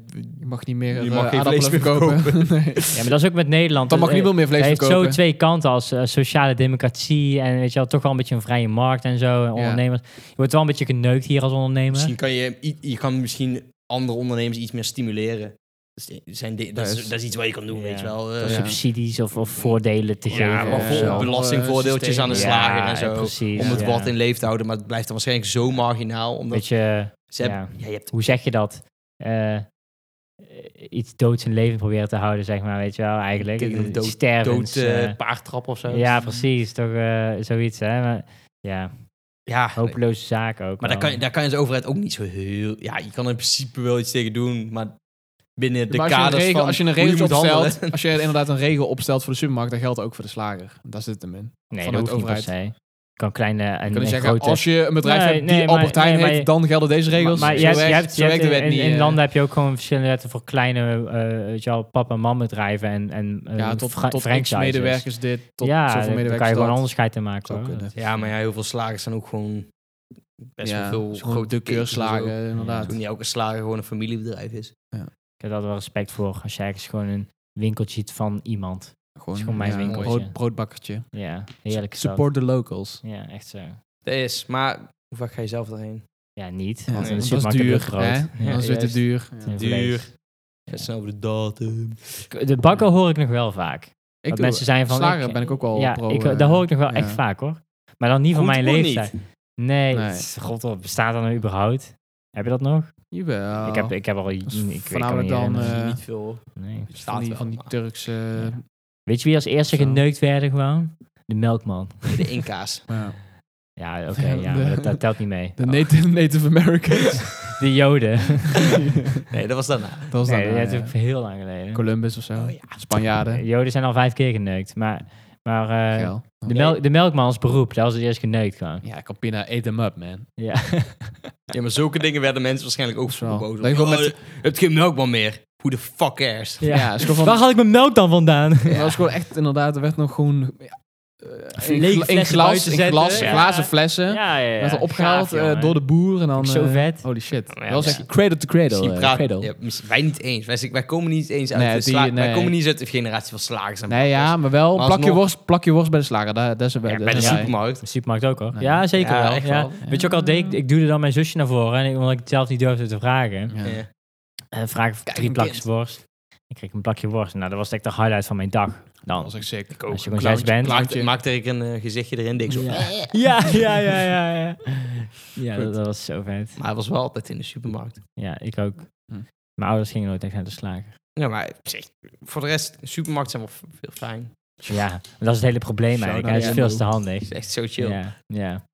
Speaker 3: mag niet meer
Speaker 1: Je
Speaker 3: eh,
Speaker 1: mag geen
Speaker 3: aardappelen
Speaker 1: vlees meer
Speaker 3: verkopen. *laughs* nee.
Speaker 2: Ja, maar dat is ook met Nederland.
Speaker 3: Dan mag
Speaker 2: Eh,
Speaker 3: niemand meer vlees
Speaker 2: hij heeft
Speaker 3: verkopen.
Speaker 2: zo twee kanten als eh, sociale democratie en weet je wel, toch wel een beetje een vrije markt en zo. En ondernemers. Je wordt wel een beetje geneukt hier als ondernemer.
Speaker 1: Misschien kan je, i- je kan misschien andere ondernemers iets meer stimuleren. Dat is, zijn di- dat
Speaker 3: Dat
Speaker 1: is,
Speaker 3: is-
Speaker 1: dat is iets wat je kan doen,
Speaker 2: Ja.
Speaker 1: weet je wel. eh.
Speaker 3: Dat is-
Speaker 1: ja.
Speaker 2: Subsidies of, of voordelen te geven.
Speaker 1: maar
Speaker 2: of
Speaker 1: vol
Speaker 2: zo.
Speaker 3: bijvoorbeeld
Speaker 1: belastingvoordeeltjes aan de
Speaker 3: Ja,
Speaker 1: slager en
Speaker 2: eh, ja,
Speaker 1: zo.
Speaker 2: precies,
Speaker 1: om het
Speaker 2: ja.
Speaker 1: wat in leef te houden, maar het blijft dan waarschijnlijk zo marginaal. Omdat
Speaker 2: Beetje,
Speaker 1: ze hebben, ja. je hebt
Speaker 2: hoe zeg je dat? Eh, eh, iets doods in leven proberen te houden, zeg maar, weet je wel, eigenlijk.
Speaker 1: Tegen een dood-
Speaker 2: Stervens,
Speaker 1: dood eh,
Speaker 2: eh,
Speaker 1: paardtrap of zo.
Speaker 2: Ja, precies. Toch eh, zoiets, hè? Maar, ja.
Speaker 1: Ja,
Speaker 2: Hopeloze zaak ook.
Speaker 1: maar daar
Speaker 2: wel.
Speaker 1: kan, je- daar kan je als overheid ook niet zo heel... Ja, je kan in principe wel iets tegen doen, maar binnen de
Speaker 3: Maar als je een
Speaker 1: kaders
Speaker 3: regel-
Speaker 1: van
Speaker 3: als je een
Speaker 1: hoe
Speaker 3: regel
Speaker 1: moet handelen. *laughs*
Speaker 3: opstelt, als je inderdaad een regel opstelt voor de supermarkt, dan geldt dat ook voor de slager. Daar zit het hem in.
Speaker 2: Nee,
Speaker 3: van
Speaker 2: dat
Speaker 3: de
Speaker 2: hoeft niet per se. Kan kleine en,
Speaker 3: Je kan niet
Speaker 2: en
Speaker 3: zeggen,
Speaker 2: grote...
Speaker 3: als je een bedrijf
Speaker 2: Nee,
Speaker 3: hebt die
Speaker 2: nee, maar-
Speaker 3: Albert Heijn
Speaker 2: nee, maar
Speaker 3: heet,
Speaker 2: je-
Speaker 3: dan gelden deze regels.
Speaker 2: Maar
Speaker 3: Zo
Speaker 2: je hebt,
Speaker 3: werkt-
Speaker 2: je hebt,
Speaker 3: zo
Speaker 2: je hebt
Speaker 3: werkt de wet
Speaker 2: in,
Speaker 3: niet,
Speaker 2: in
Speaker 3: eh.
Speaker 2: landen heb je ook gewoon verschillende wetten voor kleine, eh weet je wel, pap- en mammedrijven en, en eh,
Speaker 3: ja, tot,
Speaker 2: fra-
Speaker 3: tot x
Speaker 2: franchises.
Speaker 3: medewerkers dit, tot
Speaker 2: ja,
Speaker 3: zoveel
Speaker 2: daar- daar
Speaker 3: medewerkers
Speaker 2: kan je gewoon een
Speaker 3: dat.
Speaker 2: onderscheid in maken.
Speaker 3: Zou
Speaker 2: hoor.
Speaker 3: kunnen.
Speaker 2: Dat-
Speaker 1: Ja, maar ja, heel veel slagers zijn ook gewoon best wel
Speaker 3: Ja, zo'n
Speaker 1: veel grote
Speaker 3: de
Speaker 1: dus
Speaker 3: keurslagen, inderdaad.
Speaker 1: Toen niet elke slager gewoon een familiebedrijf is.
Speaker 2: Ik heb daar wel respect voor als je ergens gewoon een winkeltje ziet van iemand. is gewoon mijn
Speaker 3: een
Speaker 2: winkeltje.
Speaker 3: brood, broodbakkertje.
Speaker 2: Ja, heerlijk is dat.
Speaker 3: Support the locals.
Speaker 2: Ja, echt zo.
Speaker 1: Dat is, maar hoe vaak ga je zelf erheen?
Speaker 2: Ja, niet.
Speaker 3: Ja,
Speaker 2: Want in de
Speaker 3: want dat
Speaker 2: supermarkt
Speaker 3: is
Speaker 2: heb je
Speaker 3: duur.
Speaker 2: ook brood.
Speaker 3: hè?
Speaker 2: Ja,
Speaker 3: dan is het te
Speaker 2: juist.
Speaker 3: duur.
Speaker 2: En
Speaker 1: Duur.
Speaker 2: vlees.
Speaker 1: Ga snel over de datum.
Speaker 2: De bakker hoor ik nog wel vaak.
Speaker 3: Ik
Speaker 2: dat mensen zijn van...
Speaker 3: slager ben ik ook wel
Speaker 2: ja,
Speaker 3: pro,
Speaker 2: ik,
Speaker 3: eh,
Speaker 2: dat hoor ik nog wel
Speaker 3: ja.
Speaker 2: echt vaak hoor. Maar dan niet van
Speaker 1: Goed
Speaker 2: mijn
Speaker 1: of niet?
Speaker 2: leeftijd. Nee,
Speaker 3: Nee.
Speaker 2: het is- god, wat bestaat dat nou überhaupt? Heb je dat nog?
Speaker 3: Jawel.
Speaker 2: ik, heb, ik heb al... Ik,
Speaker 3: Oh. is
Speaker 2: ik
Speaker 3: voornamelijk
Speaker 2: kan me niet
Speaker 3: dan,
Speaker 1: Dat
Speaker 2: herinneren.
Speaker 1: is
Speaker 3: eh,
Speaker 1: niet veel. hoor.
Speaker 2: nee.
Speaker 1: Staat
Speaker 3: van die,
Speaker 1: wel,
Speaker 3: van die
Speaker 1: maar-
Speaker 3: Turkse...
Speaker 2: Ja. Weet je wie als eerste
Speaker 3: Zo.
Speaker 2: geneukt werden gewoon? De melkman.
Speaker 1: De inka's.
Speaker 3: ja.
Speaker 2: *laughs* Ja, oké, ja, maar dat, dat telt niet mee.
Speaker 3: De Native, Native Americans.
Speaker 2: De
Speaker 3: *laughs*
Speaker 2: joden.
Speaker 1: *laughs* Nee, dat was daarna.
Speaker 3: dat was dan,
Speaker 2: nee,
Speaker 3: eh,
Speaker 2: dat is ook heel lang geleden.
Speaker 3: Columbus of zo.
Speaker 1: Oh ja.
Speaker 3: Spanjaarden.
Speaker 2: Joden zijn al vijf keer geneukt, maar... maar eh,
Speaker 3: Geil.
Speaker 2: de, melk, de melkman als beroep, dat was het eerst geneukt gewoon.
Speaker 3: Ja, Campina, eat them up, man.
Speaker 2: Ja. *laughs*
Speaker 1: Ja, maar zulke dingen werden mensen waarschijnlijk ook
Speaker 3: Zo.
Speaker 1: zo boos.
Speaker 3: Dat je gewoon
Speaker 1: Oh,
Speaker 3: met-
Speaker 1: je hebt geen melkman meer. Who the fuck cares?
Speaker 2: Ja.
Speaker 3: Ja, is gewoon van-
Speaker 2: Waar haal ik mijn melk dan vandaan?
Speaker 3: Dat was gewoon echt, inderdaad, er werd nog gewoon... ja, eh, in,
Speaker 2: Lege
Speaker 3: gla- in
Speaker 2: flessen
Speaker 3: glas,
Speaker 2: buiten
Speaker 3: in
Speaker 2: zetten.
Speaker 3: glas,
Speaker 2: Ja.
Speaker 3: glazen flessen.
Speaker 2: Ja, ja, ja.
Speaker 3: werd er opgehaald
Speaker 2: Gaaf,
Speaker 3: eh,
Speaker 2: jongen.
Speaker 3: door de boer en dan...
Speaker 2: Zo
Speaker 3: eh,
Speaker 2: vet.
Speaker 3: Holy shit.
Speaker 2: Ja,
Speaker 3: dat was
Speaker 2: ja.
Speaker 3: echt cradle to cradle.
Speaker 1: Misschien
Speaker 3: eh,
Speaker 1: praten
Speaker 3: cradle.
Speaker 1: ja, misschien- wij niet eens. Wij, wij komen niet eens uit
Speaker 3: Nee,
Speaker 1: de
Speaker 3: die-
Speaker 1: sla- Wij
Speaker 3: nee.
Speaker 1: komen niet eens uit de generatie van slagers en
Speaker 3: Nee, ja,
Speaker 1: bakkers.
Speaker 3: maar wel.
Speaker 1: Maar
Speaker 3: plak, je
Speaker 1: alsnog-
Speaker 3: worst, plak je worst bij de slager. Daar, daar zijn we.
Speaker 1: Ja,
Speaker 3: daar
Speaker 1: bij de
Speaker 3: zijn wij.
Speaker 1: supermarkt.
Speaker 2: De supermarkt ook hoor.
Speaker 3: Nee.
Speaker 2: Nou, Ja, zeker
Speaker 1: Ja,
Speaker 2: wel.
Speaker 1: echt
Speaker 2: ja.
Speaker 1: wel.
Speaker 2: Weet je ook al, deed ik, ik duwde dan mijn zusje naar voren, en ik, omdat ik het zelf niet durfde te vragen.
Speaker 3: Ja.
Speaker 1: Ja.
Speaker 2: En Eh, vraag ik voor
Speaker 1: Kijk,
Speaker 2: drie
Speaker 1: een
Speaker 2: plakjes
Speaker 1: kind.
Speaker 2: worst. Ik kreeg een plakje worst. Nou, dat was echt de highlight van mijn dag.
Speaker 3: Dat
Speaker 2: Dan.
Speaker 3: was echt sick.
Speaker 2: Als je
Speaker 1: Ook.
Speaker 2: gewoon zes bent.
Speaker 1: Maakt, maakte ik een eh, gezichtje erin, dik zo.
Speaker 2: Ja. *laughs* Ja, ja, ja, ja. Ja, *laughs* ja dat, dat was zo vet.
Speaker 1: Maar hij was wel altijd in de supermarkt.
Speaker 2: Ja, ik ook.
Speaker 3: Hm.
Speaker 2: Mijn ouders gingen nooit echt naar de slager.
Speaker 1: Ja, maar op zich, voor de rest, supermarkten zijn wel veel fijn.
Speaker 2: Ja, maar dat is het hele probleem
Speaker 3: Shout-out
Speaker 2: eigenlijk. Hij is
Speaker 3: Jumbo.
Speaker 2: veel te handig.
Speaker 1: Het is echt zo chill.
Speaker 2: Ja, ja.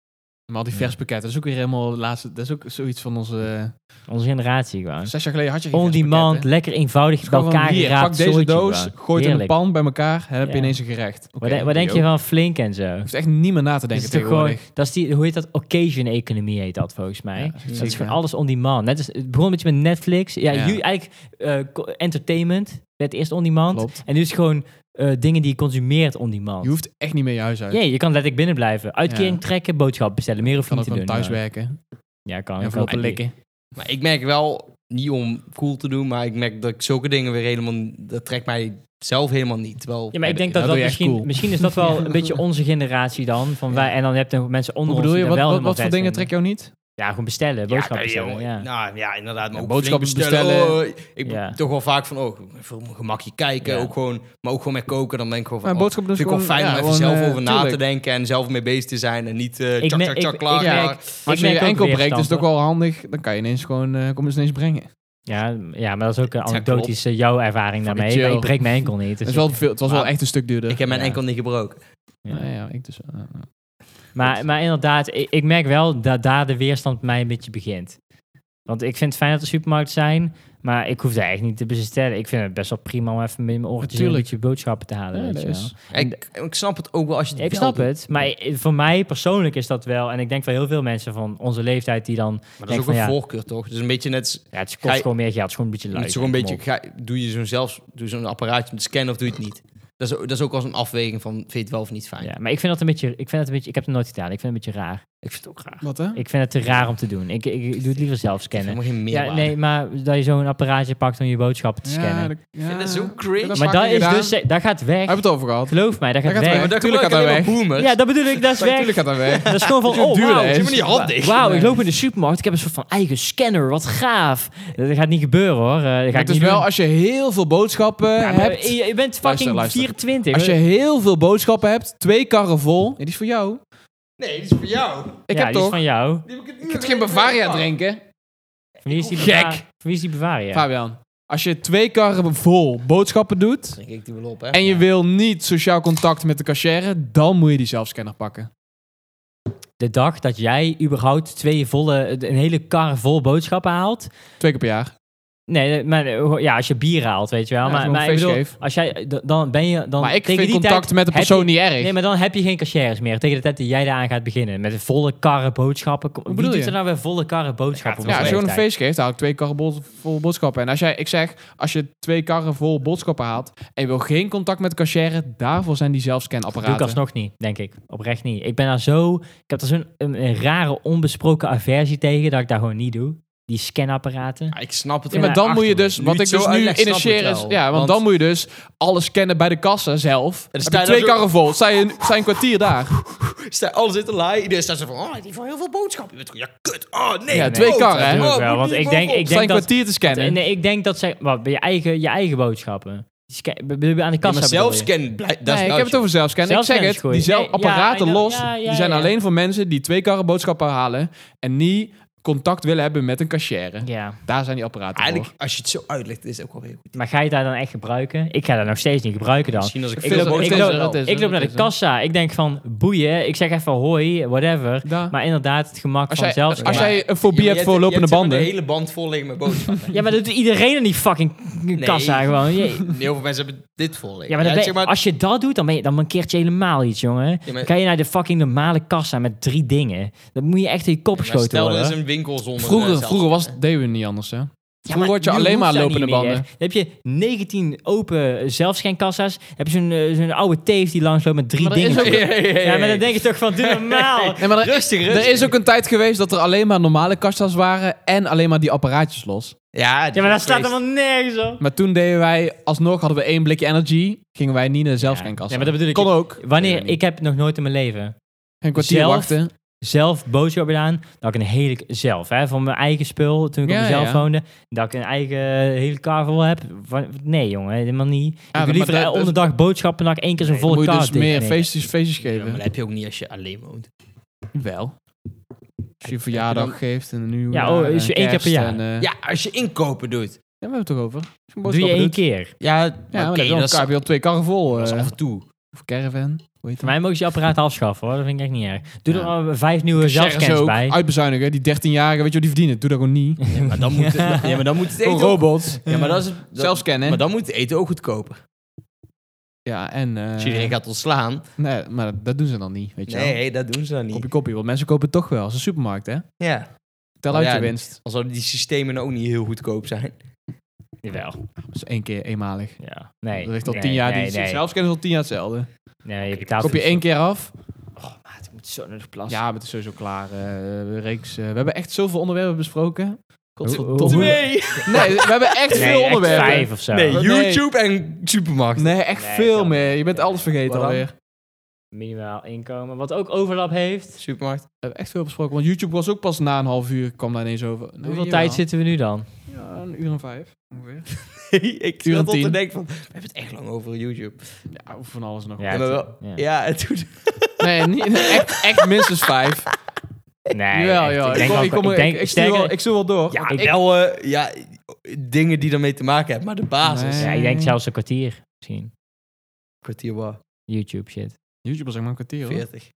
Speaker 3: Maar al
Speaker 2: Ja.
Speaker 3: die verspakketten, dat is ook weer helemaal de laatste. Dat is ook zoiets van onze. eh,
Speaker 2: Onze generatie gewoon.
Speaker 3: zes jaar geleden had je geen
Speaker 2: On demand,
Speaker 3: verspakketten.
Speaker 2: lekker eenvoudig bij
Speaker 3: Gewoon van,
Speaker 2: elkaar
Speaker 3: hier,
Speaker 2: geraapt.
Speaker 3: Pak deze
Speaker 2: soortje
Speaker 3: doos,
Speaker 2: gewoon.
Speaker 3: gooi het in een
Speaker 2: Heerlijk.
Speaker 3: pan bij elkaar en heb je
Speaker 2: Ja.
Speaker 3: ineens een gerecht. Oké,
Speaker 2: Wat, de- wat denk je
Speaker 3: yo.
Speaker 2: van flink en zo?
Speaker 3: Je hoeft echt niet meer na te denken
Speaker 2: is toch gewoon,
Speaker 3: tegenwoordig.
Speaker 2: dat is die, hoe heet dat? Occasion-economie heet dat volgens mij.
Speaker 3: Ja,
Speaker 2: dat is
Speaker 3: zeker.
Speaker 2: gewoon alles on demand. Net als, het begon een beetje met Netflix. Ja,
Speaker 3: Ja.
Speaker 2: ju- eigenlijk eh, co- entertainment werd eerst on demand.
Speaker 3: Klopt.
Speaker 2: En nu is het gewoon eh, dingen die je consumeert on demand.
Speaker 3: Je hoeft echt niet meer je huis uit.
Speaker 2: Ja, je kan letterlijk binnen blijven. Uitkering
Speaker 3: Ja.
Speaker 2: trekken, boodschap bestellen. Meer hoef
Speaker 3: Je
Speaker 2: je
Speaker 3: kan
Speaker 2: niet
Speaker 3: ook
Speaker 2: te
Speaker 3: gewoon
Speaker 2: doen.
Speaker 3: thuiswerken.
Speaker 2: Ja, kan.
Speaker 3: En
Speaker 2: kan
Speaker 3: verlopen
Speaker 2: ook.
Speaker 3: likken.
Speaker 1: Maar ik merk wel, niet om cool te doen, maar ik merk dat ik zulke dingen weer helemaal, dat trekt mij zelf helemaal niet. Terwijl,
Speaker 2: Ja, maar ik denk
Speaker 3: dat
Speaker 2: dat
Speaker 3: doe
Speaker 2: dat
Speaker 3: je echt
Speaker 2: misschien...
Speaker 3: cool.
Speaker 2: Misschien is dat
Speaker 3: *laughs*
Speaker 2: wel een beetje onze generatie dan. Van
Speaker 3: Ja.
Speaker 2: wij, en dan heb je mensen onder
Speaker 3: Hoe bedoel
Speaker 2: ons
Speaker 3: je,
Speaker 2: die dat
Speaker 3: wat,
Speaker 2: wel
Speaker 3: wat,
Speaker 2: helemaal
Speaker 3: wat voor
Speaker 2: vet
Speaker 3: dingen trek
Speaker 2: vinden.
Speaker 3: jou niet?
Speaker 2: Ja, gewoon bestellen. Boodschappen
Speaker 1: ja,
Speaker 2: bestellen.
Speaker 1: joh,
Speaker 2: Ja.
Speaker 1: Nou ja, inderdaad. Maar
Speaker 3: Ja,
Speaker 1: ook
Speaker 3: boodschappen
Speaker 1: flink bestellen.
Speaker 3: bestellen.
Speaker 1: Oh, ik ben
Speaker 2: Ja.
Speaker 1: toch wel vaak van, oh, even op mijn gemakje kijken.
Speaker 2: Ja.
Speaker 1: Ook gewoon, maar ook gewoon met koken. Dan denk ik gewoon van, oh,
Speaker 3: Mijn boodschap doen is
Speaker 1: vind ik wel
Speaker 3: gewoon...
Speaker 1: fijn
Speaker 3: ja,
Speaker 1: om even
Speaker 3: gewoon,
Speaker 1: zelf
Speaker 3: eh,
Speaker 1: over na te
Speaker 3: tuurlijk.
Speaker 1: denken. En zelf mee bezig te zijn. En niet eh
Speaker 2: Ik
Speaker 1: tjak,
Speaker 2: me-
Speaker 1: tjak, tjak,
Speaker 2: ik-
Speaker 1: klaar.
Speaker 2: ik
Speaker 1: klaar.
Speaker 2: merk-
Speaker 3: Als je
Speaker 2: merk
Speaker 3: je
Speaker 2: ook
Speaker 3: enkel breekt,
Speaker 2: weerstand,
Speaker 3: is het ook
Speaker 2: hoor.
Speaker 3: wel handig. Dan kan je ineens gewoon... eh kom eens ineens brengen.
Speaker 2: Ja, ja, maar dat is ook een
Speaker 1: Ja, klopt.
Speaker 2: anekdotische jouw ervaring
Speaker 3: Fucking
Speaker 2: daarmee. Maar
Speaker 3: chill.
Speaker 2: ik breek mijn enkel niet.
Speaker 3: Het,
Speaker 2: dus
Speaker 3: is wel
Speaker 2: ik-
Speaker 3: veel, het was wel
Speaker 1: Maar-
Speaker 3: echt een stuk duurder.
Speaker 1: Ik heb mijn
Speaker 2: Ja.
Speaker 1: enkel niet gebroken.
Speaker 2: Ja.
Speaker 3: Ja, ja, ik dus. eh, eh.
Speaker 2: maar, maar inderdaad, ik, ik merk wel dat daar de weerstand bij mij een beetje begint. Want ik vind het fijn dat er supermarkten zijn, maar ik hoef daar echt niet te bestellen. Ik vind het best wel prima om even met mijn oortjes een
Speaker 3: Tuurlijk.
Speaker 2: beetje boodschappen te halen.
Speaker 3: Ja,
Speaker 2: weet
Speaker 3: dat
Speaker 2: je wel.
Speaker 3: is-
Speaker 2: En-
Speaker 1: Ik, ik snap het ook wel als je het
Speaker 2: Ik
Speaker 1: wel
Speaker 2: snap
Speaker 1: doet.
Speaker 2: het, maar i- voor mij persoonlijk is dat wel, en ik denk wel heel veel mensen van onze leeftijd die dan,
Speaker 1: Maar dat
Speaker 2: Denk
Speaker 1: is ook
Speaker 2: van,
Speaker 1: een
Speaker 2: ja.
Speaker 1: voorkeur, toch? Dus een beetje net... als-
Speaker 2: ja, het is-
Speaker 1: Ga
Speaker 2: kost
Speaker 1: je-
Speaker 2: gewoon meer geld, het is gewoon een beetje
Speaker 1: Je
Speaker 2: lui.
Speaker 1: moet zo een
Speaker 2: kom
Speaker 1: beetje,
Speaker 2: op.
Speaker 1: ga, doe je zo'n zelfs, doe je zo'n apparaatje om te scannen of doe je het niet? Dat is, ook- dat is ook als een afweging van, vind je het wel of niet fijn?
Speaker 2: Ja, maar ik vind dat een beetje, ik vind dat een beetje, ik heb het nooit gedaan, ik vind het een beetje raar.
Speaker 1: Ik vind het ook graag.
Speaker 3: Wat hè?
Speaker 2: Ik vind het te raar om te doen. Ik, ik, ik doe het liever zelf scannen.
Speaker 1: Helemaal geen
Speaker 2: Ja,
Speaker 1: meerwaarde.
Speaker 2: nee, maar dat je zo'n apparaatje pakt om je boodschappen te scannen.
Speaker 3: dat, ja.
Speaker 1: vind dat zo cringe.
Speaker 3: Ik heb
Speaker 2: maar dat
Speaker 3: vaker
Speaker 2: is
Speaker 3: gedaan.
Speaker 2: dus, dat gaat weg.
Speaker 3: Hebben we het over gehad?
Speaker 2: Geloof mij, dat gaat,
Speaker 3: gaat
Speaker 2: weg.
Speaker 3: weg.
Speaker 1: Maar daar
Speaker 3: Tuurlijk
Speaker 1: tuurlijk
Speaker 3: gaat
Speaker 1: alleen
Speaker 3: hij
Speaker 1: maar boomers.
Speaker 2: Ja, dat bedoel ik, dat is
Speaker 3: Natuurlijk
Speaker 2: weg.
Speaker 3: gaat dat weg.
Speaker 2: Dat is gewoon van,
Speaker 3: Hoe
Speaker 2: oh,
Speaker 3: duur dat is.
Speaker 2: wauw,
Speaker 1: Zie maar niet handig.
Speaker 2: wauw,
Speaker 3: Nee.
Speaker 2: ik loop in de supermarkt, ik heb een soort van eigen scanner, wat gaaf. Dat gaat niet gebeuren hoor, Eh, dat ga ik
Speaker 3: Het is
Speaker 2: niet
Speaker 3: wel
Speaker 2: doen.
Speaker 3: als je heel veel boodschappen
Speaker 2: Ja, maar
Speaker 3: hebt.
Speaker 2: je, je bent fucking
Speaker 3: Luister, luister.
Speaker 2: 24.
Speaker 3: Als je heel veel boodschappen hebt, twee karren vol. Ja, die is voor jou.
Speaker 1: Nee, die is voor jou.
Speaker 3: Ik
Speaker 2: ja, die
Speaker 3: heb
Speaker 2: is
Speaker 3: toch.
Speaker 2: van jou.
Speaker 1: Die heb ik,
Speaker 3: Ik heb geen Bavaria drinken.
Speaker 2: Van wie is die
Speaker 3: Gek.
Speaker 2: Bava- Van wie is die Bavaria?
Speaker 3: Fabian, als je twee karren vol boodschappen doet.
Speaker 1: Drink ik die wel op, hè?
Speaker 3: en je wil niet sociaal contact met de cashier, dan moet je die zelfscanner pakken.
Speaker 2: de dag dat jij überhaupt twee volle, een hele kar vol boodschappen haalt.
Speaker 3: Twee keer per jaar.
Speaker 2: Nee, maar eh, ja, als je bier haalt, weet je wel.
Speaker 3: Ja,
Speaker 2: maar
Speaker 3: als ik nog
Speaker 2: maar
Speaker 3: een
Speaker 2: ik bedoel,
Speaker 3: feestje geef.
Speaker 2: als jij, d- dan ben je... Dan
Speaker 3: Maar ik
Speaker 2: tegen
Speaker 3: vind
Speaker 2: die
Speaker 3: contact
Speaker 2: tijd
Speaker 3: met de
Speaker 2: heb
Speaker 3: persoon
Speaker 2: je-
Speaker 3: niet erg.
Speaker 2: Nee, maar dan heb je geen cashiers meer. Tegen de tijd dat jij daar aan gaat beginnen. Met een volle karren boodschappen. Hoe
Speaker 3: bedoel
Speaker 2: Wie doet
Speaker 3: je?
Speaker 2: er nou weer volle karren boodschappen? op
Speaker 3: ja, als je
Speaker 2: zo'n
Speaker 3: gewoon een
Speaker 2: leeftijd?
Speaker 3: feest geeft, dan haal ik twee karren bol- vol boodschappen. En als jij, ik zeg, als je twee karren vol boodschappen haalt en je wil geen contact met de cashier, daarvoor zijn die
Speaker 2: Dat doe ik
Speaker 3: zelfscanapparaten.
Speaker 2: alsnog niet, denk ik. Oprecht niet. Ik ben daar zo... Ik heb daar zo'n een, een rare, onbesproken aversie tegen... dat ik daar gewoon niet doe. Die scanapparaten.
Speaker 3: Ah,
Speaker 1: Ja, ik snap het.
Speaker 3: Ja, maar
Speaker 1: wel.
Speaker 3: dan moet je
Speaker 1: Achterlijk.
Speaker 3: dus,
Speaker 1: Nu
Speaker 3: wat
Speaker 1: je het
Speaker 3: ik
Speaker 1: zo
Speaker 3: dus nu
Speaker 1: uitlegt, snap ik
Speaker 3: initieer
Speaker 1: het
Speaker 3: is,
Speaker 1: wel.
Speaker 3: ja, want, dan moet je dus alles scannen bij de kassa zelf. Dan
Speaker 1: sta
Speaker 3: heb je
Speaker 1: je
Speaker 3: twee
Speaker 1: daar zo-
Speaker 3: karren vol, sta je, een- sta je een kwartier daar.
Speaker 1: Sta, alles in te laai. Iedereen staat zo van, oh, die voor heel veel boodschappen. Je bent gewoon, ja, kut. Oh, nee.
Speaker 3: Ja,
Speaker 1: nee.
Speaker 3: twee
Speaker 1: Oh,
Speaker 3: karren, hè?
Speaker 1: oh,
Speaker 2: Doe ik wel,
Speaker 1: moet
Speaker 2: want
Speaker 1: die
Speaker 2: ik
Speaker 1: boven
Speaker 2: denk-
Speaker 1: op.
Speaker 2: ik
Speaker 3: Sta je een
Speaker 2: dat-
Speaker 3: kwartier te scannen.
Speaker 2: Nee, ik denk dat zij... Wat, bij je eigen, je eigen boodschappen. Die sca- bedoel je aan de
Speaker 1: Ja,
Speaker 2: kassa
Speaker 1: maar
Speaker 2: bedoel je?
Speaker 1: zelfscan, blij- dat
Speaker 3: nee,
Speaker 1: is nou
Speaker 3: ik heb het over zelfscannen. Ik zeg
Speaker 2: Zelfscannen is
Speaker 3: het,
Speaker 2: goed.
Speaker 3: die zelf
Speaker 2: Nee, ja,
Speaker 3: apparaten
Speaker 2: I know.
Speaker 3: los,
Speaker 2: Ja, ja,
Speaker 3: die zijn
Speaker 2: ja.
Speaker 3: alleen voor mensen die twee karren boodschappen halen en niet contact willen hebben met een cashier.
Speaker 2: Ja,
Speaker 3: Daar zijn die apparaten voor.
Speaker 1: Eigenlijk, als je het zo uitlegt, is het ook wel heel goed.
Speaker 2: maar ga je daar dan echt gebruiken? Ik ga dat nog steeds niet gebruiken dan.
Speaker 1: als ik
Speaker 2: Ik loop- ik
Speaker 1: boodschappen
Speaker 2: loop-
Speaker 1: doe,
Speaker 2: Ik loop naar de kassa. Ik denk van, boeien. Ik zeg even hoi, whatever.
Speaker 3: Daar.
Speaker 2: Maar inderdaad, het gemak
Speaker 3: Als
Speaker 2: van
Speaker 3: jij,
Speaker 2: zelfs...
Speaker 3: als
Speaker 1: maar-
Speaker 3: jij een fobie hebt voor lopende banden.
Speaker 1: de hele band vol liggen met *laughs* boodschappen.
Speaker 2: Ja, maar dat doet iedereen in die fucking kassa gewoon. Je-
Speaker 1: Heel veel mensen hebben dit vol liggen.
Speaker 2: Ja, maar, dan ben-
Speaker 1: zeg maar-
Speaker 2: als je dat doet, dan, ben je, dan mankeert je helemaal iets, jongen.
Speaker 1: Ja, maar-
Speaker 2: Dan kan je naar de fucking normale kassa met drie dingen. Dan moet je echt in je kop
Speaker 1: maar
Speaker 2: geschoten
Speaker 1: Stel,
Speaker 2: worden.
Speaker 1: er is een winkel zonder eh,
Speaker 3: Vroeger,
Speaker 1: zelf-
Speaker 3: vroeger was, deden we niet anders, hè?
Speaker 2: Ja,
Speaker 3: vroeger had je
Speaker 2: nu
Speaker 3: alleen
Speaker 2: hoeft
Speaker 3: maar
Speaker 2: dat
Speaker 3: lopende
Speaker 2: niet meer.
Speaker 3: banden.
Speaker 2: Dan heb je 19 open eh, zelfscankassa's. Dan heb je zo'n eh, zo'n oude teef die langsloopt met drie
Speaker 3: Maar er is
Speaker 2: dingen.
Speaker 3: ook-
Speaker 1: Hey, hey, hey,
Speaker 2: Ja, maar
Speaker 1: hey.
Speaker 2: dan denk je toch van, doe normaal.
Speaker 3: Nee, maar er,
Speaker 1: Rustig,
Speaker 3: er
Speaker 1: rustig.
Speaker 3: is ook een tijd geweest dat er alleen maar normale kassa's waren en alleen maar die apparaatjes los.
Speaker 1: Ja,
Speaker 2: Ja, maar daar staat helemaal nergens op.
Speaker 3: Maar toen deden wij, alsnog hadden we één blikje energy, gingen wij niet naar de zelfscankassa.
Speaker 2: Ja, maar dat bedoel ik.
Speaker 3: Kon ook.
Speaker 2: Wanneer, ik heb nog nooit in mijn leven
Speaker 3: Een kwartier
Speaker 2: zelf-
Speaker 3: wachten.
Speaker 2: zelf boodschappen gedaan. Dat ik een hele, zelf hè, van mijn eigen spul, toen ik
Speaker 3: Ja,
Speaker 2: op mezelf
Speaker 3: ja.
Speaker 2: woonde. Dat ik een eigen eh, hele kar vol heb. Wa- Nee jongen, helemaal niet. ik
Speaker 3: maar
Speaker 2: doe liever
Speaker 3: dat-
Speaker 2: eh,
Speaker 3: dat-
Speaker 2: onderdag boodschappen dan ik één keer zo'n
Speaker 1: Nee, dan
Speaker 2: volle
Speaker 3: moet je
Speaker 2: kar
Speaker 3: dus
Speaker 2: dicht
Speaker 3: meer
Speaker 2: neem.
Speaker 3: feestjes, feestjes
Speaker 1: Ja, maar
Speaker 3: geven.
Speaker 1: dat heb je ook niet als je alleen woont.
Speaker 3: Wel. Als je verjaardag geeft en een nieuwe eh,
Speaker 2: Ja, oh, is je één keer per jaar.
Speaker 3: ja,
Speaker 1: Ja, als je inkopen doet.
Speaker 3: daar hebben we het toch over. Als je een
Speaker 2: Doe je
Speaker 3: boodschap
Speaker 2: één
Speaker 3: doet.
Speaker 2: keer.
Speaker 1: Ja,
Speaker 3: Ja,
Speaker 1: oké,
Speaker 3: maar dan
Speaker 1: dat is
Speaker 3: heb je al twee karren vol.
Speaker 1: dat is
Speaker 3: eh,
Speaker 1: af en toe.
Speaker 3: of caravan. Hoe heet
Speaker 2: Voor
Speaker 3: dat?
Speaker 2: mij mogen ze die apparaten afschaffen hoor, dat vind ik echt niet erg. Doe er
Speaker 3: Ja.
Speaker 2: al eh, vijf nieuwe
Speaker 3: Zeggen ze
Speaker 2: zelfscans
Speaker 3: ook, Ah.
Speaker 2: bij.
Speaker 3: Uitbezuinigen. Die 13-jarigen, weet je wat die verdienen? Doe dat
Speaker 2: *laughs*
Speaker 3: gewoon niet.
Speaker 1: Ja, maar dan moet, ja. maar dan moet het
Speaker 3: Gewoon
Speaker 1: eten ook...
Speaker 3: robots.
Speaker 1: Ja, maar, dat is, dat-
Speaker 3: Zelfscannen.
Speaker 1: maar dan moet het eten ook goedkoper.
Speaker 3: Ja, en... eh,
Speaker 1: Als iedereen gaat ontslaan.
Speaker 3: Nee, maar dat, dat doen ze dan niet, weet je wel.
Speaker 1: Nee, dat doen ze dan niet.
Speaker 3: Kopje kopie, want mensen kopen het toch wel. Als een supermarkt, hè?
Speaker 1: Ja.
Speaker 3: Tel
Speaker 1: Oh,
Speaker 3: uit
Speaker 1: ja,
Speaker 3: je
Speaker 1: die-
Speaker 3: winst.
Speaker 1: Al zouden die systemen nou ook niet heel goedkoop zijn.
Speaker 2: Jawel.
Speaker 3: Dat is één keer eenmalig.
Speaker 2: Ja. Nee.
Speaker 3: dat ligt al
Speaker 2: nee,
Speaker 3: tien jaar.
Speaker 2: nee,
Speaker 3: die
Speaker 2: nee.
Speaker 3: zelfscan is al tien jaar hetzelfde.
Speaker 2: Nee, je betaalt
Speaker 3: Kop je één keer af.
Speaker 1: Ah,
Speaker 2: Oh, maat, ik moet zo naar de plas.
Speaker 3: Ja, maar het is sowieso klaar. eh, reeks, eh, we hebben echt zoveel onderwerpen
Speaker 2: *laughs*
Speaker 3: besproken.
Speaker 2: Hoe- hoe-
Speaker 3: Nee, we hebben echt
Speaker 2: Nee,
Speaker 3: veel
Speaker 2: echt
Speaker 3: onderwerpen.
Speaker 2: vijf of zo.
Speaker 1: Nee,
Speaker 3: Nee.
Speaker 1: YouTube en supermarkt.
Speaker 3: Nee, echt
Speaker 2: Nee,
Speaker 3: veel
Speaker 2: dat-
Speaker 3: meer. Je bent alles vergeten
Speaker 1: Waarom?
Speaker 3: alweer.
Speaker 2: Minimaal inkomen, wat ook overlap heeft.
Speaker 1: Supermarkt.
Speaker 3: We hebben echt veel besproken. Want YouTube was ook pas na een half uur. kwam daar ineens over. Nee,
Speaker 2: Hoeveel
Speaker 3: jawel.
Speaker 2: tijd zitten we nu dan?
Speaker 3: Ja, een uur en vijf. Ongeveer.
Speaker 1: *laughs* ik
Speaker 3: Uur en
Speaker 1: zat al te
Speaker 3: tien.
Speaker 1: denken van, we hebben het echt lang over YouTube.
Speaker 3: Ja, over van alles nog.
Speaker 2: Ja.
Speaker 1: Ja, maar wel,
Speaker 2: ja.
Speaker 1: ja. en toen...
Speaker 3: *laughs* Nee, niet, nee, echt, echt minstens vijf.
Speaker 2: Nee,
Speaker 3: jawel,
Speaker 2: echt,
Speaker 3: jawel.
Speaker 2: Ik denk
Speaker 3: kom-
Speaker 2: wel-
Speaker 3: ik, kom,
Speaker 2: ik denk
Speaker 3: ik, ik, stuur wel,
Speaker 2: sterker-
Speaker 3: ik stuur wel door.
Speaker 1: Ja,
Speaker 2: ik-
Speaker 1: wel, eh, ja, dingen die daarmee te maken hebben, maar de basis.
Speaker 3: Nee.
Speaker 2: ja, ik denk zelfs een kwartier misschien.
Speaker 1: Kwartier was
Speaker 2: YouTube shit.
Speaker 3: YouTube was echt maar een kwartier hoor.
Speaker 1: 40.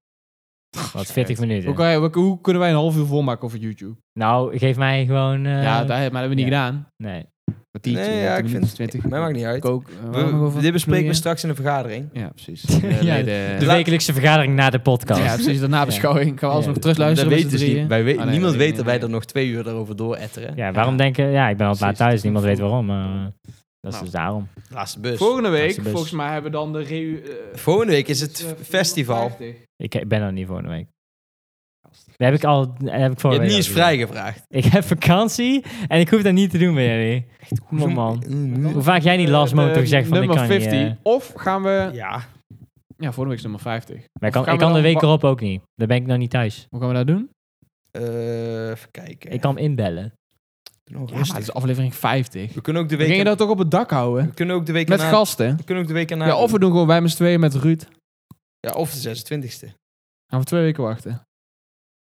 Speaker 2: Wat 40 minuten.
Speaker 3: Hoe, kan je- hoe- hoe kunnen wij een half uur volmaken over YouTube?
Speaker 2: Nou, geef mij gewoon. eh,
Speaker 3: ja, daar, maar dat hebben we niet
Speaker 2: ja.
Speaker 3: gedaan.
Speaker 2: Nee.
Speaker 3: Kwartiertje,
Speaker 1: Nee, ja,
Speaker 3: 13
Speaker 1: ik
Speaker 3: minuten,
Speaker 1: vind...
Speaker 3: 20.
Speaker 1: Mij maakt niet uit.
Speaker 3: Kook.
Speaker 1: We, dit bespreken we straks in de vergadering.
Speaker 3: Ja, precies.
Speaker 2: Ja, De wekelijkse vergadering na de podcast.
Speaker 3: Ja, precies. De nabeschouwing. Gaan we alles
Speaker 2: Ja.
Speaker 3: nog terugluisteren
Speaker 1: Dat
Speaker 3: met z'n
Speaker 1: weten ze niet. Wij
Speaker 3: drieën?
Speaker 1: we-
Speaker 3: Ah, nee,
Speaker 1: niemand
Speaker 3: nee,
Speaker 1: weet
Speaker 3: nee,
Speaker 1: dat
Speaker 3: nee.
Speaker 1: wij er nog twee uur erover door etteren.
Speaker 2: Ja, waarom denken? Ja, ik ben altijd laat
Speaker 3: Precies,
Speaker 2: thuis. Niemand
Speaker 3: dat
Speaker 2: weet
Speaker 3: voel-
Speaker 2: waarom. eh, dat is
Speaker 3: Nou.
Speaker 2: dus daarom.
Speaker 1: Laatste bus.
Speaker 3: Volgende
Speaker 2: Dat
Speaker 3: week,
Speaker 2: is de best.
Speaker 3: volgens mij, hebben we dan de reu... eh,
Speaker 1: Volgende week is
Speaker 3: eh,
Speaker 1: het festival.
Speaker 3: 450.
Speaker 2: Ik he- ben er niet volgende week. Daar heb ik al. daar Heb ik
Speaker 1: Je hebt niet
Speaker 2: vorige week
Speaker 1: eens
Speaker 2: al gezien.
Speaker 1: vrijgevraagd.
Speaker 2: Ik heb vakantie en ik hoef dat niet te doen bij jullie. Kom op, man. Hoe vaak jij niet last
Speaker 3: Eh,
Speaker 2: moment
Speaker 3: de
Speaker 2: gezegd van ik
Speaker 3: nummer
Speaker 2: kan
Speaker 3: 50.
Speaker 2: niet. eh,
Speaker 3: Of gaan we...
Speaker 1: Ja.
Speaker 3: Ja, volgende week is nummer 50.
Speaker 2: maar ik
Speaker 3: Of
Speaker 2: kan,
Speaker 3: gaan
Speaker 2: ik
Speaker 3: we
Speaker 2: kan de
Speaker 3: dan
Speaker 2: week
Speaker 3: wa-
Speaker 2: erop ook niet. Dan ben ik nog niet thuis.
Speaker 3: Hoe gaan we dat doen?
Speaker 1: Eh, even kijken.
Speaker 2: Ik kan hem inbellen.
Speaker 1: Doe nog
Speaker 3: Ja, maar
Speaker 1: rustig.
Speaker 3: het is aflevering 50.
Speaker 1: We kunnen ook de
Speaker 3: We
Speaker 1: week...
Speaker 3: gingen dat toch op het dak houden?
Speaker 1: We kunnen ook de week
Speaker 3: Met
Speaker 1: erna-
Speaker 3: gasten.
Speaker 1: We kunnen ook de week erna...
Speaker 3: Ja, of we doen gewoon wij met z'n tweeën met Ruud.
Speaker 1: Ja, of de 26e.
Speaker 3: Gaan we twee weken wachten.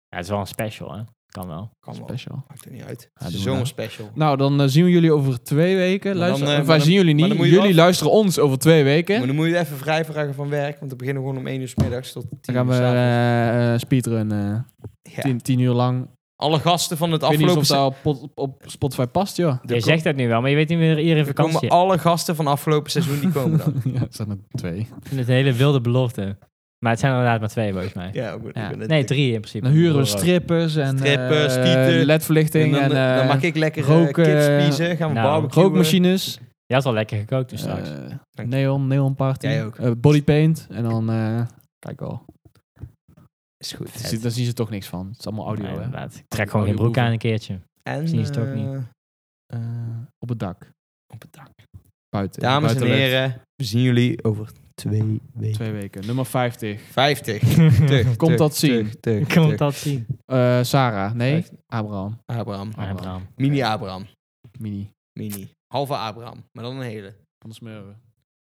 Speaker 2: Ja, het is wel een special, hè? Kan wel.
Speaker 1: Kan wel.
Speaker 3: Special.
Speaker 1: Maakt er niet uit.
Speaker 2: Ja, doen we
Speaker 1: Zomerspecial.
Speaker 3: Nou, dan eh, zien we jullie over twee weken.
Speaker 1: Maar
Speaker 3: Luister,
Speaker 1: dan, eh,
Speaker 3: of
Speaker 1: maar
Speaker 3: wij
Speaker 1: dan-
Speaker 3: zien jullie
Speaker 1: maar
Speaker 3: niet.
Speaker 1: dan moet je
Speaker 3: Jullie
Speaker 1: af-
Speaker 3: luisteren ons over twee weken.
Speaker 1: Maar dan moet je even vrijvragen van werk, want we beginnen gewoon om 1 uur s middags tot 10
Speaker 3: Dan gaan we
Speaker 1: uur 's avonds.
Speaker 3: eh, eh, speedrun. eh,
Speaker 1: Ja.
Speaker 3: tien, tien uur lang.
Speaker 1: Alle gasten van het
Speaker 3: Ik weet niet
Speaker 1: afgelopen
Speaker 3: of
Speaker 1: seizoen.
Speaker 3: dat op, pot- op Spotify
Speaker 1: *laughs*
Speaker 3: past, joh.
Speaker 2: je zegt dat nu wel, maar je weet niet meer iedere
Speaker 1: Er komen
Speaker 2: vakantie.
Speaker 1: alle gasten van afgelopen seizoen die komen dan.
Speaker 3: *laughs* ja, er zijn er twee.
Speaker 2: Ik vind het een hele wilde belofte. Maar het zijn er inderdaad maar twee, volgens mij.
Speaker 1: Ja, ik ben- ik
Speaker 3: Ja.
Speaker 1: ben het-
Speaker 2: Nee, drie in principe.
Speaker 3: Dan huren we
Speaker 2: Voor-
Speaker 3: strippers en
Speaker 1: Strippers, tieten.
Speaker 3: eh ledverlichting
Speaker 1: En
Speaker 3: en,
Speaker 1: dan, eh, dan
Speaker 3: eh,
Speaker 1: maak ik lekker rook,
Speaker 3: roken, eh,
Speaker 1: kids spiezen, gaan we
Speaker 2: nou,
Speaker 1: barbecuen.
Speaker 3: rookmachines.
Speaker 2: eh, Je had al lekker gekookt dus straks.
Speaker 3: eh, neon, neon party.
Speaker 1: Jij ook.
Speaker 3: eh, body paint. En dan, eh, kijk al.
Speaker 1: Is goed.
Speaker 2: Vet.
Speaker 3: Daar zien ze toch niks van. Het is allemaal audio,
Speaker 2: Ja,
Speaker 3: hè.
Speaker 2: inderdaad. Ik trek gewoon geen
Speaker 3: Audio
Speaker 2: broek aan een keertje.
Speaker 1: En
Speaker 2: Precies, het ook niet.
Speaker 1: eh,
Speaker 3: Eh, op het dak.
Speaker 1: op het dak.
Speaker 3: Buiten.
Speaker 1: Dames en
Speaker 3: buitenlucht.
Speaker 1: heren, we zien jullie over twee weken.
Speaker 3: Twee weken. Nummer 50.
Speaker 1: 50.
Speaker 3: *laughs*
Speaker 2: *laughs*
Speaker 1: Tug,
Speaker 3: Komt
Speaker 1: tug,
Speaker 3: dat zien?
Speaker 1: tug, tug,
Speaker 2: Komt
Speaker 1: tug.
Speaker 2: dat zien?
Speaker 3: Eh, Sarah. Nee,
Speaker 1: Vijf-
Speaker 3: Abraham.
Speaker 1: Abraham.
Speaker 2: Ah, Bram.
Speaker 1: Mini Abraham.
Speaker 3: Mini.
Speaker 1: Mini. Halve Abraham, maar dan een hele.
Speaker 3: Anders smeren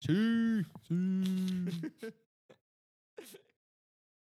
Speaker 3: we.
Speaker 1: *laughs* Zie.